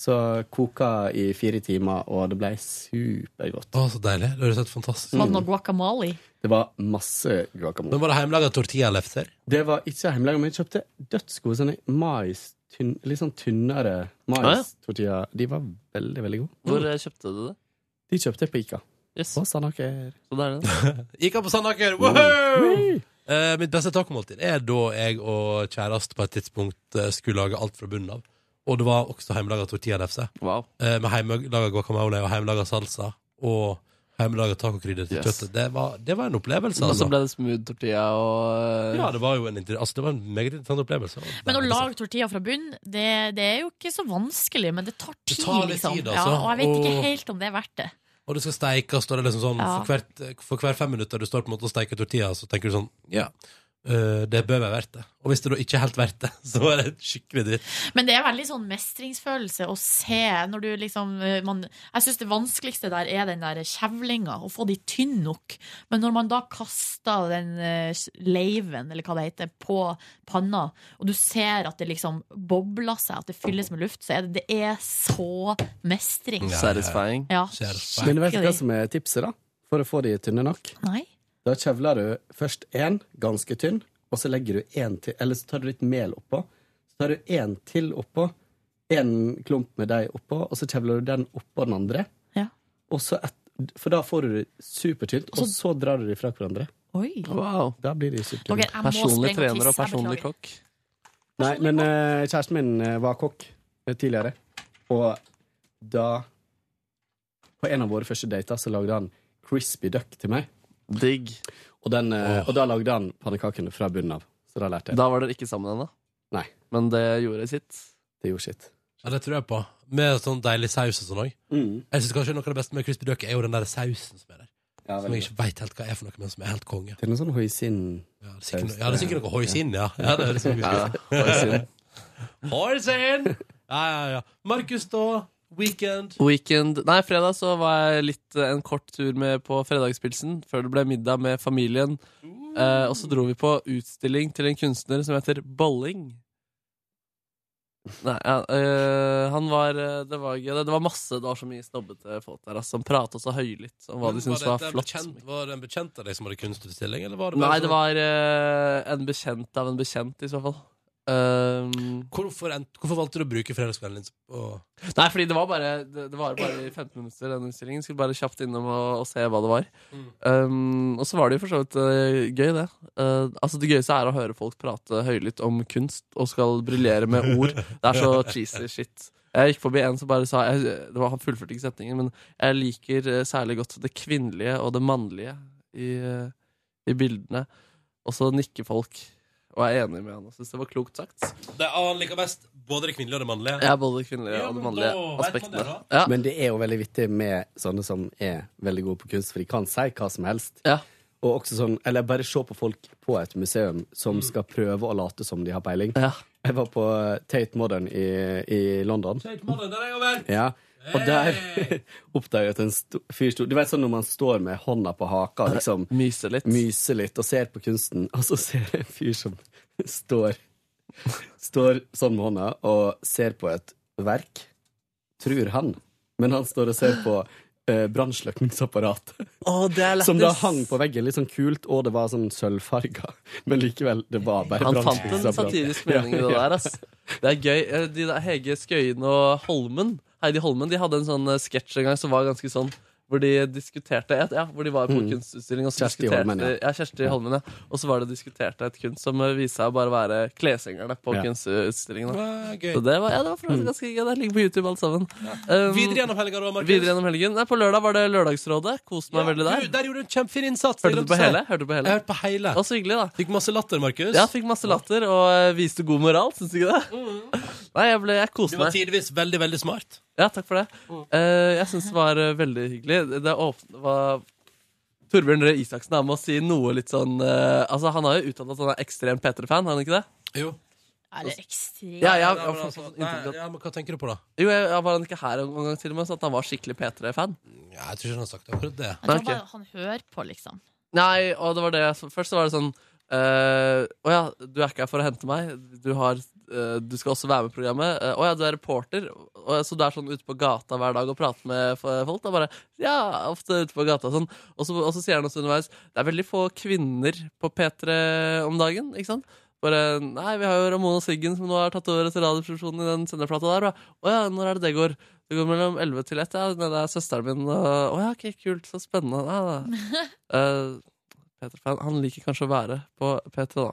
R: Så koka i fire timer, og det ble supergodt.
B: Å, så deilig. Det høres helt fantastisk
C: Var det noe
R: Mm.
C: guacamole?
R: Det var masse guacamole.
B: Men var det hjemmelaga tortillalefser?
R: Det var ikke hjemmelaga, men jeg kjøpte dødsgode sånne mais, tynn, litt sånn tynnere mais-tortilla. De var veldig, veldig gode.
D: Hvor eh, kjøpte du det?
R: De kjøpte jeg på Ica. På Sandaker.
D: Så det er det.
B: Gikk han på Sandaker. Woohoo! Eh, mitt beste tacomåltid er da jeg og kjæreste på et tidspunkt eh, skulle lage alt fra bunnen av. Og det var også hjemmelaga tortillalefse.
D: Wow.
B: Eh, med hjemmelaga guacamole og hjemmelaga salsa. Og hjemmelaga tacokrydder til
D: Yes.
B: kjøttet. Det var, det var en opplevelse.
D: Og så
B: Altså.
D: ble det smooth tortilla og eh,
B: Ja, det var jo en, inter- altså, det var en meget interessant opplevelse. og
C: Men å
B: veldig
C: lage tortilla fra bunn, det, det er jo ikke så vanskelig, men det tar tid,
B: tar litt
C: liksom.
B: tid, altså.
C: ja, og jeg vet
B: Og-
C: ikke helt om det er verdt det.
B: Og det skal steikes, og det er liksom sånn
C: Ja.
B: for, hvert, for hver fem minutter du står på en måte og steiker tortilla, så tenker du sånn Ja, øh, det bør være verdt det. Og hvis det da ikke er helt verdt det, så er det skikkelig dritt.
C: Men det er veldig sånn mestringsfølelse å se når du liksom eh, man, Jeg syns det vanskeligste der er den der kjevlinga, å få de tynn nok. Men når man da kaster den eh, leiven, eller hva det heter, på panna, og du ser at det liksom bobler seg, at det fylles med luft, så er det, det er så mestring.
D: Satisfying.
C: Ja.
R: Men vet du hva
C: skikkelig.
R: som er tipset, da? For å få de tynne nok?
C: Nei.
R: Da kjevler du først én, ganske tynn, og så legger du en til, eller så tar du litt mel oppå. Så tar du én til oppå, én klump med deig oppå, og så kjevler du den oppå den andre.
C: Ja.
R: Og så et, for da får du det supertynt, og så drar du det fra hverandre.
C: Oi.
D: Wow.
R: Da blir de supertynne.
C: Ok, jeg må Personlig sprenge og trener og tisse, jeg personlig beklager.
D: kokk.
R: Nei, men eh, kjæresten min eh, var kokk eh, tidligere, og da På en av våre første dater så lagde han crispy duck til meg.
D: Digg.
R: Og, den, eh, og da lagde han pannekakene fra bunnen av. Så da lærte jeg.
D: Da var dere ikke sammen ennå.
R: Nei.
D: Men det gjorde sitt.
R: Det gjorde sitt.
B: Ja, det tror jeg på. Med sånn deilig saus og sånn òg. Jeg syns kanskje noe av det beste med crispy duck er jo den der sausen som er der. som jeg
R: veldig
B: ikke veit helt hva er for noe, men som er helt konge.
R: Det er noe sånn hoisin
B: Ja, det er sikkert, ja, det er sikkert noe hoisin, ja. ja det er liksom
D: Ja,
B: hoisin! Ja, ja, ja. Markus, da? Weekend?
D: Weekend Nei, fredag så var jeg litt eh, en kort tur med på fredagspilsen før det ble middag med familien. Eh, og så dro vi på utstilling til en kunstner som heter Bolling. Nei, ja, eh, han var eh, Det var gøy. Det, det var masse Det var så mye snobbete folk der altså, som prata så høylytt om hva
B: Men
D: de syntes
B: var
D: var,
B: det en
D: flott.
B: Bekjent, var det en bekjent av deg som hadde kunstutstilling, eller var det
D: Nei,
B: bare
D: det
B: sånn-
D: var eh, en bekjent av en bekjent, i så fall. Ehm,
B: hvorfor, en- hvorfor valgte du å bruke fredagskvelden din på
D: Nei, fordi det var bare Det, det var bare i 15 minutter den utstillingen. Skulle bare kjapt innom og, og se hva det var.
R: Mm.
D: Um, og så var det jo for så vidt eh, gøy, det. Eh, altså Det gøyeste er å høre folk prate høylytt om kunst og skal briljere med ord. Det er så cheesy shit. Jeg gikk forbi en som bare sa jeg, det var, Han fullførte ikke setningen, men jeg liker eh, særlig godt det kvinnelige og det mannlige i, eh, i bildene. Og så nikker folk og er enig med han og syns det var klokt sagt.
B: Det han liker best, både det kvinnelige og det mannlige.
D: Ja, både det kvinnelige og det mannlige aspektene. Ja.
R: Men det er jo veldig vittig med sånne som er veldig gode på kunst, for de kan si hva som helst. Og også sånn, eller bare se på folk på et museum som skal prøve å late som de har peiling. Jeg var på Tate Modern i, i London. Ja, og der oppdager jeg at en sto- fyr sto Du vet sånn når man står med hånda på haka og liksom
D: myser litt.
R: og ser på kunsten, og så ser jeg en fyr som står Står sånn med hånda og ser på et verk, tror han, men han står og ser på eh, brannslukningsapparatet. Som da hang på veggen, litt sånn kult, og det var sånn sølvfarga. Men likevel, det var bare
D: Han fant en satirisk mening i det der, altså. ass. Det er gøy. Eh, De der Hege Skøyen og Holmen, Heidi Holmen, de hadde en sånn eh, sketsj en gang som var ganske sånn hvor de diskuterte et, ja, hvor de var på
R: Mm.
D: kunstutstilling og så
R: Kjersti
D: diskuterte-
R: Holmen, ja.
D: ja. Kjersti
R: Ja.
D: Holmen, ja. Og så var det diskutert et kunst som eh, viste seg å bare være kleshengerne på
R: Ja. Mm.
D: kunstutstillingen. da.
B: Ah, gøy.
D: Så det var, ja, det var for øvrig ganske gøy. Det ligger på YouTube alt sammen. Um,
B: Videre gjennom helga, da, Markus.
D: Videre gjennom helgen. Nei, på lørdag var det Lørdagsrådet. Koste meg veldig der.
B: Du, der gjorde du en kjempefin innsats.
D: Hørte
B: jeg
D: du
B: glemte
D: på
B: å si.
D: hele? Hørte du på hele?
B: sånn. Jeg hørte på hele.
D: Og så hyggelig, da.
B: Fikk masse latter, Markus.
D: Ja, fikk masse latter og eh, viste god moral, syns du ikke det? Nei, jeg, ble, jeg koste
B: Mm. Du var
D: meg.
B: tidvis veldig, veldig smart. Mm.
D: Ja, takk for det. Eh, jeg syns det var eh, veldig hyggelig. Det- Det åpne, var Torbjørn Røe Isaksen er med å si noe litt sånn eh, Altså, Han har jo uttalt at han er ekstrem P3-fan, har han ikke det?
B: Jo.
C: Er det ekstremt?
D: Ja, ja,
B: Nei, men
D: for-
B: altså,
D: for- for-
B: nei, ja, men hva tenker du på, da?
D: Jo, jeg, jeg Var han ikke her en gang til og med, så at han var skikkelig P3-fan?
B: Ja, jeg tror ikke han har sagt akkurat det.
C: Jeg tror bare han hører på, liksom.
D: Nei, og det var det jeg- Først så var det sånn eh, Å ja, du er ikke her for å hente meg. Du, har, eh, du skal også være med i programmet. Eh, Å ja, du er reporter. Og, ja, så du er sånn ute på gata hver dag og prater med f- folk? Da bare Ja, ofte ute på gata og sånn. Og så, og så sier han også underveis Det er veldig få kvinner på P3 om dagen, ikke sant? Bare, nei, vi har jo Ramona Siggen som nå har tatt over etter radioproduksjonen i den sendeplata der. da. Å ja, når er det det går? Det går mellom 11 til 1, ja. Det er søsteren min. og- Å ja, ok, kult. Så spennende. Ja, da. Eh, Peter Fan. Han liker kanskje å være på P3, da.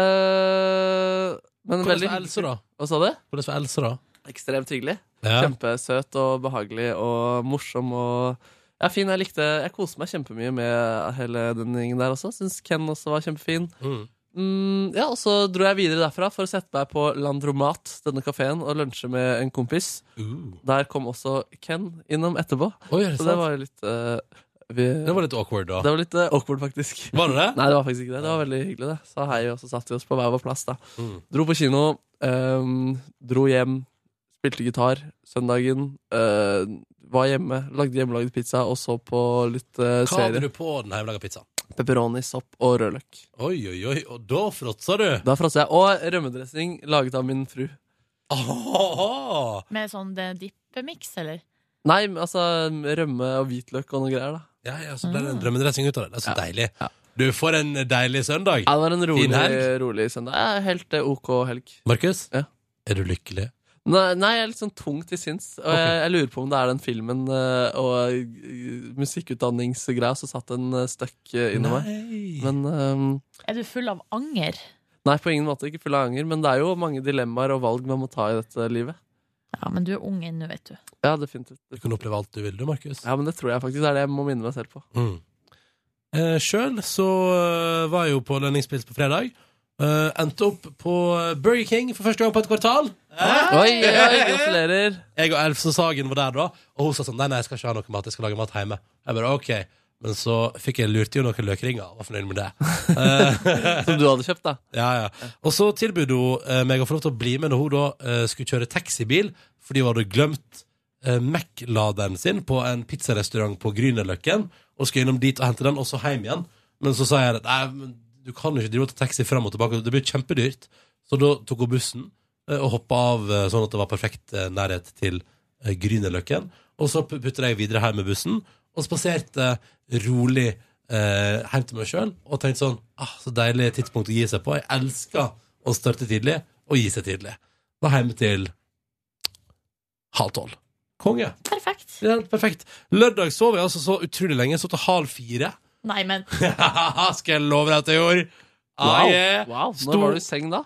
D: Eh, men
B: Hvordan
D: veldig
B: var Else, da?
D: Hva sa du?
B: Hvordan var Else, da?
D: Ekstremt hyggelig.
B: Ja.
D: Kjempesøt og behagelig og morsom og Ja, fin, jeg likte Jeg koste meg kjempemye med hele den gjengen der også. Syns Ken også var kjempefin.
B: Mm.
D: ja, og så dro jeg videre derfra for å sette meg på Landromat, denne kafeen, og lunsje med en kompis. Der kom også Ken innom etterpå.
B: Uh. Oi, er det
D: så
B: sant?
D: det var jo litt eh, vi,
B: Det var litt awkward, da.
D: Det var litt eh, awkward, faktisk.
B: Var det det?
D: Nei, det var faktisk ikke det. Det var veldig hyggelig, det. Så hei, og så satte vi oss på hver vår plass, da.
B: Mm.
D: Dro på kino, ehm, dro hjem, spilte gitar søndagen. eh, var hjemme, lagde hjemmelagd pizza og så på litt uh,
B: Hva hadde
D: serie.
B: du på den hjemmelaga pizzaen?
D: Pepperoni, sopp og rødløk.
B: Oi, oi, oi. Og da fråtsa du!
D: Da fråtsa jeg. Og rømmedressing laget av min fru.
C: Med sånn eh, dippemiks, eller?
D: Nei, men altså rømme og hvitløk og noe greier, da.
B: Ja, ja, så ble det en drømmedressing ut av det. Det er så deilig. Du får en deilig søndag.
D: Ja, det var en
B: Fin
D: rolig,
B: helg.
D: rolig søndag. Ja, Helt eh, OK helg.
B: Markus, er du lykkelig?
D: Nei, nei, jeg er litt sånn tung til sinns. Og jeg, jeg lurer på om det er den filmen eh, og eh, musikkutdanningsgreia som satt en eh, støkk eh, inni meg. Men ehm,
C: Er du full av anger?
D: Nei, på ingen måte. Ikke full av anger. Men det er jo mange dilemmaer og valg man må ta i dette livet.
C: Ja, men du er ung ennå, vet du.
D: Ja, definitivt.
B: Du kan oppleve alt du vil, du, Markus.
D: Ja, men det tror jeg faktisk er det jeg må minne meg selv på.
B: Mm. Eh, Sjøl så eh, var jeg jo på lønningspils på fredag. Eh, endte opp på eh, Burger King for første gang på et kvartal.
D: Oi, oi, gratulerer.
B: Jeg og Elfsen Sagen var der da, og hun sa sånn Nei, nei, jeg skal ikke ha noe mat, jeg skal lage mat hjemme. Jeg bare OK. Men så fikk jeg lurte jo noen løkringer, og var fornøyd med det. Eh,
D: Som du hadde kjøpt, da?
B: Ja, ja. Og så tilbød hun eh, meg å få lov til å bli med når hun da eh, skulle kjøre taxibil, fordi hun hadde glemt eh, Mac-laderen sin på en pizzarestaurant på Grünerløkken, og skulle innom dit og hente den, og så hjem igjen. Men så sa jeg at nei, men du kan jo ikke drive og ta taxi fram og tilbake, det blir kjempedyrt. Så da tok hun bussen eh, og hoppa av eh, sånn at det var perfekt eh, nærhet til eh, Grünerløkken. Og så putta jeg videre hjem med bussen, og spaserte rolig eh, hjem til meg sjøl og tenkte sånn ah, Så deilig tidspunkt å gi seg på. Jeg elsker å starte tidlig og gi seg tidlig. Var hjemme til halv tolv. Konge.
C: Perfekt.
B: Ja, perfekt. Lørdag sov jeg altså så utrolig lenge. Så til halv fire.
C: Nei, men
B: Skal jeg love deg at jeg gjorde. Ah, yeah.
D: wow. Når
B: Stor-
D: var du i seng da?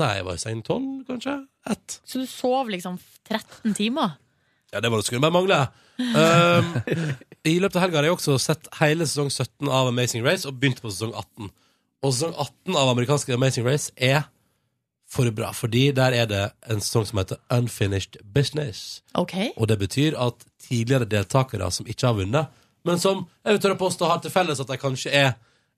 B: Nei, jeg var i seng tolv, kanskje. Ett.
C: Så du sov liksom 13 timer?
B: Ja, det var det skulle bare mangle. Um, I løpet av helga har jeg også sett hele sesong 17 av Amazing Race og begynt på sesong 18. Og sesong 18 av amerikanske Amazing Race er for bra, fordi der er det en sesong som heter Unfinished Business.
C: Ok.
B: Og det betyr at tidligere deltakere som ikke har vunnet, men som jeg vil tørre å påstå har til felles at de kanskje er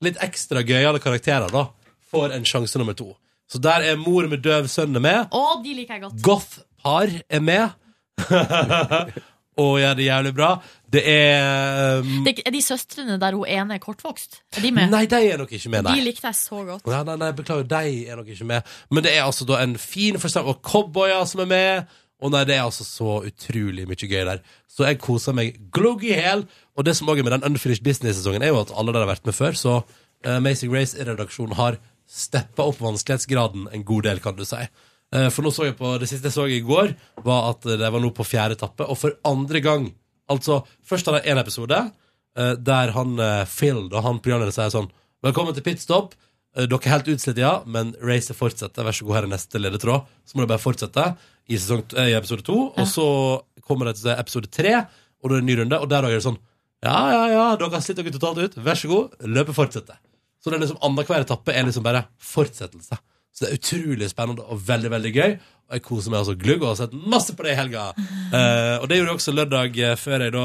B: litt ekstra gøyale karakterer, da, får en sjanse nummer to. Så der er mor med døv sønn med.
C: Å, de liker jeg godt.
B: Goth-par er med. og gjør det jævlig bra. Det er um,
C: Det er ikke- er de søstrene der hun ene er kortvokst? Er de med?
B: Nei, de er nok ikke med,
C: De
B: nei.
C: likte jeg så godt.
B: Nei, nei, nei, beklager, de er nok ikke med. Men det er altså da en fin forstand og cowboyer som er med. Og nei, det er altså så utrolig mye gøy der. Så jeg koser meg glugg i hæl. Og det som også er med den Unfinished Business-sesongen, er jo at alle der har vært med før, så eh, Amazing Race-redaksjonen har steppa opp vanskelighetsgraden en god del, kan du si. Eh, For nå så jeg på, det siste jeg så i går, var at de var nå på fjerde etappe. Og for andre gang Altså, først hadde jeg en episode eh, der han eh, Phil, da han programlederen, sier sånn Velkommen til pitstop. Eh, Dere er helt utslitt, ja, men racet fortsetter. Vær så god, her er neste ledetråd. Så må det bare fortsette i, sesong, eh, i episode to. Og så kommer det til episode tre, og da er det en ny runde. Og der er det sånn Ja, ja, ja, dere har slitt dere totalt ut. Vær så god, løpet fortsetter. Så det er liksom annenhver etappe er liksom bare fortsettelse. Så det er utrolig spennende og veldig veldig gøy. Og jeg koser meg altså glugg og har sett masse på det i helga. Eh, og det gjorde jeg også lørdag eh, før jeg da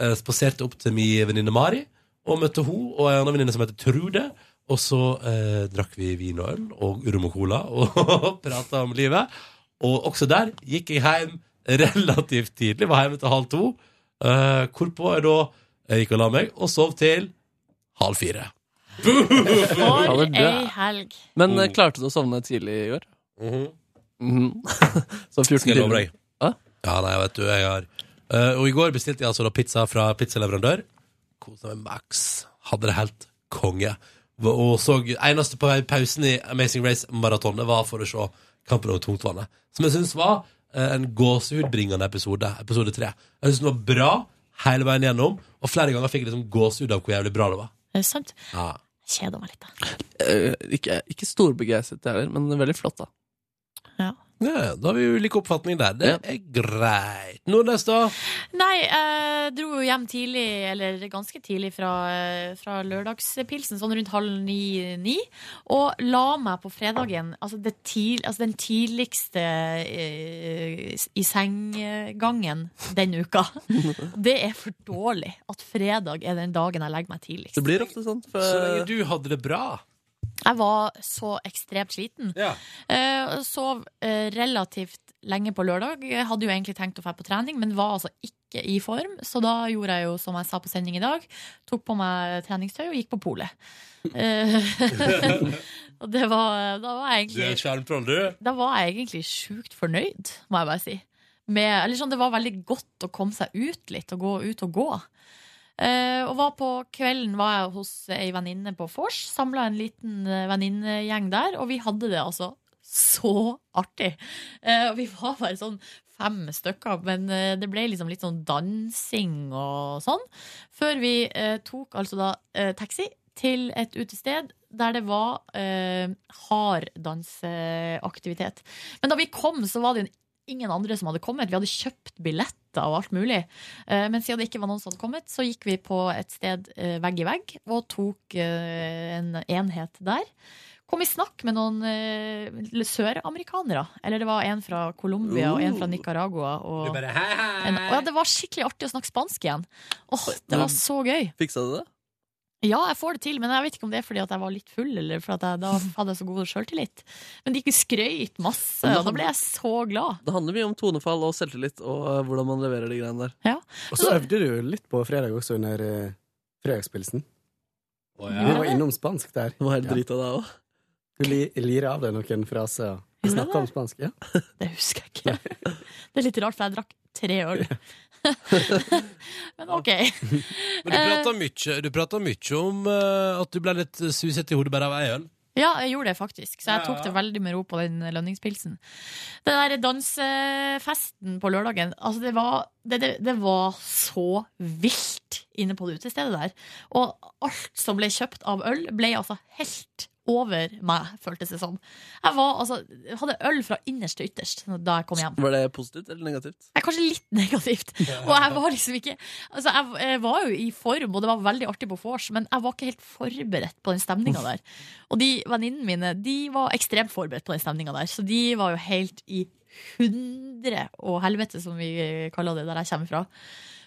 B: eh, spaserte opp til min venninne Mari. Og møtte hun og en annen venninne som heter Trude. Og så eh, drakk vi vin og øl og rom og cola og prata om livet. Og også der gikk jeg hjem relativt tidlig. Var hjemme til halv to. eh, hvorpå jeg da eh, gikk og la meg og sov til halv fire.
D: Ja,
C: For
D: det er det.
C: ei helg.
D: Men
B: Mm.
D: eh, klarte du å sovne tidlig i går? Mhm. så 14
B: Skal jeg love
D: timer.
B: deg? Ja, nei, vet du, jeg har Eh, Og i går bestilte jeg altså da pizza fra pizzaleverandør. Kosa meg max. Hadde det helt konge. V- Og så eneste pa- pausen i Amazing Race-maratonet var for å se Kampen over tungtvannet. Som jeg syns var eh, en gåsehudbringende episode. Episode tre. Jeg syns den var bra hele veien gjennom, og flere ganger fikk jeg liksom gåsehud av hvor jævlig bra det var.
C: Er det sant?
B: Ja.
C: Kjeder meg litt, da.
D: Eh, ikke, ikke storbegeistret jeg heller, men veldig flott, da.
C: Ja.
B: Ja, da har vi ulike oppfatninger der. Det er greit. Nordnes, da?
C: Nei, jeg dro jo hjem tidlig, eller ganske tidlig fra, eh, fra lørdagspilsen, sånn rundt halv ni-ni, og la meg på fredagen, altså, det tid, altså den tidligste eh, i senggangen den uka. Det er for dårlig at fredag er den dagen jeg legger meg tidligst.
D: Det blir ofte sånn. For...
B: Så lenge du hadde det bra.
C: Jeg var så ekstremt sliten. Eh, sov eh, relativt lenge på lørdag. Jeg hadde jo egentlig tenkt å dra på trening, men var altså ikke i form. Så da gjorde jeg jo som jeg sa på sending i dag, tok på meg treningstøy og gikk på polet. Eh, og det var Da var jeg
B: Du er en
C: egentlig
B: skjermtroll, du.
C: Da var jeg egentlig sjukt fornøyd, må jeg bare si. Med, eller sånn, det var veldig godt å komme seg ut litt, og gå ut og gå. Eh, og var på kvelden var jeg hos ei venninne på vors. Samla en liten eh, venninnegjeng der, og vi hadde det altså så artig. Eh, og vi var bare sånn fem stykker, men eh, det ble liksom litt sånn dansing og sånn. Før vi eh, tok altså da eh, taxi til et utested der det var eh, hard danseaktivitet. Men da vi kom, så var det jo ingen andre som hadde kommet. Vi hadde kjøpt billetter og alt mulig. Eh, men siden det ikke var noen som hadde kommet, så gikk vi på et sted eh, vegg i vegg og tok eh, en enhet der. Kom i snakk med noen eh, søramerikanere. Eller det var en fra Colombia og en fra Nicaragua. Og
D: Uh. Du bare, hei, hei.
C: En, og ja, det var skikkelig artig å snakke spansk igjen. Åh, det var så gøy.
D: Fiksa du det?
C: Ja, jeg får det til, men jeg vet ikke om det er fordi at jeg var litt full, eller for at jeg, da hadde jeg så god sjøltillit. Men de gikk og skrøyt masse, og da ble jeg så glad.
D: Det handler mye om tonefall og selvtillit og eh, hvordan man leverer de greiene der.
R: Og så øvde du jo litt på fredag også, under eh, fredagspilsen.
D: ja.
R: Du var innom spansk der.
D: Du var helt drita da òg.
R: Du li lirer av deg noen fraser.
C: Gjorde
R: Vi
C: jeg
R: snakka om spansk, ja.
C: Det husker jeg ikke. Det er litt rart, for jeg drakk tre øl. men ok.
B: Men du prata mye, du prater mye om eh, at du ble litt susete i hodet bare av ei øl.
C: Ja, jeg gjorde det faktisk, så jeg
B: Ja.
C: tok det veldig med ro på den lønningspilsen. Den der dansefesten på lørdagen, altså det var, det, det, det var så vilt inne på det utestedet der. Og alt som ble kjøpt av øl, ble altså helt over meg, føltes det som. Jeg var, altså, jeg hadde øl fra innerst til ytterst da jeg kom hjem.
D: Var det positivt eller negativt?
C: Det er kanskje litt negativt. Og jeg var liksom ikke Altså, jeg, jeg var jo i form, og det var veldig artig på vors, men jeg var ikke helt forberedt på den stemninga der. Og de venninnene mine De var ekstremt forberedt på den stemninga der, så de var jo helt i hundre og helvete, som vi kaller det der jeg kommer fra.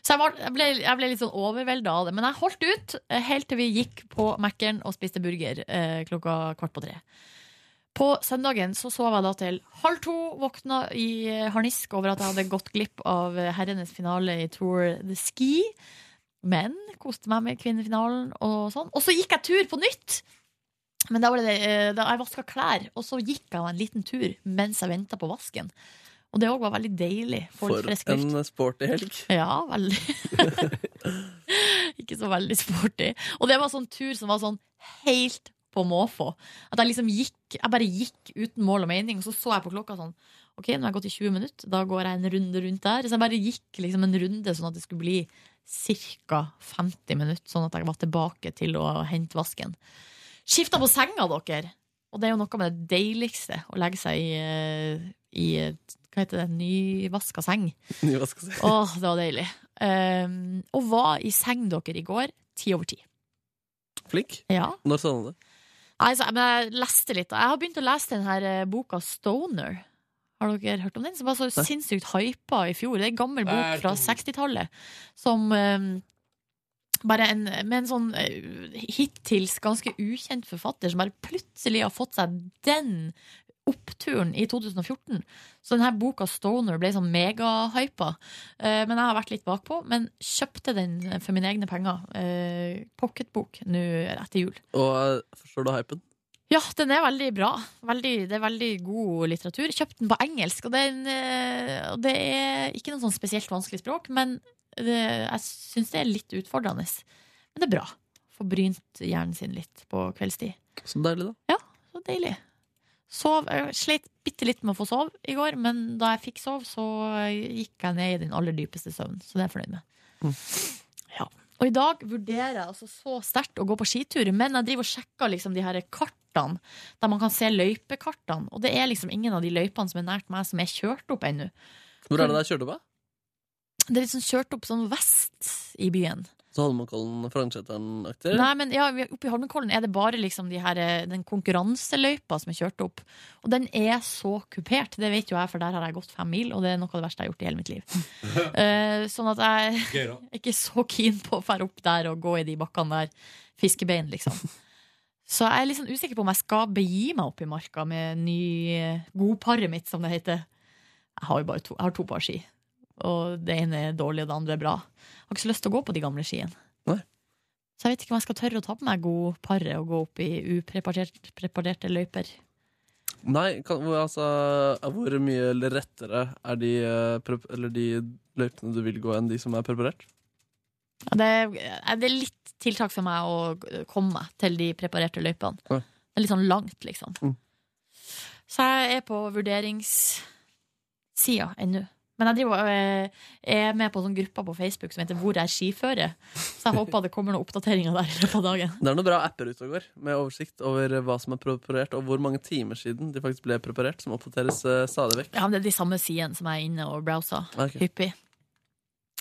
C: Så jeg, var, jeg, ble, jeg ble litt sånn overvelda av det. Men jeg holdt ut eh, helt til vi gikk på Mækkern og spiste burger eh, klokka kvart på tre. På søndagen så sov jeg da til halv to, våkna i eh, harnisk over at jeg hadde gått glipp av eh, herrenes finale i Tour the Ski. Men koste meg med kvinnefinalen og sånn. Og så gikk jeg tur på nytt! Men da var det eh, da jeg vaska klær, og så gikk jeg en liten tur mens jeg venta på vasken. Og det òg var veldig deilig. Få litt
D: For
C: frisk luft.
D: en sporty helg.
C: Ja, veldig. ikke så veldig sporty. Og det var sånn tur som var sånn helt på måfå. At jeg liksom gikk Jeg bare gikk uten mål og mening, og så så jeg på klokka sånn OK, nå har jeg gått i 20 minutter, da går jeg en runde rundt der. Så jeg bare gikk liksom en runde sånn at det skulle bli ca. 50 minutter, sånn at jeg var tilbake til å hente vasken. Skifta på senga, dere! Og det er jo noe med det deiligste, å legge seg i, eh, i eh, hva heter det, nyvaska seng.
D: Nyvaska seng.
C: Åh, det var deilig. Um, og var i seng dere i går, ti over ti.
D: Flink.
C: Ja.
D: Når sa du det?
C: Nei, så- men jeg leste litt. da. Jeg har begynt å lese den her eh, boka Stoner. Har dere hørt om den? Som var så
D: Nei.
C: sinnssykt hypa i fjor. Det er en gammel
D: Nei,
C: bok fra
D: dum.
C: 60-tallet som eh, bare en, med en sånn eh, hittils ganske ukjent forfatter som bare plutselig har fått seg den oppturen i 2014. Så denne boka Stoner ble sånn megahypa. Eh, Men jeg har vært litt bakpå. Men kjøpte den for mine egne penger. eh, Pocketbok nå etter jul.
D: Og eh, forstår du hypen?
C: Ja, den er veldig bra. Veldig, det er veldig god litteratur. Kjøpt den på engelsk, og den, eh, og det er ikke noe sånn spesielt vanskelig språk, men det, jeg syns det er litt utfordrende. Men det er bra. Får brynt hjernen sin litt på kveldstid.
D: Så deilig, da.
C: Ja, så deilig. Sov, jeg slet bitte litt med å få sove i går, men da jeg fikk sove, så gikk jeg ned i den aller dypeste søvnen. Så det er jeg fornøyd med. Ja. Og i dag vurderer jeg altså så sterkt å gå på skitur, men jeg driver og sjekker liksom de her kartene, der man kan se løypekartene. Og det er liksom ingen av de løypene som er nært meg, som er kjørt opp ennå.
D: Hvor er det der kjørt opp? da?
C: Det er liksom kjørt opp sånn vest i byen.
D: Så Holmenkollen, Frognerseteren-aktig?
C: Nei, men ja, vi- Oppe i Holmenkollen er det bare liksom de her, eh, den konkurranseløypa som er kjørt opp. Og den er så kupert, det vet jo jeg, for der har jeg gått fem mil, og det er noe av det verste jeg har gjort i hele mitt liv. Eh, sånn at jeg
B: Gøy, da.
C: er ikke så keen på å fære opp der og gå i de bakkene der. Fiskebein, liksom. Så jeg er litt sånn usikker på om jeg skal begi meg opp i marka med ny eh, godparet mitt, som det heter. Jeg har jo bare to, jeg har to par ski. Og det ene er dårlig, og det andre er bra. Jeg har ikke så lyst til å gå på de gamle skiene. Så jeg vet ikke om jeg skal tørre å ta på meg god pare og gå opp i upreparerte preparerte løyper.
D: Nei, kan, hvor, altså, hvor mye rettere er de, eh, prep- eller de løypene du vil gå, enn de som er preparert?
C: Ja, Det er, det er litt tiltak for meg å komme meg til de preparerte løypene.
D: Ja.
C: Det er litt sånn langt, liksom.
D: Mm.
C: Så jeg er på vurderingssida ennå. Men jeg driver, og, eh, er med på en sånn gruppa på Facebook som heter Hvor er skiføret? Så jeg håper det kommer noen oppdateringer der i løpet av dagen.
D: Det er noen bra apper ute og går, med oversikt over hva som er preparert, og hvor mange timer siden de faktisk ble preparert, som oppdateres eh, stadig vekk.
C: Ja, men Det er de samme sidene som jeg er inne og browser
D: Ok.
C: hyppig.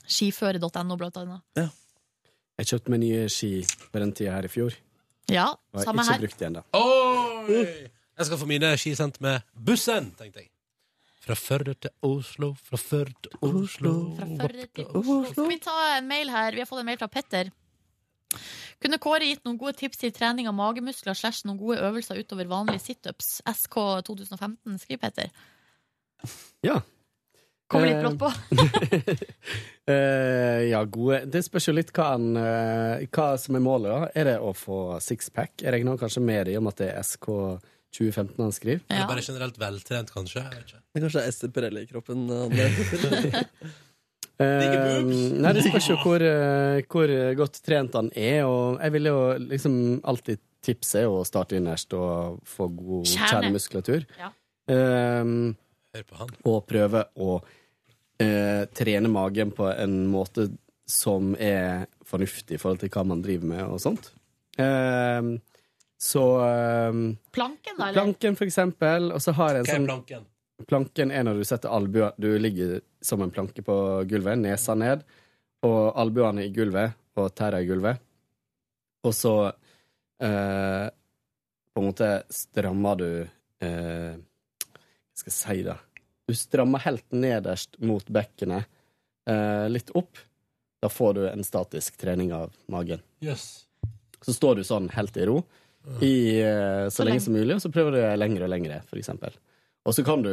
C: Skiføre.no, blant annet.
R: Jeg kjøpte meg nye ski på den tida her i fjor.
C: Ja,
R: Og jeg har
C: samme
R: ikke
C: her.
R: brukt de ennå.
D: Mm.
B: Oi! Jeg skal få mine ski sendt med bussen, tenkte jeg. Fra Førde til Oslo, fra Førde til Oslo Fra
C: Førde til Oslo. Skal vi ta en mail her? Vi har fått en mail fra Petter. Kunne Kåre gitt noen gode tips til trening av magemuskler slash noen gode øvelser utover vanlige situps? SK 2015, skriver Petter.
R: Ja.
C: Kommer litt brått på.
R: Eh, ja, gode Det spørs jo litt hva, en, eh, hva som er målet, da. Er det å få sixpack? Jeg regner kanskje med det i og med at det er SK 2015 han skriver.
B: Eller bare generelt veltrent, kanskje. Jeg vet ikke.
D: Det kanskje er Ester Perelle i kroppen. André.
R: Eh, nei, det spørs jo hvor, eh, hvor godt trent han er, og jeg ville jo liksom alltid tipse å starte innerst og få god
B: Kjerne.
R: kjernemuskulatur.
B: Ja.
R: Eh,
B: Hør på han.
R: og prøve å eh, trene magen på en måte som er fornuftig i forhold til hva man driver med og sånt. Eh, så eh,
C: Planken, da? Eller?
R: Planken, for eksempel. Og så har jeg
B: Hva er
R: en sånn
B: planken?
R: Planken er når du setter albuer Du ligger som en planke på gulvet, nesa ned, og albuene i gulvet og tærne i gulvet. Og så eh, på en måte strammer du eh, Hva skal jeg si, da? Du strammer helt nederst mot bekkenet, eh, litt opp. Da får du en statisk trening av magen.
B: Jøss.
R: Så står du sånn helt i ro i, eh, så,
B: Så
R: lenge
B: lenge.
R: som mulig, og så prøver du lengre og lengre, for eksempel. Og så kan du,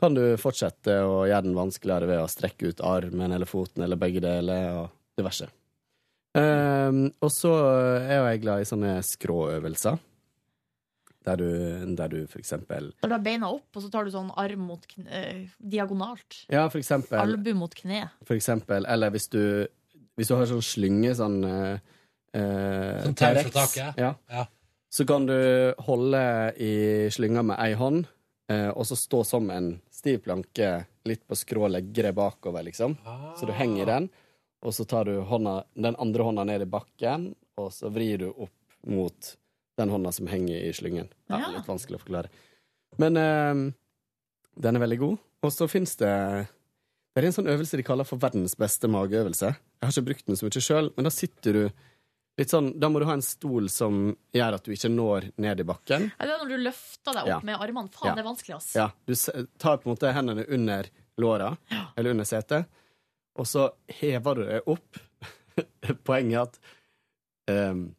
R: kan du fortsette å gjøre den vanskeligere ved å strekke ut armen eller foten eller begge deler og diverse. Ehm, og så er jo jeg glad i sånne skråøvelser, der du, der du for eksempel
C: Da du har beina opp, og så tar du sånn arm mot kn- eh, diagonalt.
R: Ja, for eksempel
C: Albu mot kne.
R: for eksempel, eller hvis du, hvis du har sånn slynge, sånn eh, eh,
B: Sånn tau fra
R: T-rex,
B: taket?
R: Ja. Så kan du holde i slynga med ei hånd, eh, og så stå som en stiv planke litt på skrå, legge deg bakover, liksom. Så du henger i den, og så tar du hånda, den andre hånda ned i bakken, og så vrir du opp mot den hånda som henger i slyngen. Ja,
B: Ja.
R: Litt vanskelig å forklare. Men eh, den er veldig god. Og så fins det det er en sånn øvelse de kaller for verdens beste mageøvelse. Jeg har ikke brukt den så mye sjøl, men da sitter du litt sånn Da må du ha en stol som gjør at du ikke når ned i bakken.
C: Ja, Det er når du løfter deg opp
R: Ja.
C: med armene. Faen,
R: Ja.
C: det er vanskelig, ass.
R: Ja, du s- tar på en måte hendene under låra, eller under setet, og så hever du deg opp. Poenget er at ehm,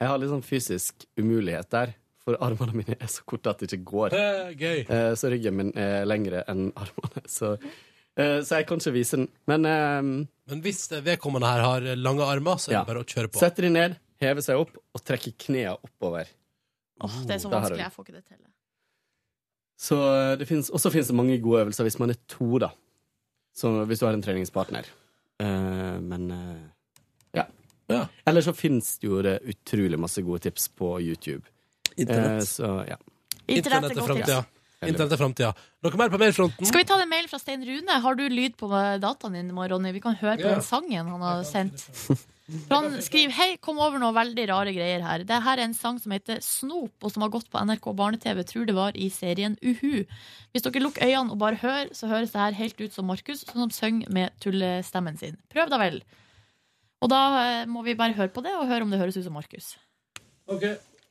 R: jeg har litt sånn fysisk umulighet der, for armene mine er så korte at det ikke går.
B: Eh, gøy.
R: Eh, Så ryggen min er lengre enn armene, så, eh, så jeg kan ikke vise den. Men ehm,
B: Men hvis eh, vedkommende her har lange armer, så er
R: Ja.
B: det bare å kjøre på.
R: Setter de ned, hever seg opp og trekker knærne oppover.
C: Det er så
R: Da har
C: vanskelig,
R: du-
C: jeg får ikke det til.
R: Så eh, det finnes, også finnes det mange gode øvelser hvis man er to, da. Så hvis du har en treningspartner. Eh, men eh, ja. Eller så finnes det jo det utrolig masse gode tips på YouTube.
D: Internett.
R: Eh, så ja.
C: Internett er godt tips.
B: Internett er framtida. Noe mer på mailfronten?
C: Skal vi ta en mail fra Stein Rune? Har du lyd på dataen din, Ronny? Vi kan høre på
B: Ja.
C: den sangen han har sendt. For han skriver Hei, kom over noe veldig rare greier her. Det her er en sang som heter Snop, og som har gått på NRK Barne-TV, tror det var i serien Uhu. Hvis dere lukker øynene og bare hører, så høres det her helt ut som Markus, som synger med tullestemmen sin. Prøv da vel. Og da eh, må vi bare høre på det, og høre om det høres ut som Markus.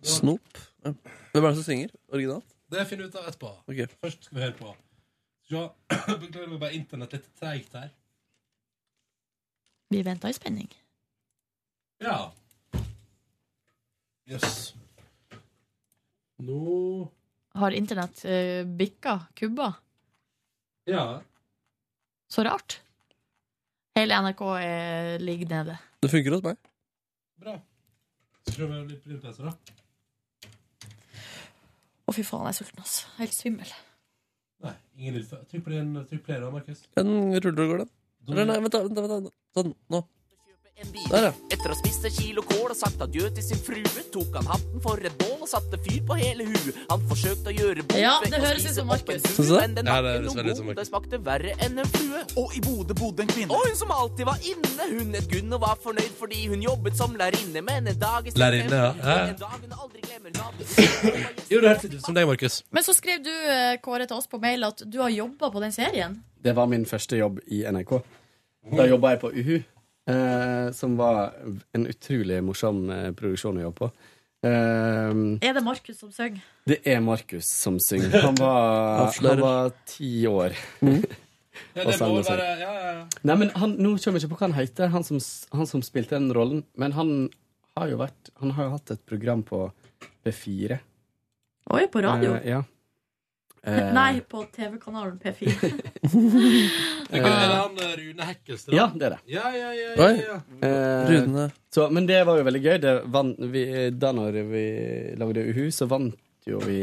D: Snop. Ja. Hvem er det som synger originalt?
B: Det finner vi ut av etterpå.
D: Ok.
B: Først skal vi høre på. Ja, Beklager, det var bare internett litt treigt her.
C: Vi venter i spenning.
B: Ja. Jøss. Nå
C: Har internett eh, bikka kubba?
B: Ja.
C: Så rart. Hele NRK er, ligger nede.
D: Det funker hos meg.
B: Skal vi prøve litt brillepleser, da?
C: Å, fy faen, jeg er sulten, altså. Helt svimmel.
B: Nei, ingen lyd. Trykk på den. Trykk play, da, Markus.
D: Den ruller og går, den. Eller nei, vent, da. vent, da, vent, da. Sånn. Nå. Der, ja.
S: Etter å ha spist et kilo kål og sagt adjø til sin frue, tok han hatten for et bål og satte fyr på hele huet. Han forsøkte å gjøre bål
C: Ja,
S: vekk
C: det
S: og
C: høres ut
S: spise
C: som
S: opp en
C: Markus.
S: fugl,
D: Synes du det?
S: men den
D: Ja,
S: var ikke
D: det
S: noe
D: høres veldig ut
S: god,
D: som Markus.
S: Det smakte verre enn en flue. Og i Bodø bodde en kvinne. Og hun som alltid var inne, hun het Gunn og var fornøyd fordi hun jobbet som lærerinne, men en dag i stedet-
B: Lærerinne, ja. Ja, ja.
S: En dag hun aldri glemmer, la det
B: Jo, det hørtes ut som deg, Markus.
C: Men så skrev du, eh, Kåre, til oss på mail at du har jobba på den serien.
R: Det var min første jobb i NRK. Da jobba jeg på Uhu, eh, som var en utrolig morsom eh, produksjon å jobbe på. Eh,
C: Er det Markus som synger?
R: det er Markus som synger. Han var,
D: Avslører.
R: han var ti år.
B: Ja,
R: Og
B: det
R: sang
B: må
R: og sang.
B: være Ja, ja, ja.
R: Nei, men han, Nå kommer jeg ikke på hva han heter, han som, s- han som spilte den rollen. Men han har jo vært Han har jo hatt et program på P4.
C: Oi, på radio?
R: Eh, ja. Eh,
C: Nei, på TV-kanalen P4.
B: Det kan være han eh, Rune Hekkestad.
R: Ja, det er det.
B: Ja, ja, ja, ja,
R: Oi.
B: ja.
R: Eh, så, men det var jo veldig gøy. Det vann, vi, da når vi lagde Uhu, så vant jo vi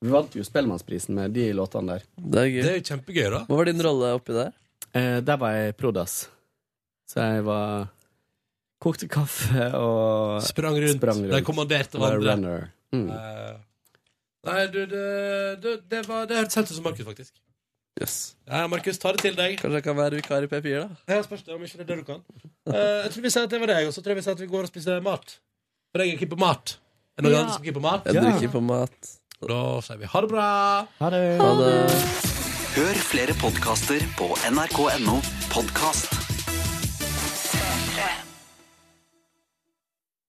R: Vi vant jo Spellemannsprisen med de låtene der.
D: Det er gøy. Det er jo
B: kjempegøy, da.
D: Hva var din rolle oppi der?
R: Eh, der var jeg prodas. Så jeg var Kokte kaffe og
B: Sprang rundt. De kommanderte
R: Var
B: hverandre.
R: runner. Mm.
B: Eh, Nei, du, det, det, det, var, det hørtes helt ut som Markus, faktisk. Ja, Markus, ta det til deg.
D: Kanskje jeg kan være vikar i P4, da?
B: Ja, spørs det om ikke det er det du kan. Eh, jeg tror vi sier at det var deg, og så tror jeg vi sier at vi går og spiser mat. For jeg er keen på mat. Er det noen
D: Ja.
B: andre som er keen på mat?
D: Jeg drikker på mat.
B: Da sier vi ha det bra.
R: Ha det.
D: Ha det.
E: Hør flere podkaster på nrk.no podkast.